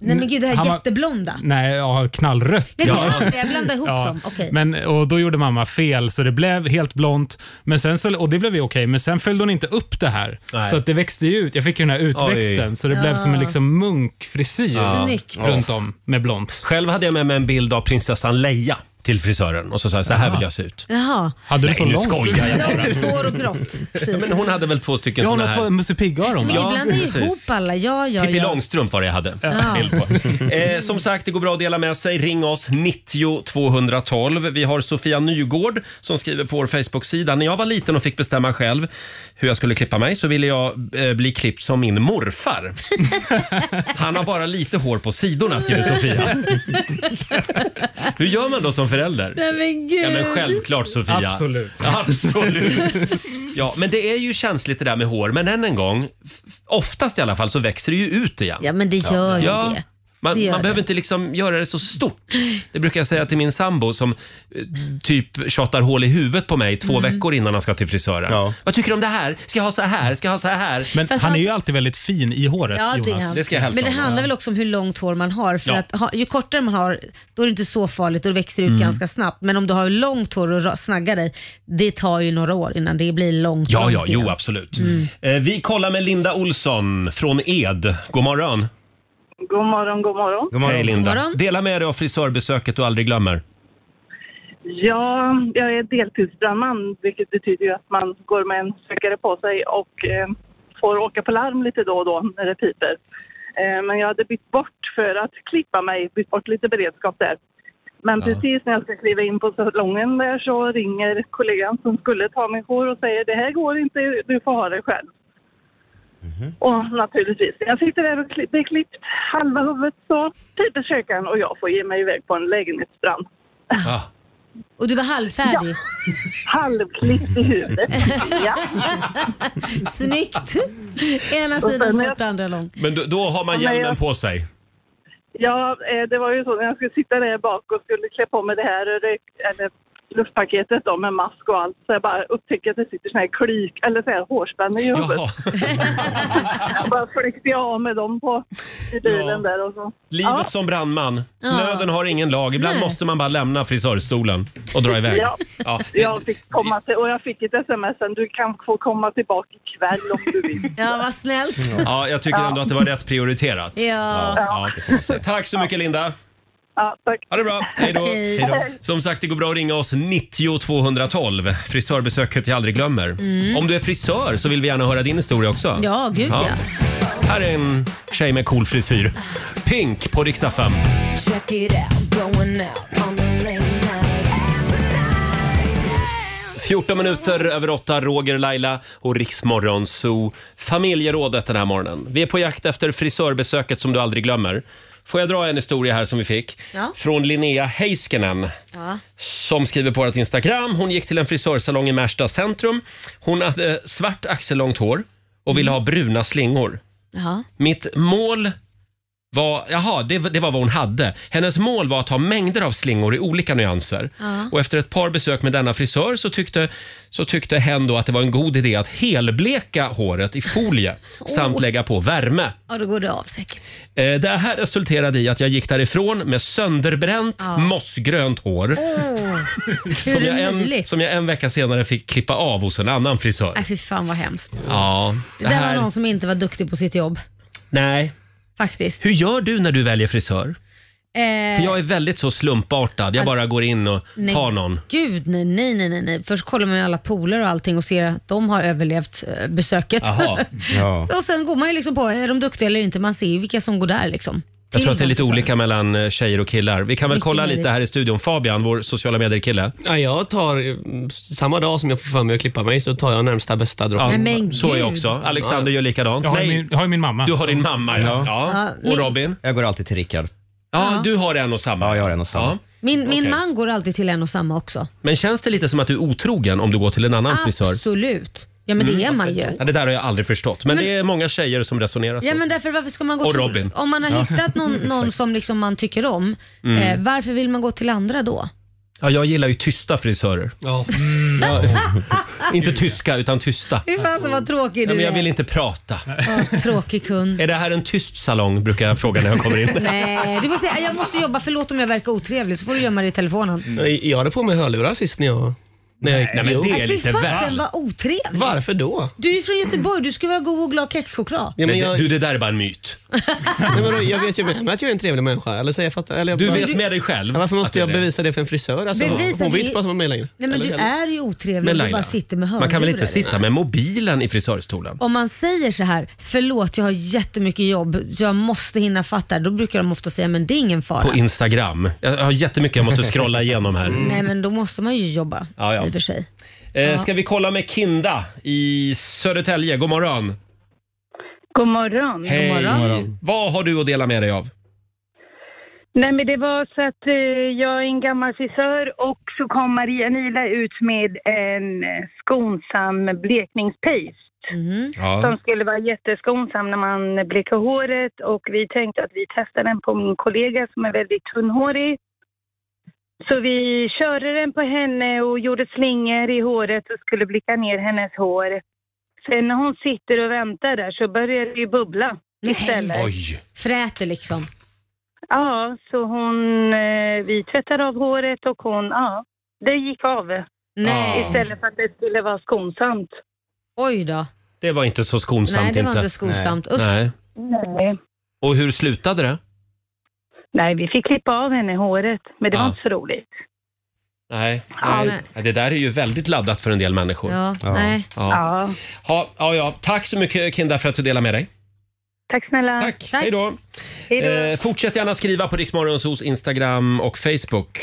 [SPEAKER 2] Nej men gud, det här
[SPEAKER 8] Han var-
[SPEAKER 2] jätteblonda.
[SPEAKER 8] Nej, ja, knallrött.
[SPEAKER 2] Nej, det är- jag blandar ihop
[SPEAKER 8] Ja,
[SPEAKER 2] dem. Okej.
[SPEAKER 8] Men, och då gjorde mamma fel, så det blev helt blont. Men sen så, och det blev ju okej, men sen följde hon inte upp det här.
[SPEAKER 1] Nej.
[SPEAKER 8] Så att det växte ju ut. Jag fick ju den här utväxten,
[SPEAKER 1] Oj.
[SPEAKER 8] så det blev som en
[SPEAKER 1] Ja.
[SPEAKER 8] liksom munkfrisyr
[SPEAKER 1] Ja. Snyggt.
[SPEAKER 8] runt om med blont.
[SPEAKER 1] Själv hade jag med mig en bild av prinsessan Leia till frisören och så sa jag så här vill jag se ut.
[SPEAKER 2] Jaha.
[SPEAKER 1] Hade du Nej, så nu långt? skojar jag bara.
[SPEAKER 2] Långt hår och grått.
[SPEAKER 1] Ja, men hon hade väl två stycken
[SPEAKER 8] Ja, hon
[SPEAKER 1] såna
[SPEAKER 8] har två
[SPEAKER 1] här.
[SPEAKER 8] Musse Pigg-öron.
[SPEAKER 2] Men
[SPEAKER 1] Ja,
[SPEAKER 2] ibland är ju
[SPEAKER 1] precis.
[SPEAKER 2] ihop alla. Ja, ja,
[SPEAKER 1] Pippi
[SPEAKER 2] ja.
[SPEAKER 1] Långstrump var det jag hade.
[SPEAKER 2] Ja.
[SPEAKER 1] bild På. Eh, som sagt, det går bra att dela med sig. Ring oss, 90 212. Vi har Sofia Nygård som skriver på vår Facebook-sida. När jag var liten och fick bestämma själv hur jag skulle klippa mig så ville jag eh, bli klippt som min morfar. Han har bara lite hår på sidorna, skriver Sofia. Hur gör man då som förälder?
[SPEAKER 2] Nej men gud.
[SPEAKER 1] Ja, men självklart Sofia.
[SPEAKER 8] Absolut.
[SPEAKER 1] Absolut. Ja, men det är ju känsligt det där med hår. Men än en gång, f- oftast i alla fall så växer det ju ut igen.
[SPEAKER 2] Ja, men det gör ju
[SPEAKER 1] Ja.
[SPEAKER 2] det.
[SPEAKER 1] Man,
[SPEAKER 2] Det gör
[SPEAKER 1] man
[SPEAKER 2] det.
[SPEAKER 1] behöver inte liksom göra det så stort. Det brukar jag säga till min sambo som eh, typ tjatar hål i huvudet på mig två
[SPEAKER 2] Mm.
[SPEAKER 1] veckor innan han ska till frisören. Vad tycker du om det här? Ska jag ha så här? Ska jag ha så här?
[SPEAKER 8] Men
[SPEAKER 2] Fast han han- är
[SPEAKER 1] ju alltid väldigt fin i håret,
[SPEAKER 2] Ja, det, är han.
[SPEAKER 1] Det ska jag hälsa
[SPEAKER 2] Men det
[SPEAKER 1] honom.
[SPEAKER 2] handlar väl också om hur långt hår man har. För
[SPEAKER 1] Ja.
[SPEAKER 2] att ha, ju kortare man har, då är det inte så farligt och det växer ut
[SPEAKER 1] Mm.
[SPEAKER 2] ganska snabbt. Men om du har långt hår och ra- snaggar dig, det tar ju några år innan det blir långt
[SPEAKER 1] Ja,
[SPEAKER 2] långt
[SPEAKER 1] ja, jo
[SPEAKER 2] igen.
[SPEAKER 1] absolut.
[SPEAKER 2] Mm.
[SPEAKER 1] Eh, Vi kollar med Linda Olsson från Ed. God morgon.
[SPEAKER 14] God morgon, god morgon.
[SPEAKER 1] Hej Linda. Dela med dig av frisörbesöket du aldrig glömmer.
[SPEAKER 14] Ja, jag är deltidsbrandman, vilket betyder ju att man går med en sökare på sig och eh, får åka på larm lite då och då när det piper. Eh, men jag hade bytt bort för att klippa mig, bytt bort lite beredskap där. Men
[SPEAKER 17] Ja.
[SPEAKER 14] precis när jag ska kliva in på salongen där så ringer kollegan som skulle ta min jour och säger det här går inte, du får ha det själv. Och naturligtvis, när jag sitter där och kli- blir klippt halva huvudet så piper sökaren och jag får ge mig iväg på en lägenhetsbrand.
[SPEAKER 2] Och du var halvfärdig?
[SPEAKER 14] Halvklippt i huvudet. Ja.
[SPEAKER 2] Snyggt! Ena
[SPEAKER 14] Och sen
[SPEAKER 2] sidan
[SPEAKER 14] när jag-
[SPEAKER 2] kort, andra lång.
[SPEAKER 1] Men då, då har man
[SPEAKER 14] Ja, men
[SPEAKER 1] hjälmen
[SPEAKER 14] jag-
[SPEAKER 1] på sig.
[SPEAKER 14] Ja, eh, det var ju så när jag skulle sitta där bak och skulle klä på mig det här och det, eller luftpaketet då med mask och allt så jag bara upptäckte att det sitter såna här klyk eller så här hårspänn i huvudet. jag bara fläkte jag av med dem på i bilen
[SPEAKER 1] Ja.
[SPEAKER 14] där och så.
[SPEAKER 1] Livet som brandman.
[SPEAKER 14] Ja.
[SPEAKER 1] Nöden har ingen lag. Ibland
[SPEAKER 14] Nej.
[SPEAKER 1] måste man bara lämna frisörstolen och dra iväg.
[SPEAKER 14] Ja.
[SPEAKER 1] Ja.
[SPEAKER 14] Jag fick komma till, och jag fick ett sms sen, du kan få komma tillbaka ikväll om du vill.
[SPEAKER 2] Ja, vad snällt.
[SPEAKER 1] ja, jag tycker ändå att det var rätt prioriterat.
[SPEAKER 2] Ja.
[SPEAKER 1] Ja, ja. Tack så mycket Linda.
[SPEAKER 14] Ja, tack.
[SPEAKER 1] Ha det bra. Hej då.
[SPEAKER 2] Hej. Hej då.
[SPEAKER 1] Som sagt, det går bra att ringa oss 90 212. Frisörbesöket jag aldrig glömmer.
[SPEAKER 2] Mm.
[SPEAKER 1] Om du är frisör så vill vi gärna höra din historia också.
[SPEAKER 2] Ja, gud ja.
[SPEAKER 1] Här är en tjej med cool frisyr. Pink på riksdag 5.
[SPEAKER 7] Check it out, going out on a late night.
[SPEAKER 1] 14 minuter över 8, Roger, Laila och Riksmorgon Zoo. Familjerådet den här morgonen. Vi är på jakt efter frisörbesöket som du aldrig glömmer. Får jag dra en historia här som vi fick?
[SPEAKER 2] Ja.
[SPEAKER 1] Från Linnea Heiskinen
[SPEAKER 2] Ja.
[SPEAKER 1] som skriver på vårt Instagram. Hon gick till en frisörsalong i Märsta centrum. Hon hade svart axellångt hår och ville ha bruna slingor.
[SPEAKER 2] Ja.
[SPEAKER 1] Mitt mål var, jaha, det, det var vad hon hade. Hennes mål var att ha mängder av slingor i olika nyanser.
[SPEAKER 2] Ja.
[SPEAKER 1] Och efter ett par besök med denna frisör så tyckte, så tyckte hen då att det var en god idé att helbleka håret i folie samt lägga på värme.
[SPEAKER 2] ja, då går det av säkert.
[SPEAKER 1] Eh, Det här resulterade i att jag gick därifrån med sönderbränt
[SPEAKER 2] Ja.
[SPEAKER 1] mossgrönt hår.
[SPEAKER 2] Åh, hur
[SPEAKER 1] Som
[SPEAKER 2] är
[SPEAKER 1] jag,
[SPEAKER 2] det
[SPEAKER 1] en,
[SPEAKER 2] möjligt?
[SPEAKER 1] som jag en vecka senare fick klippa av hos en annan frisör.
[SPEAKER 2] Nej, fy fan vad hemskt.
[SPEAKER 1] Ja,
[SPEAKER 2] Äh. Det där var någon som inte var duktig på sitt jobb.
[SPEAKER 1] Nej.
[SPEAKER 2] Faktiskt.
[SPEAKER 1] Hur gör du när du väljer frisör?
[SPEAKER 2] Eh, Alltså,
[SPEAKER 1] För jag är väldigt så slumpartad. Jag bara går in och
[SPEAKER 2] Nej.
[SPEAKER 1] tar någon.
[SPEAKER 2] Gud nej, nej, nej, nej, nej. Först kollar man ju alla poler och allting och ser att de har överlevt eh, besöket.
[SPEAKER 1] Jaha. Ja.
[SPEAKER 2] Så- och sen går man ju liksom på, är de duktiga eller inte? Man ser ju vilka som går där liksom.
[SPEAKER 1] Jag tror att det är lite
[SPEAKER 2] Till dem.
[SPEAKER 1] olika mellan eh, tjejer och killar. Vi kan väl
[SPEAKER 2] Mycket
[SPEAKER 1] kolla
[SPEAKER 2] möjligt.
[SPEAKER 1] lite här i studion. Fabian, vår sociala medier-kille.
[SPEAKER 9] Ja, jag tar, mm, samma dag som jag får för mig att klippa mig så tar jag närmsta bästa dropp.
[SPEAKER 1] Ja, Nej, men så är jag gud. också. Alexander gör likadant. Jag har Nej. min-
[SPEAKER 9] jag har min mamma.
[SPEAKER 1] Du har din mamma, ja. ja.
[SPEAKER 2] Ja,
[SPEAKER 1] Och
[SPEAKER 2] min-
[SPEAKER 1] Robin?
[SPEAKER 3] Jag går alltid till Rickard.
[SPEAKER 1] Ja, du har en och samma. Ja, jag
[SPEAKER 3] har en och samma.
[SPEAKER 2] Min, min
[SPEAKER 1] Okej.
[SPEAKER 2] man går alltid till en och samma också.
[SPEAKER 1] Men känns det lite som att du är otrogen om du går till en annan frisör?
[SPEAKER 2] Absolut. Ja men det
[SPEAKER 1] Mm.
[SPEAKER 2] är man ju.
[SPEAKER 1] Ja, det där har jag aldrig förstått. Men, det är många tjejer som resonerar så.
[SPEAKER 2] Ja men därför varför ska man gå
[SPEAKER 1] Och
[SPEAKER 2] till...
[SPEAKER 1] Robin.
[SPEAKER 2] Om man har
[SPEAKER 1] Ja.
[SPEAKER 2] hittat någon, någon
[SPEAKER 1] Exakt.
[SPEAKER 2] som liksom man tycker om,
[SPEAKER 1] Mm.
[SPEAKER 2] eh, varför vill man gå till andra då?
[SPEAKER 1] Ja, jag gillar ju tysta frisörer. Ja. inte tyska, utan tysta.
[SPEAKER 2] Hur fasen vad tråkig
[SPEAKER 1] Ja,
[SPEAKER 2] du
[SPEAKER 1] men jag
[SPEAKER 2] är.
[SPEAKER 1] vill inte prata.
[SPEAKER 2] Ja, tråkig kund.
[SPEAKER 1] Är det här en tyst salong, brukar jag fråga när jag kommer in.
[SPEAKER 2] Nej, du får säga jag måste jobba, förlåt om jag verkar otrevlig så får du gömma dig i telefonen.
[SPEAKER 9] Jag hade på mig hörlurar sist när jag... När jag gick.
[SPEAKER 1] Nej, men det är
[SPEAKER 9] Jo.
[SPEAKER 1] lite
[SPEAKER 2] Fy fasen vad otrevlig.
[SPEAKER 9] Varför då?
[SPEAKER 2] Du är ju från Göteborg, du ska vara god och glad kexchoklad.
[SPEAKER 9] Ja, men
[SPEAKER 1] Men
[SPEAKER 9] jag-
[SPEAKER 1] Du, det där är bara en myt.
[SPEAKER 9] Nej, men då, jag vet ju med mig att jag är en trevlig människa. Eller så jag fattar, eller jag
[SPEAKER 1] Du vet med dig själv.
[SPEAKER 9] Ja, varför
[SPEAKER 1] att
[SPEAKER 9] måste
[SPEAKER 1] det är
[SPEAKER 9] jag
[SPEAKER 1] det.
[SPEAKER 9] bevisa det för en frisör? Alltså,
[SPEAKER 2] Bevisa
[SPEAKER 9] hon vill
[SPEAKER 2] det-
[SPEAKER 9] inte prata med mig längre.
[SPEAKER 2] Nej men
[SPEAKER 9] Eller-
[SPEAKER 2] du
[SPEAKER 9] eller-
[SPEAKER 2] är ju otrevlig
[SPEAKER 1] Men
[SPEAKER 2] om du
[SPEAKER 1] Laila,
[SPEAKER 2] bara sitter med hörlurar.
[SPEAKER 1] Man kan väl inte sitta med mobilen i frisörstolen?
[SPEAKER 2] Om man säger så här, förlåt jag har jättemycket jobb, så jag måste hinna fatta. Då brukar de ofta säga, men det är ingen fara.
[SPEAKER 1] På Instagram. Jag har jättemycket jag måste scrolla igenom här.
[SPEAKER 2] Nej men då måste man ju jobba.
[SPEAKER 1] Ja, ja.
[SPEAKER 2] I och för sig.
[SPEAKER 1] Eh, ska vi kolla med Kinda i Södertälje? God morgon.
[SPEAKER 18] God morgon.
[SPEAKER 1] Hej. Vad har du att dela med dig av?
[SPEAKER 17] Nej, men det var så att eh, jag är en gammal frisör och så kom Maria Nila ut med en eh, skonsam blekningspaste.
[SPEAKER 2] Mm.
[SPEAKER 7] Ja.
[SPEAKER 17] Som skulle vara jätteskonsam när man blekar håret och vi tänkte att vi testar den på min kollega som är väldigt tunnhårig. Så vi körde den på henne och gjorde slingor i håret och skulle bleka ner hennes hår. Sen när hon sitter och väntar där så börjar det ju bubbla istället.
[SPEAKER 2] Fräter liksom.
[SPEAKER 17] Ja, så hon, eh, vi tvättade av håret och hon, ja, det gick av.
[SPEAKER 1] Nej.
[SPEAKER 17] Istället för att det skulle vara skonsamt.
[SPEAKER 2] Oj då.
[SPEAKER 1] Det var inte så skonsamt
[SPEAKER 17] Nej, det var
[SPEAKER 1] inte.
[SPEAKER 17] inte skonsamt.
[SPEAKER 1] Nej.
[SPEAKER 17] Usch.
[SPEAKER 1] Nej.
[SPEAKER 17] Nej.
[SPEAKER 1] Och hur slutade det?
[SPEAKER 17] Nej, vi fick klippa av henne håret, men det
[SPEAKER 1] Ja.
[SPEAKER 17] var inte så roligt.
[SPEAKER 1] Nej.
[SPEAKER 17] Ja,
[SPEAKER 1] Nej. Det där är ju väldigt laddat för en del människor.
[SPEAKER 17] Ja,
[SPEAKER 1] Ja.
[SPEAKER 17] nej.
[SPEAKER 1] Ja.
[SPEAKER 17] Ja.
[SPEAKER 1] Ja, ja, ja. Tack så mycket Kinda för att du delade med dig.
[SPEAKER 17] Tack snälla.
[SPEAKER 1] Tack. Hej då. Eh, fortsätt gärna skriva på Riksmorgonsos Instagram och Facebook.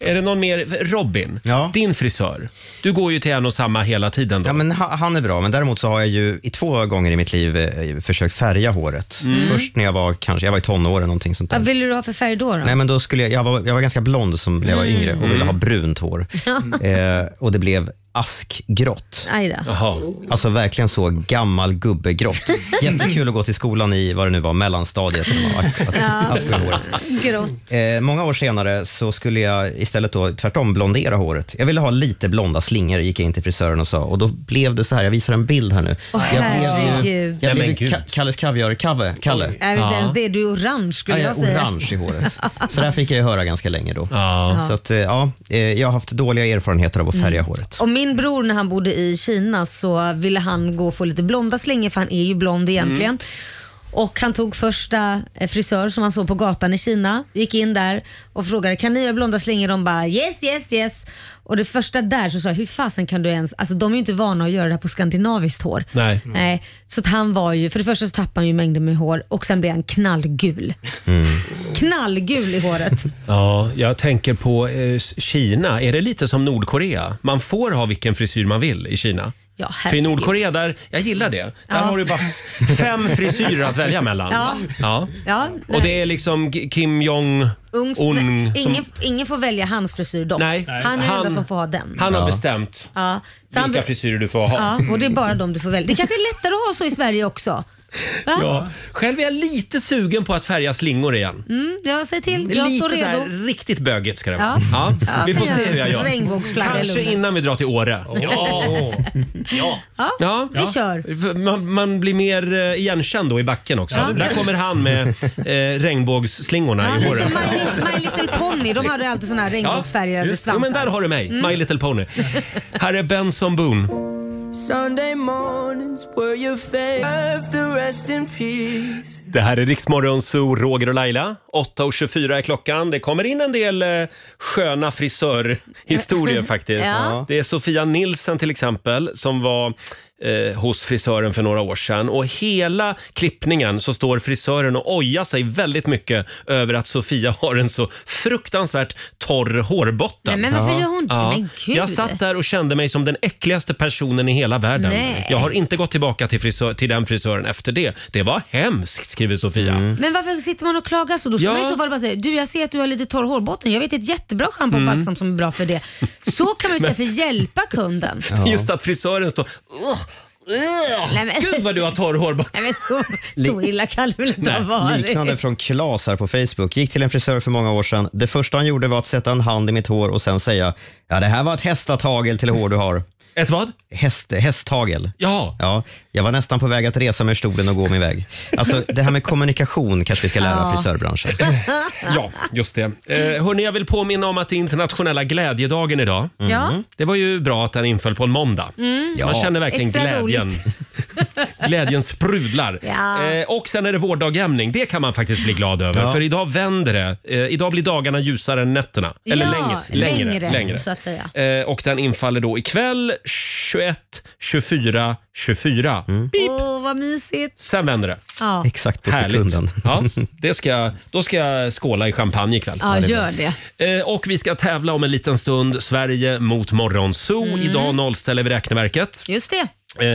[SPEAKER 1] Är det någon mer? Robin, din frisör. Du går ju till en och samma hela tiden. Då.
[SPEAKER 3] Ja, men ha- han är bra, men däremot så har jag ju i två gånger i mitt liv eh, försökt färga håret.
[SPEAKER 2] Mm.
[SPEAKER 3] Först när jag var kanske, jag var i tonåren, någonting sånt där.
[SPEAKER 2] Vad vill du ha för färg då? då?
[SPEAKER 3] Nej, men då skulle jag, jag, var, jag var ganska blond som när jag var
[SPEAKER 2] Mm.
[SPEAKER 3] yngre och ville
[SPEAKER 2] Mm.
[SPEAKER 3] ha brunt hår. eh, och det blev askgrått.
[SPEAKER 2] Aj då.
[SPEAKER 3] Alltså verkligen så gammal gubbegrått. Jättekul att gå till skolan i, vad det nu var, mellanstadiet. när man var ask- ask- ask i håret.
[SPEAKER 2] Grått.
[SPEAKER 3] Eh, många år senare så skulle jag istället då tvärtom blondera håret. Jag ville ha lite blonda slingor, gick jag in till frisören och sa. Och då blev det så här, jag visar en bild här nu.
[SPEAKER 2] Åh
[SPEAKER 3] jag blev, ju-
[SPEAKER 2] herregud.
[SPEAKER 3] jag
[SPEAKER 2] Nej, men
[SPEAKER 3] blev ju Ka- Kalles Kaviar-Kalle. Kalle.
[SPEAKER 2] Jag vet inte ens det. Du är orange skulle
[SPEAKER 3] Ja,
[SPEAKER 2] jag,
[SPEAKER 3] jag är
[SPEAKER 2] säga.
[SPEAKER 3] orange i håret. Så där fick jag ju höra ganska länge då.
[SPEAKER 2] Ja.
[SPEAKER 3] Så att, eh, ja, eh, jag har haft dåliga erfarenheter av att
[SPEAKER 2] Mm.
[SPEAKER 3] färga håret.
[SPEAKER 2] Och min bror när han bodde i Kina så ville han gå och få lite blonda slingor för han är ju blond egentligen.
[SPEAKER 7] Mm.
[SPEAKER 2] Och han tog första eh, frisör som han såg på gatan i Kina, gick in där och frågade kan ni göra blonda slingor? De bara yes, yes, yes. Och det första där så sa jag hur fasen kan du ens, alltså de är ju inte vana att göra det här på skandinaviskt hår. Mm.
[SPEAKER 1] Nej.
[SPEAKER 2] Nej, så att han var ju, för det första så tappade han ju mängder med hår och sen blev han knallgul. Knallgul i håret.
[SPEAKER 1] Ja, jag tänker på eh, Kina. Är det lite som Nordkorea? Man får ha vilken frisyr man vill i Kina.
[SPEAKER 2] Ja,
[SPEAKER 1] För i
[SPEAKER 2] herregud.
[SPEAKER 1] Nordkorea, där, jag gillar det. Där
[SPEAKER 2] Ja.
[SPEAKER 1] har du bara f- fem frisyrer att välja mellan.
[SPEAKER 2] Ja.
[SPEAKER 1] Ja.
[SPEAKER 2] Ja,
[SPEAKER 1] Och det är liksom G- Kim Jong-Un.
[SPEAKER 2] Ungs, nej, ingen, ingen får välja hans frisyr dock.
[SPEAKER 1] Nej.
[SPEAKER 2] Han är den enda som får ha den.
[SPEAKER 1] Han har bestämt
[SPEAKER 2] Ja. Så han
[SPEAKER 1] vilka
[SPEAKER 2] be-
[SPEAKER 1] frisyrer du får ha.
[SPEAKER 2] Ja, och det är bara de du får välja. Det kanske är lättare att ha så i Sverige också. Va?
[SPEAKER 1] Ja. Själv är jag lite sugen på att färga slingor igen.
[SPEAKER 2] Mm, jag säger till. Jag
[SPEAKER 1] lite
[SPEAKER 2] står
[SPEAKER 1] så här
[SPEAKER 2] redo.
[SPEAKER 1] riktigt bögigt ska det vara.
[SPEAKER 2] Ja.
[SPEAKER 1] Ja.
[SPEAKER 2] Ja,
[SPEAKER 1] Vi får
[SPEAKER 2] kan
[SPEAKER 1] se
[SPEAKER 2] jag-
[SPEAKER 1] hur jag gör.
[SPEAKER 2] regnbågsflagga i
[SPEAKER 1] Kanske
[SPEAKER 2] lugnet.
[SPEAKER 1] innan vi drar till Åre.
[SPEAKER 2] Ja.
[SPEAKER 1] ja.
[SPEAKER 2] Ja, vi kör.
[SPEAKER 1] V- Man, man blir mer eh, igenkänd då i backen också.
[SPEAKER 2] Ja.
[SPEAKER 1] Där kommer han med eh, regnbågsslingorna i
[SPEAKER 2] Ja,
[SPEAKER 1] håret.
[SPEAKER 2] lite My, Little- My Little Pony, de hade ju alltid såna här regnbågsfärgade
[SPEAKER 1] Just- jo,
[SPEAKER 2] svansar.
[SPEAKER 1] men där har du mig,
[SPEAKER 2] Mm.
[SPEAKER 1] My Little Pony. Här är Benson Boone.
[SPEAKER 7] Sunday mornings were your favorite. Love the rest in peace.
[SPEAKER 1] Det här är Riksmorgon Zoo, Roger och Laila. 8.24 är klockan. Det kommer in en del eh, sköna frisörhistorier faktiskt.
[SPEAKER 7] Ja.
[SPEAKER 1] Det är Sofia Nilsen till exempel som var eh, hos frisören för några år sedan. Och hela klippningen så står frisören och ojar sig väldigt mycket över att Sofia har en så fruktansvärt torr hårbotten.
[SPEAKER 2] Nej, men varför gör hon inte? Men gud.
[SPEAKER 1] Jag satt där och kände mig som den äckligaste personen i hela världen.
[SPEAKER 2] Nej.
[SPEAKER 1] Jag har inte gått tillbaka till, frisör, till den frisören efter det. Det var hemskt, skriver Sofia.
[SPEAKER 2] Men varför sitter man och klagar så? Då ska
[SPEAKER 1] Ja.
[SPEAKER 2] man i så fall bara säga, du jag ser att du har lite torr hårbotten. Jag vet ett jättebra schampo och
[SPEAKER 1] Mm.
[SPEAKER 2] balsam som är bra för det. Så kan man ju säga
[SPEAKER 1] Men-
[SPEAKER 2] för att hjälpa kunden.
[SPEAKER 1] Just att frisören står... "Ugh, ugh,
[SPEAKER 2] Nej, men-
[SPEAKER 1] Gud vad du har torr hårbotten.
[SPEAKER 2] Nej, men så, så
[SPEAKER 3] Li-
[SPEAKER 2] illa kan det väl inte ha varit?
[SPEAKER 3] Liknande från Klas här på Facebook. Gick till en frisör för många år sedan. Det första han gjorde var att sätta en hand i mitt hår och sen säga, ja det här var ett hästatagel till hår du har.
[SPEAKER 1] Ett vad?
[SPEAKER 3] Häst, hästtagel.
[SPEAKER 1] Ja.
[SPEAKER 3] ja. Jag var nästan på väg att resa mig ur stolen och gå min väg. Alltså det här med kommunikation kanske vi ska lära
[SPEAKER 1] Ja.
[SPEAKER 3] frisörbranschen.
[SPEAKER 1] Ja, just det. Eh, hörni, jag vill påminna om att det är internationella glädjedagen idag.
[SPEAKER 2] Ja.
[SPEAKER 1] Det var ju bra att den inföll på en måndag.
[SPEAKER 2] Mm.
[SPEAKER 1] Man
[SPEAKER 2] Ja.
[SPEAKER 1] känner verkligen
[SPEAKER 2] Extra
[SPEAKER 1] glädjen.
[SPEAKER 2] roligt.
[SPEAKER 1] glädjen sprudlar.
[SPEAKER 2] Ja.
[SPEAKER 1] Eh, och sen är det vårdagjämning. Det kan man faktiskt bli glad över.
[SPEAKER 2] Ja.
[SPEAKER 1] För idag vänder det. Eh, idag blir dagarna ljusare än nätterna. Eller
[SPEAKER 2] ja,
[SPEAKER 1] längre.
[SPEAKER 2] längre, Så att säga.
[SPEAKER 1] Eh, och den infaller då ikväll 21, 24, 24.
[SPEAKER 2] Åh, vad mysigt.
[SPEAKER 1] Sen vänder det.
[SPEAKER 2] Ja.
[SPEAKER 3] Exakt på sekunden.
[SPEAKER 1] Ja, det ska, jag- då ska jag skåla i champagne ikväll.
[SPEAKER 2] Ja, gör det.
[SPEAKER 1] Eh, Och vi ska
[SPEAKER 2] Mm.
[SPEAKER 1] tävla om en liten stund. Sverige mot Morgonzoo. Idag nollställer vi räkneverket.
[SPEAKER 2] Just det.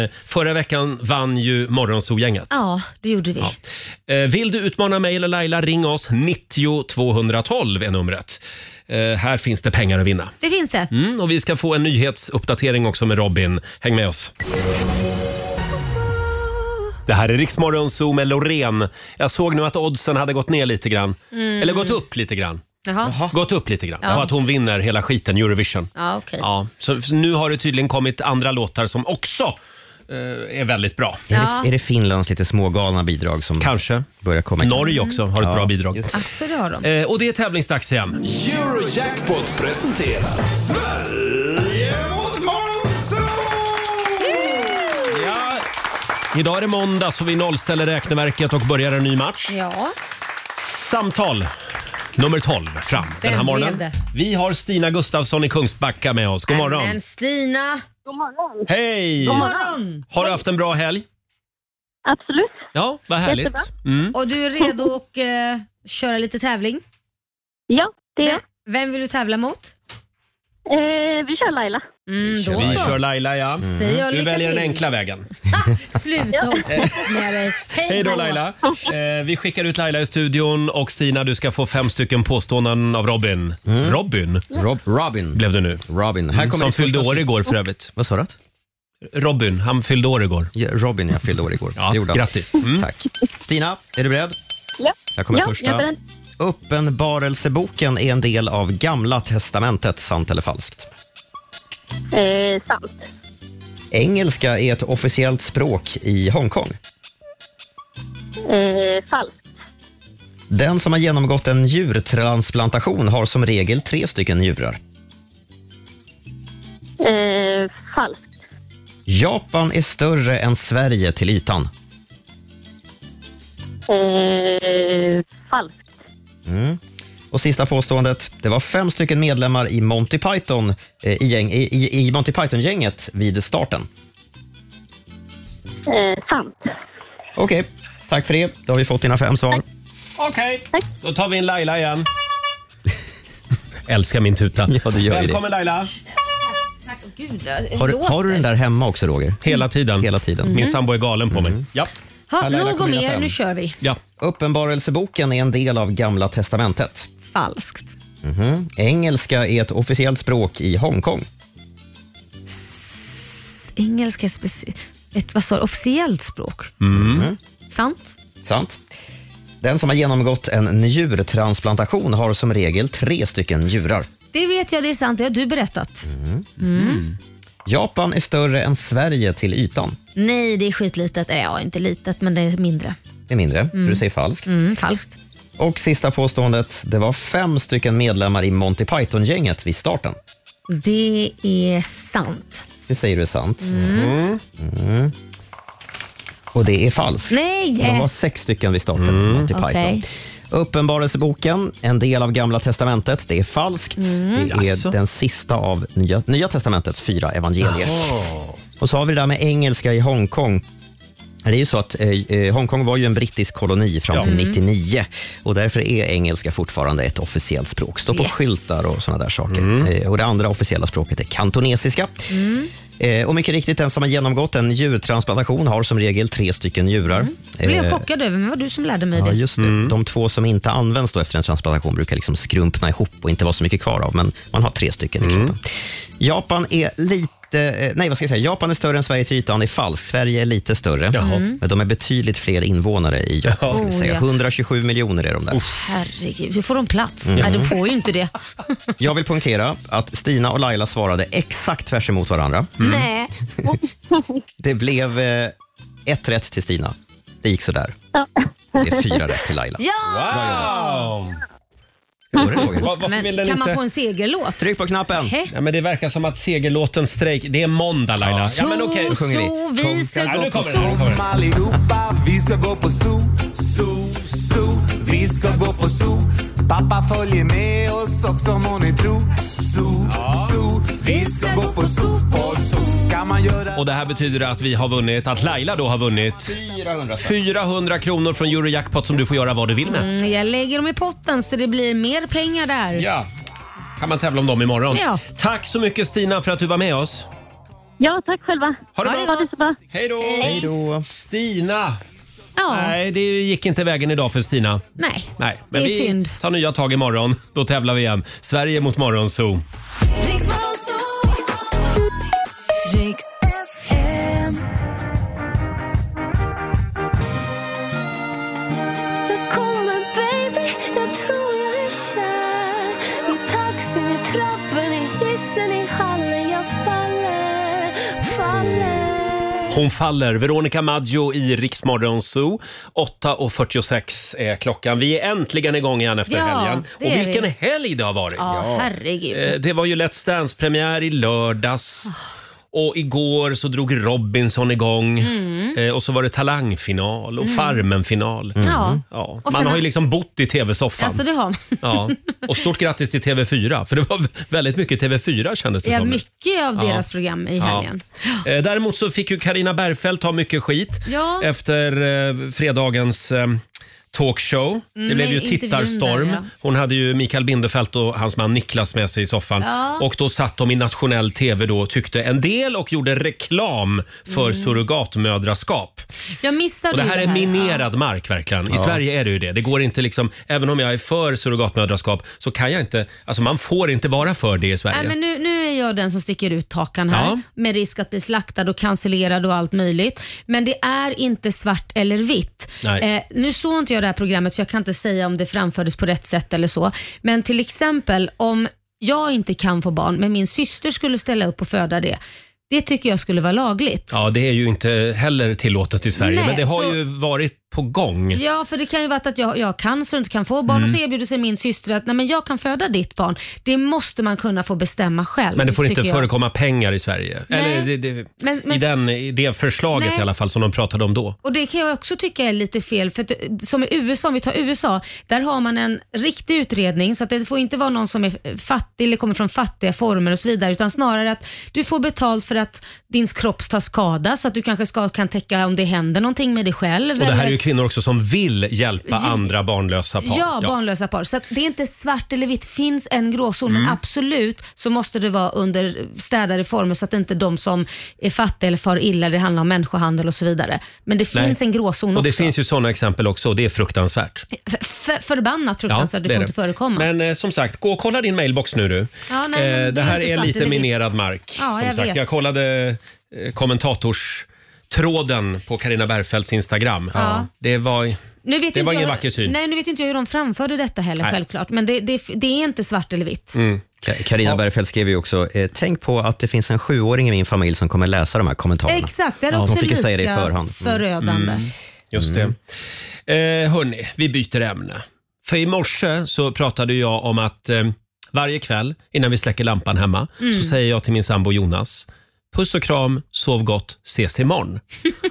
[SPEAKER 1] Eh, förra veckan vann ju Morgonzoo-gänget.
[SPEAKER 2] Ja, det gjorde vi.
[SPEAKER 1] Eh, vill du utmana mig eller Laila, ring oss. 90 212 är numret. Eh, här finns det pengar att vinna.
[SPEAKER 2] Det finns det.
[SPEAKER 1] Mm, och vi ska få en nyhetsuppdatering också med Robin. Häng med oss. Det här är Riksmorgon Zoo med Loreen. Jag såg nu att oddsen hade gått ner lite grann.
[SPEAKER 2] Mm.
[SPEAKER 1] Eller gått upp lite grann.
[SPEAKER 2] Jaha.
[SPEAKER 1] Gått upp lite grann.
[SPEAKER 2] Ja.
[SPEAKER 1] Och att hon vinner hela skiten, Eurovision.
[SPEAKER 2] Ja, okej.
[SPEAKER 1] Ja, så så nu har det tydligen kommit andra låtar som också eh, är väldigt bra.
[SPEAKER 3] Är, det, är det Finlands lite smågalna bidrag som
[SPEAKER 1] Kanske.
[SPEAKER 3] börjar komma
[SPEAKER 1] Norge också har ett bra bidrag.
[SPEAKER 2] Asså, det har de.
[SPEAKER 1] Eh, och det är tävlingsdags igen.
[SPEAKER 4] Eurojackpot presenterar Sverige mot Monzo!
[SPEAKER 1] Ja. Idag är det måndag så vi nollställer räkneverket och börjar en ny match.
[SPEAKER 2] Ja.
[SPEAKER 1] Samtal nummer 12 fram den,
[SPEAKER 2] Den
[SPEAKER 1] här
[SPEAKER 2] blev
[SPEAKER 1] morgonen.
[SPEAKER 2] det.
[SPEAKER 1] Vi har Stina Gustafsson i Kungsbacka med oss. God morgon.
[SPEAKER 2] Men Stina! God morgon.
[SPEAKER 1] Hej!
[SPEAKER 2] God morgon.
[SPEAKER 1] Har du haft en bra helg?
[SPEAKER 2] Absolut.
[SPEAKER 1] Ja, vad härligt. Mm.
[SPEAKER 2] Och du är redo att eh, köra lite tävling? Ja, det är jag. Vem vill du tävla mot? vi kör Laila. Mm, då
[SPEAKER 1] Vi
[SPEAKER 2] så. Mm.
[SPEAKER 1] kör Laila, ja.
[SPEAKER 2] Säger jag
[SPEAKER 1] Du
[SPEAKER 2] lycka
[SPEAKER 1] Mm. väljer den
[SPEAKER 2] till.
[SPEAKER 1] enkla vägen.
[SPEAKER 2] Sluta och skit med dig. Hej,
[SPEAKER 1] Hej då Laila. Eh, vi skickar ut Laila i studion och Stina du ska få fem stycken påståenden av Robin. Robin?
[SPEAKER 3] Robin.
[SPEAKER 1] Blev det nu.
[SPEAKER 3] Robin.
[SPEAKER 1] Mm, som
[SPEAKER 3] Mm. ditt
[SPEAKER 1] fyllde
[SPEAKER 3] första
[SPEAKER 1] år
[SPEAKER 3] stycke.
[SPEAKER 1] igår för övrigt.
[SPEAKER 3] Vad sa du?
[SPEAKER 1] Robin, han fyllde år igår.
[SPEAKER 3] Ja, Robin, jag fyllde år igår. det gjorde han.
[SPEAKER 1] grattis. Mm.
[SPEAKER 3] Tack. Stina, är du beredd?
[SPEAKER 18] Ja.
[SPEAKER 3] Här kommer
[SPEAKER 18] ja, Jag är
[SPEAKER 3] första.
[SPEAKER 18] beredd.
[SPEAKER 3] Uppenbarelseboken är en del av Gamla testamentet, sant eller falskt?
[SPEAKER 18] Eh, sant.
[SPEAKER 3] Engelska är ett officiellt språk i Hongkong.
[SPEAKER 18] Eh, falskt.
[SPEAKER 3] Den som har genomgått en djurtransplantation har som regel tre stycken njurar.
[SPEAKER 18] Eh, falskt.
[SPEAKER 3] Japan är större än Sverige till ytan.
[SPEAKER 18] Eh, falskt.
[SPEAKER 3] Mm. Och sista påståendet. Det var fem stycken medlemmar i Monty Python eh, i, gäng, i, i, i Monty Python-gänget vid starten.
[SPEAKER 18] Eh, sant.
[SPEAKER 3] Okej, tack för det. Då har vi fått dina fem svar.
[SPEAKER 1] Okej, då tar vi in Laila igen. Älskar min tuta.
[SPEAKER 3] Ja, det gör vi det.
[SPEAKER 1] Välkommen Laila.
[SPEAKER 2] Tack, gud.
[SPEAKER 3] Har, du- har du den där hemma också, Roger?
[SPEAKER 1] Hela tiden.
[SPEAKER 3] Hela tiden.
[SPEAKER 1] Min sambo är galen på
[SPEAKER 3] Mm.
[SPEAKER 1] mig. Ja.
[SPEAKER 2] Ha,
[SPEAKER 3] Laila,
[SPEAKER 2] nog
[SPEAKER 3] kom
[SPEAKER 2] om
[SPEAKER 3] dina
[SPEAKER 2] er,
[SPEAKER 3] fem.
[SPEAKER 2] nu kör vi.
[SPEAKER 1] ja.
[SPEAKER 3] Uppenbarelseboken är en del av Gamla testamentet.
[SPEAKER 2] Falskt.
[SPEAKER 3] Mhm. Engelska är ett officiellt språk i Hongkong.
[SPEAKER 2] Engelska är speci- ett vad sa du, officiellt språk.
[SPEAKER 3] Mhm.
[SPEAKER 2] Sant?
[SPEAKER 3] Sant. Den som har genomgått en njurtransplantation har som regel tre stycken njurar.
[SPEAKER 2] Det vet jag, det är sant. Det har du berättat. Mm.
[SPEAKER 3] Japan är större än Sverige till ytan.
[SPEAKER 2] Nej, det är skitlitet. Eller ja, inte litet, men det är mindre.
[SPEAKER 3] Det är mindre,
[SPEAKER 2] Mm.
[SPEAKER 3] så du säger falskt.
[SPEAKER 2] Mm, falskt.
[SPEAKER 3] Och sista påståendet. Det var fem stycken medlemmar i Monty Python-gänget vid starten.
[SPEAKER 2] Det är sant.
[SPEAKER 3] Det säger du är sant.
[SPEAKER 2] Mm. Mm.
[SPEAKER 3] Mm. Och det är falskt.
[SPEAKER 2] Nej!
[SPEAKER 3] Så De var sex stycken vid starten. Monty Python.
[SPEAKER 2] Okej.
[SPEAKER 3] Uppenbarelseboken, en del av Gamla testamentet. Det är falskt.
[SPEAKER 2] Mm.
[SPEAKER 3] Det är
[SPEAKER 2] Jaså?
[SPEAKER 3] den sista av Nya, nya testamentets fyra evangelier.
[SPEAKER 1] Jaha.
[SPEAKER 3] Och så har vi det där med engelska i Hongkong. Det är ju så att eh, eh, Hongkong var ju en brittisk koloni fram till
[SPEAKER 2] Mm.
[SPEAKER 3] 99 och därför är engelska fortfarande ett officiellt språk. Står på
[SPEAKER 2] Yes.
[SPEAKER 3] skyltar och sådana där saker. Eh, och Det andra officiella språket är kantonesiska.
[SPEAKER 2] Mm.
[SPEAKER 3] Eh, och mycket riktigt, den som har genomgått en djurtransplantation har som regel tre stycken njurar.
[SPEAKER 2] Jag blev
[SPEAKER 3] Eh,
[SPEAKER 2] chockad över, men det var du som lärde mig
[SPEAKER 3] Ja,
[SPEAKER 2] det.
[SPEAKER 3] just det. De två som inte används då efter en transplantation brukar liksom skrumpna ihop och inte vara så mycket kvar av, men man har tre stycken i kroppen. Japan är lite eh, Nej, vad ska jag säga? Japan är större än Sverige till ytan, det är falskt. Sverige är lite större,
[SPEAKER 2] Jaha. Mm.
[SPEAKER 3] men de är betydligt fler invånare i Japan. Ska vi
[SPEAKER 2] Oh,
[SPEAKER 3] säga.
[SPEAKER 2] ja.
[SPEAKER 3] 127 miljoner är de där.
[SPEAKER 2] Herregud, hur får de plats?
[SPEAKER 3] Mm.
[SPEAKER 2] Nej, de får ju inte det.
[SPEAKER 3] Jag vill poängtera att Stina och Laila svarade exakt tvärs emot varandra.
[SPEAKER 2] Nej.
[SPEAKER 3] Det blev eh, ett rätt till Stina. Det gick sådär. Det är fyra rätt till Laila.
[SPEAKER 1] Wow!
[SPEAKER 3] Hur går det, Roger?
[SPEAKER 1] Var- varför
[SPEAKER 2] Men
[SPEAKER 1] vill den
[SPEAKER 2] kan man
[SPEAKER 1] inte-
[SPEAKER 2] få en segerlåt?
[SPEAKER 3] Tryck på knappen.
[SPEAKER 2] Hä?
[SPEAKER 1] Ja, men det verkar som att segerlåten strejk... Det är måndag Laila. Ja, men okej.
[SPEAKER 2] Så, så viser
[SPEAKER 1] Ja, nu
[SPEAKER 2] gå på
[SPEAKER 1] kommer den. Nu kommer den.
[SPEAKER 10] Allihopa, vi ska gå på zoo, zoo, zoo. Vi ska gå på zoo. Pappa följer med oss också må ni tro. Zoo, zoo. Vi ska gå på zoo, på zoo. Kan man göra
[SPEAKER 1] Och det här betyder att vi har vunnit, att Laila då har vunnit
[SPEAKER 3] 400
[SPEAKER 1] 400 kronor från Eurojackpot som du får göra vad du vill med.
[SPEAKER 2] Mm, jag lägger dem i potten så det blir mer pengar där.
[SPEAKER 1] Ja, kan man tävla om dem imorgon.
[SPEAKER 2] Ja.
[SPEAKER 1] Tack så mycket Stina för att du var med oss.
[SPEAKER 18] Ja, tack själva.
[SPEAKER 1] Ha det bra.
[SPEAKER 18] Ha det så bra.
[SPEAKER 1] Hej då!
[SPEAKER 2] Hej
[SPEAKER 1] Stina!
[SPEAKER 2] Ja.
[SPEAKER 1] Nej, det gick inte vägen idag för Stina.
[SPEAKER 2] Nej.
[SPEAKER 1] Nej, men
[SPEAKER 2] Det är
[SPEAKER 1] vi
[SPEAKER 2] synd.
[SPEAKER 1] tar nya tag imorgon. Då tävlar vi igen. Sverige mot Morgonzoo. Hon faller. Veronica Maggio i Rix Morgonzoo. 8.46 är klockan. Vi är äntligen igång igen efter
[SPEAKER 2] Ja,
[SPEAKER 1] helgen.
[SPEAKER 2] det
[SPEAKER 1] Och
[SPEAKER 2] är
[SPEAKER 1] vilken
[SPEAKER 2] vi.
[SPEAKER 1] helg det har varit!
[SPEAKER 2] Ja, herregud.
[SPEAKER 1] Eh, Det var ju Let's Dance-premiär i lördags. Och igår så drog Robinson igång.
[SPEAKER 2] Mm.
[SPEAKER 1] Eh, Och så var det talangfinal och
[SPEAKER 2] Mm.
[SPEAKER 1] Farmen-final.
[SPEAKER 2] Mm. Ja.
[SPEAKER 1] Ja.
[SPEAKER 2] Och
[SPEAKER 1] Man
[SPEAKER 2] sen-
[SPEAKER 1] har ju liksom bott i tv-soffan.
[SPEAKER 2] Alltså det har man.
[SPEAKER 1] Ja. Och stort grattis till TV4, för det var väldigt mycket TV4 kändes det
[SPEAKER 2] Ja,
[SPEAKER 1] som.
[SPEAKER 2] mycket av
[SPEAKER 1] Ja.
[SPEAKER 2] deras program i
[SPEAKER 1] Ja.
[SPEAKER 2] helgen.
[SPEAKER 1] Eh, Däremot så fick ju Karina Bergfeldt ta mycket skit
[SPEAKER 2] Ja.
[SPEAKER 1] efter eh, fredagens eh, talkshow. det
[SPEAKER 2] Mm,
[SPEAKER 1] blev ju
[SPEAKER 2] intervjun
[SPEAKER 1] tittarstorm.
[SPEAKER 2] där, ja.
[SPEAKER 1] Hon hade ju Mikael Bindefeld och hans man Niklas med sig i soffan.
[SPEAKER 2] Ja.
[SPEAKER 1] Och då satt de i nationell tv då och tyckte en del och gjorde reklam för
[SPEAKER 2] Mm.
[SPEAKER 1] surrogatmödraskap.
[SPEAKER 2] Jag missade
[SPEAKER 1] Och det
[SPEAKER 2] ju
[SPEAKER 1] här är minerad mark verkligen. I
[SPEAKER 2] Ja.
[SPEAKER 1] Sverige är det ju det. Det går inte liksom, även om jag är för surrogatmödraskap så kan jag inte, alltså man får inte vara för det i Sverige.
[SPEAKER 2] Nej, men nu, nu är jag den som sticker ut hakan här
[SPEAKER 1] Ja.
[SPEAKER 2] med risk att bli slaktad och cancellerad och allt möjligt. Men det är inte svart eller vitt. Eh,
[SPEAKER 19] Nej.
[SPEAKER 2] nu såg inte jag det här programmet så jag kan inte säga om det framfördes på rätt sätt eller så. Men till exempel om jag inte kan få barn men min syster skulle ställa upp och föda det. Det tycker jag skulle vara lagligt.
[SPEAKER 1] Ja, det är ju inte heller tillåtet i Sverige,
[SPEAKER 2] Nej,
[SPEAKER 1] men det har
[SPEAKER 2] så-
[SPEAKER 1] ju varit på gång.
[SPEAKER 2] Ja, för det kan ju vara att jag, jag har cancer och inte kan få barn
[SPEAKER 1] Mm.
[SPEAKER 2] och så erbjuder sig min syster att nej, men jag kan föda ditt barn. Det måste man kunna få bestämma själv.
[SPEAKER 1] Men det får inte
[SPEAKER 2] tycker jag.
[SPEAKER 1] förekomma pengar i Sverige.
[SPEAKER 2] Nej.
[SPEAKER 1] Eller det, det,
[SPEAKER 2] Men- men-
[SPEAKER 1] i, den, i det förslaget
[SPEAKER 2] Nej.
[SPEAKER 1] i alla fall som de pratade om då.
[SPEAKER 2] Och Det kan jag också tycka är lite fel, för att, eh, som i USA, om vi tar USA, där har man en riktig utredning så att det får inte vara någon som är eh, fattig eller kommer från fattiga former och så vidare, utan snarare att du får betalt för att din kropp tar skada så att du kanske ska, kan täcka om det händer någonting med dig själv.
[SPEAKER 1] Och det här
[SPEAKER 2] eller-
[SPEAKER 1] är ju kvinnor också som vill hjälpa
[SPEAKER 2] Ja.
[SPEAKER 1] andra barnlösa par.
[SPEAKER 2] Ja, barnlösa par. Så att det är inte svart eller vitt, finns en gråzon. Men
[SPEAKER 1] Mm.
[SPEAKER 2] absolut så måste det vara under städade former så att inte de som är fattiga eller far illa, det handlar om människohandel och så vidare. Men det
[SPEAKER 1] Nej.
[SPEAKER 2] finns en gråzon
[SPEAKER 1] Och det
[SPEAKER 2] också.
[SPEAKER 1] finns ju sådana exempel också och det är fruktansvärt.
[SPEAKER 2] F- förbannat fruktansvärt, Alltså, det,
[SPEAKER 1] är
[SPEAKER 2] får inte förekomma.
[SPEAKER 1] Men eh, som sagt, gå och kolla din mailbox nu du.
[SPEAKER 2] Ja, nej, men
[SPEAKER 1] Eh,
[SPEAKER 2] det
[SPEAKER 1] det
[SPEAKER 2] är
[SPEAKER 1] här
[SPEAKER 2] inte
[SPEAKER 1] är
[SPEAKER 2] svart
[SPEAKER 1] lite
[SPEAKER 2] eller vitt.
[SPEAKER 1] minerad mark.
[SPEAKER 2] Ja,
[SPEAKER 1] som
[SPEAKER 2] jag
[SPEAKER 1] sagt.
[SPEAKER 2] vet.
[SPEAKER 1] jag kollade eh, kommentators tråden på Karina Bergfeldts Instagram.
[SPEAKER 2] Ja.
[SPEAKER 1] Det var,
[SPEAKER 2] nu vet
[SPEAKER 1] det
[SPEAKER 2] inte
[SPEAKER 1] var
[SPEAKER 2] jag,
[SPEAKER 1] ingen vacker syn.
[SPEAKER 2] Nej, nu vet inte jag hur de framförde detta heller
[SPEAKER 3] Nej.
[SPEAKER 2] självklart. Men det, det, det är inte svart eller vitt.
[SPEAKER 3] Mm. Karina Bergfeldt skrev ju också, eh, tänk på att det finns en sjuåring i min familj som kommer läsa de här kommentarerna.
[SPEAKER 2] Eh, Exakt, det är
[SPEAKER 3] Ja,
[SPEAKER 2] också
[SPEAKER 3] hon fick ju
[SPEAKER 2] lika
[SPEAKER 3] säga det i förhand. Mm.
[SPEAKER 2] förödande.
[SPEAKER 3] Mm.
[SPEAKER 1] Just det. Eh, hörni, vi byter ämne. För i morse så pratade jag om att eh, varje kväll innan vi släcker lampan hemma
[SPEAKER 2] Mm.
[SPEAKER 1] så säger jag till min sambo Jonas Puss och kram, sov gott, ses imorgon.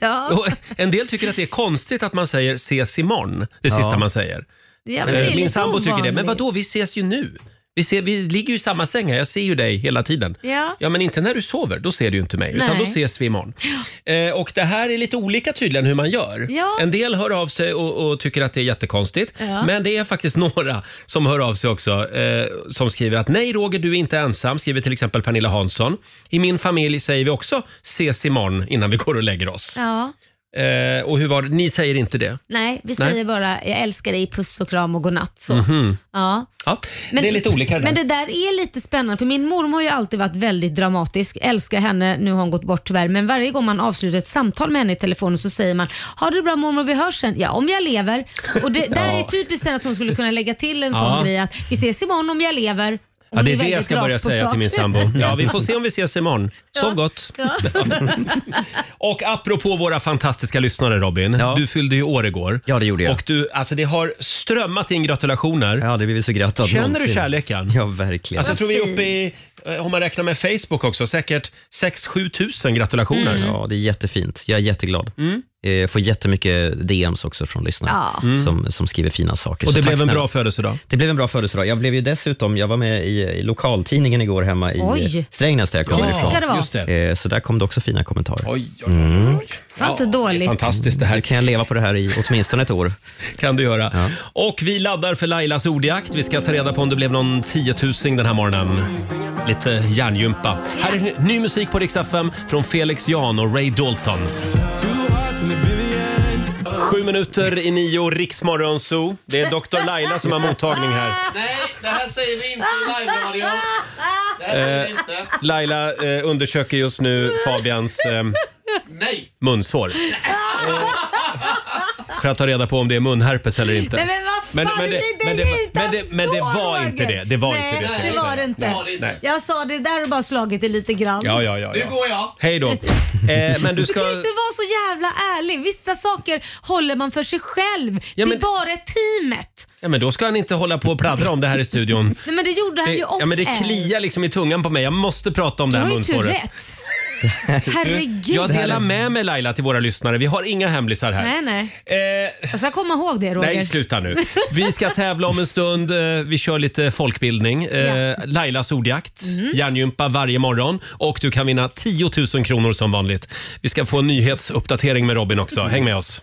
[SPEAKER 2] Ja.
[SPEAKER 1] Och en del tycker att det är konstigt att man säger ses imorgon, det
[SPEAKER 2] Ja.
[SPEAKER 1] sista man säger.
[SPEAKER 2] Ja, men det är
[SPEAKER 1] Eh,
[SPEAKER 2] lite
[SPEAKER 1] Min sambo tycker det, men
[SPEAKER 2] ovanligt.
[SPEAKER 1] vadå, vi ses ju nu. Vi, ser, vi ligger ju i samma säng här, jag ser ju dig hela tiden.
[SPEAKER 2] Ja.
[SPEAKER 1] Ja, men inte när du sover, då ser du ju inte mig, utan
[SPEAKER 2] Nej.
[SPEAKER 1] då ses vi imorgon. Eh, och det här är lite olika tydligen hur man gör.
[SPEAKER 2] Ja.
[SPEAKER 1] En del hör av sig och, och tycker att det är jättekonstigt.
[SPEAKER 2] Ja.
[SPEAKER 1] Men det är faktiskt några som hör av sig också eh, som skriver att nej Roger, du är inte ensam, skriver till exempel Pernilla Hansson. I min familj säger vi också ses imorgon innan vi går och lägger oss.
[SPEAKER 2] Ja.
[SPEAKER 1] Eh, och hur var det? Ni säger inte det?
[SPEAKER 2] Nej, vi
[SPEAKER 1] Nej.
[SPEAKER 2] säger bara jag älskar dig, puss och kram och godnatt. Så.
[SPEAKER 1] Mhm.
[SPEAKER 2] Ja.
[SPEAKER 1] Ja, det är lite olika det där.
[SPEAKER 2] Men det där är lite spännande för min mormor har ju alltid varit väldigt dramatisk. Älskar henne, nu har hon gått bort tyvärr. Men varje gång man avslutar ett samtal med henne i telefonen så säger man “Har du bra mormor, vi hörs sen”. Ja, om jag lever. Och det, där
[SPEAKER 1] Ja.
[SPEAKER 2] är typiskt den att hon skulle kunna lägga till en
[SPEAKER 1] Ja.
[SPEAKER 2] sån grej att “Vi ses imorgon om jag lever”. Hon
[SPEAKER 1] Ja, det är
[SPEAKER 2] blir
[SPEAKER 1] det jag
[SPEAKER 2] väldigt
[SPEAKER 1] ska
[SPEAKER 2] rakt
[SPEAKER 1] börja
[SPEAKER 2] på
[SPEAKER 1] säga
[SPEAKER 2] sak.
[SPEAKER 1] till min sambo. Ja, vi får se om vi ses imorgon. Sov gott.
[SPEAKER 2] Ja.
[SPEAKER 1] Och apropå våra fantastiska lyssnare Robin, du fyllde ju år igår. Ja, det gjorde jag. Och du, alltså det har strömmat in gratulationer.
[SPEAKER 3] Ja, det blir vi så grattad
[SPEAKER 1] Känner
[SPEAKER 3] någonsin.
[SPEAKER 1] du kärleken?
[SPEAKER 3] Ja, verkligen.
[SPEAKER 1] Alltså jag tror vi är uppe i, eh, om man räknar med Facebook också, säkert 6-7 tusen gratulationer.
[SPEAKER 3] Mm. Ja, det är jättefint. Jag är jätteglad. Eh, Jag får jättemycket DMs också från lyssnare
[SPEAKER 1] Ja. Mm.
[SPEAKER 3] som, som skriver fina saker.
[SPEAKER 1] Och
[SPEAKER 3] Så
[SPEAKER 1] det
[SPEAKER 3] tack
[SPEAKER 1] blev en
[SPEAKER 3] snälla.
[SPEAKER 1] bra födelsedag.
[SPEAKER 3] Det blev en bra födelsedag. Jag blev ju dessutom, jag var med i, i lokaltidningen igår hemma i
[SPEAKER 2] Oj.
[SPEAKER 3] eh, Strängnäs där jag kommer
[SPEAKER 2] Ja,
[SPEAKER 3] ifrån.
[SPEAKER 2] ska det vara. just
[SPEAKER 3] Eh, Så där kom det också fina kommentarer.
[SPEAKER 1] Oj, oj,
[SPEAKER 2] Det var inte dåligt.
[SPEAKER 1] Fantastiskt det här.
[SPEAKER 3] kan jag leva på det här i åtminstone ett år.
[SPEAKER 1] kan du göra. Och vi laddar för Lailas ordjakt. Vi ska ta reda på om det blev någon 10 000 den här morgonen. Lite lite hjärngympa. Här är ny musik på Rix FM från Felix Jan och Ray Dalton. Sju minuter i nio, Riksmorgon Zoo. Det är Dr. Laila som har mottagning här.
[SPEAKER 9] Nej, det här säger vi inte i live-radio. Det här säger
[SPEAKER 1] Eh,
[SPEAKER 9] vi inte.
[SPEAKER 1] Laila eh, undersöker just nu Fabians eh,
[SPEAKER 9] Nej!
[SPEAKER 1] munsår Eh, för att ta reda på om det är munherpes eller inte.
[SPEAKER 2] Nej, men vad fan,
[SPEAKER 1] men, det,
[SPEAKER 2] du blir
[SPEAKER 1] men, det,
[SPEAKER 2] dig utan
[SPEAKER 1] men, det, men det var
[SPEAKER 2] Roger.
[SPEAKER 1] inte det. Det var
[SPEAKER 2] Nej,
[SPEAKER 1] inte det. ska
[SPEAKER 2] det
[SPEAKER 1] jag
[SPEAKER 2] var
[SPEAKER 1] säga.
[SPEAKER 2] det inte.
[SPEAKER 1] Nej. Nej.
[SPEAKER 2] Jag sa det där och bara slagit det lite grann.
[SPEAKER 1] Ja, ja, ja, Nu ja. går jag. Hej då. Eh, men du
[SPEAKER 2] Du
[SPEAKER 1] ska...
[SPEAKER 2] kan ju inte vara så jävla ärlig. Vissa saker håller man för sig själv. Det är bara teamet.
[SPEAKER 1] Ja, men då ska han inte hålla på och pladdra om det här i studion.
[SPEAKER 2] Nej, men det gjorde han
[SPEAKER 1] Det,
[SPEAKER 2] ju off
[SPEAKER 1] ja, men det
[SPEAKER 2] air.
[SPEAKER 1] kliar liksom i tungan på mig. Jag måste prata om det
[SPEAKER 2] Du
[SPEAKER 1] här
[SPEAKER 2] har ju
[SPEAKER 1] munsåret.
[SPEAKER 2] Tourettes. Herregud.
[SPEAKER 1] Jag delar med mig Laila till våra lyssnare. Vi har inga hemlisar här. Eh,
[SPEAKER 2] Nej, nej.
[SPEAKER 1] Jag
[SPEAKER 2] ska komma ihåg det Roger.
[SPEAKER 1] Nej, sluta nu. Vi ska tävla om en stund. Eh, Vi kör lite folkbildning. Eh, Lailas ordjakt, hjärngympa varje morgon och du kan vinna 10 000 kronor som vanligt. Vi ska få en nyhetsuppdatering med Robin också. Häng med oss.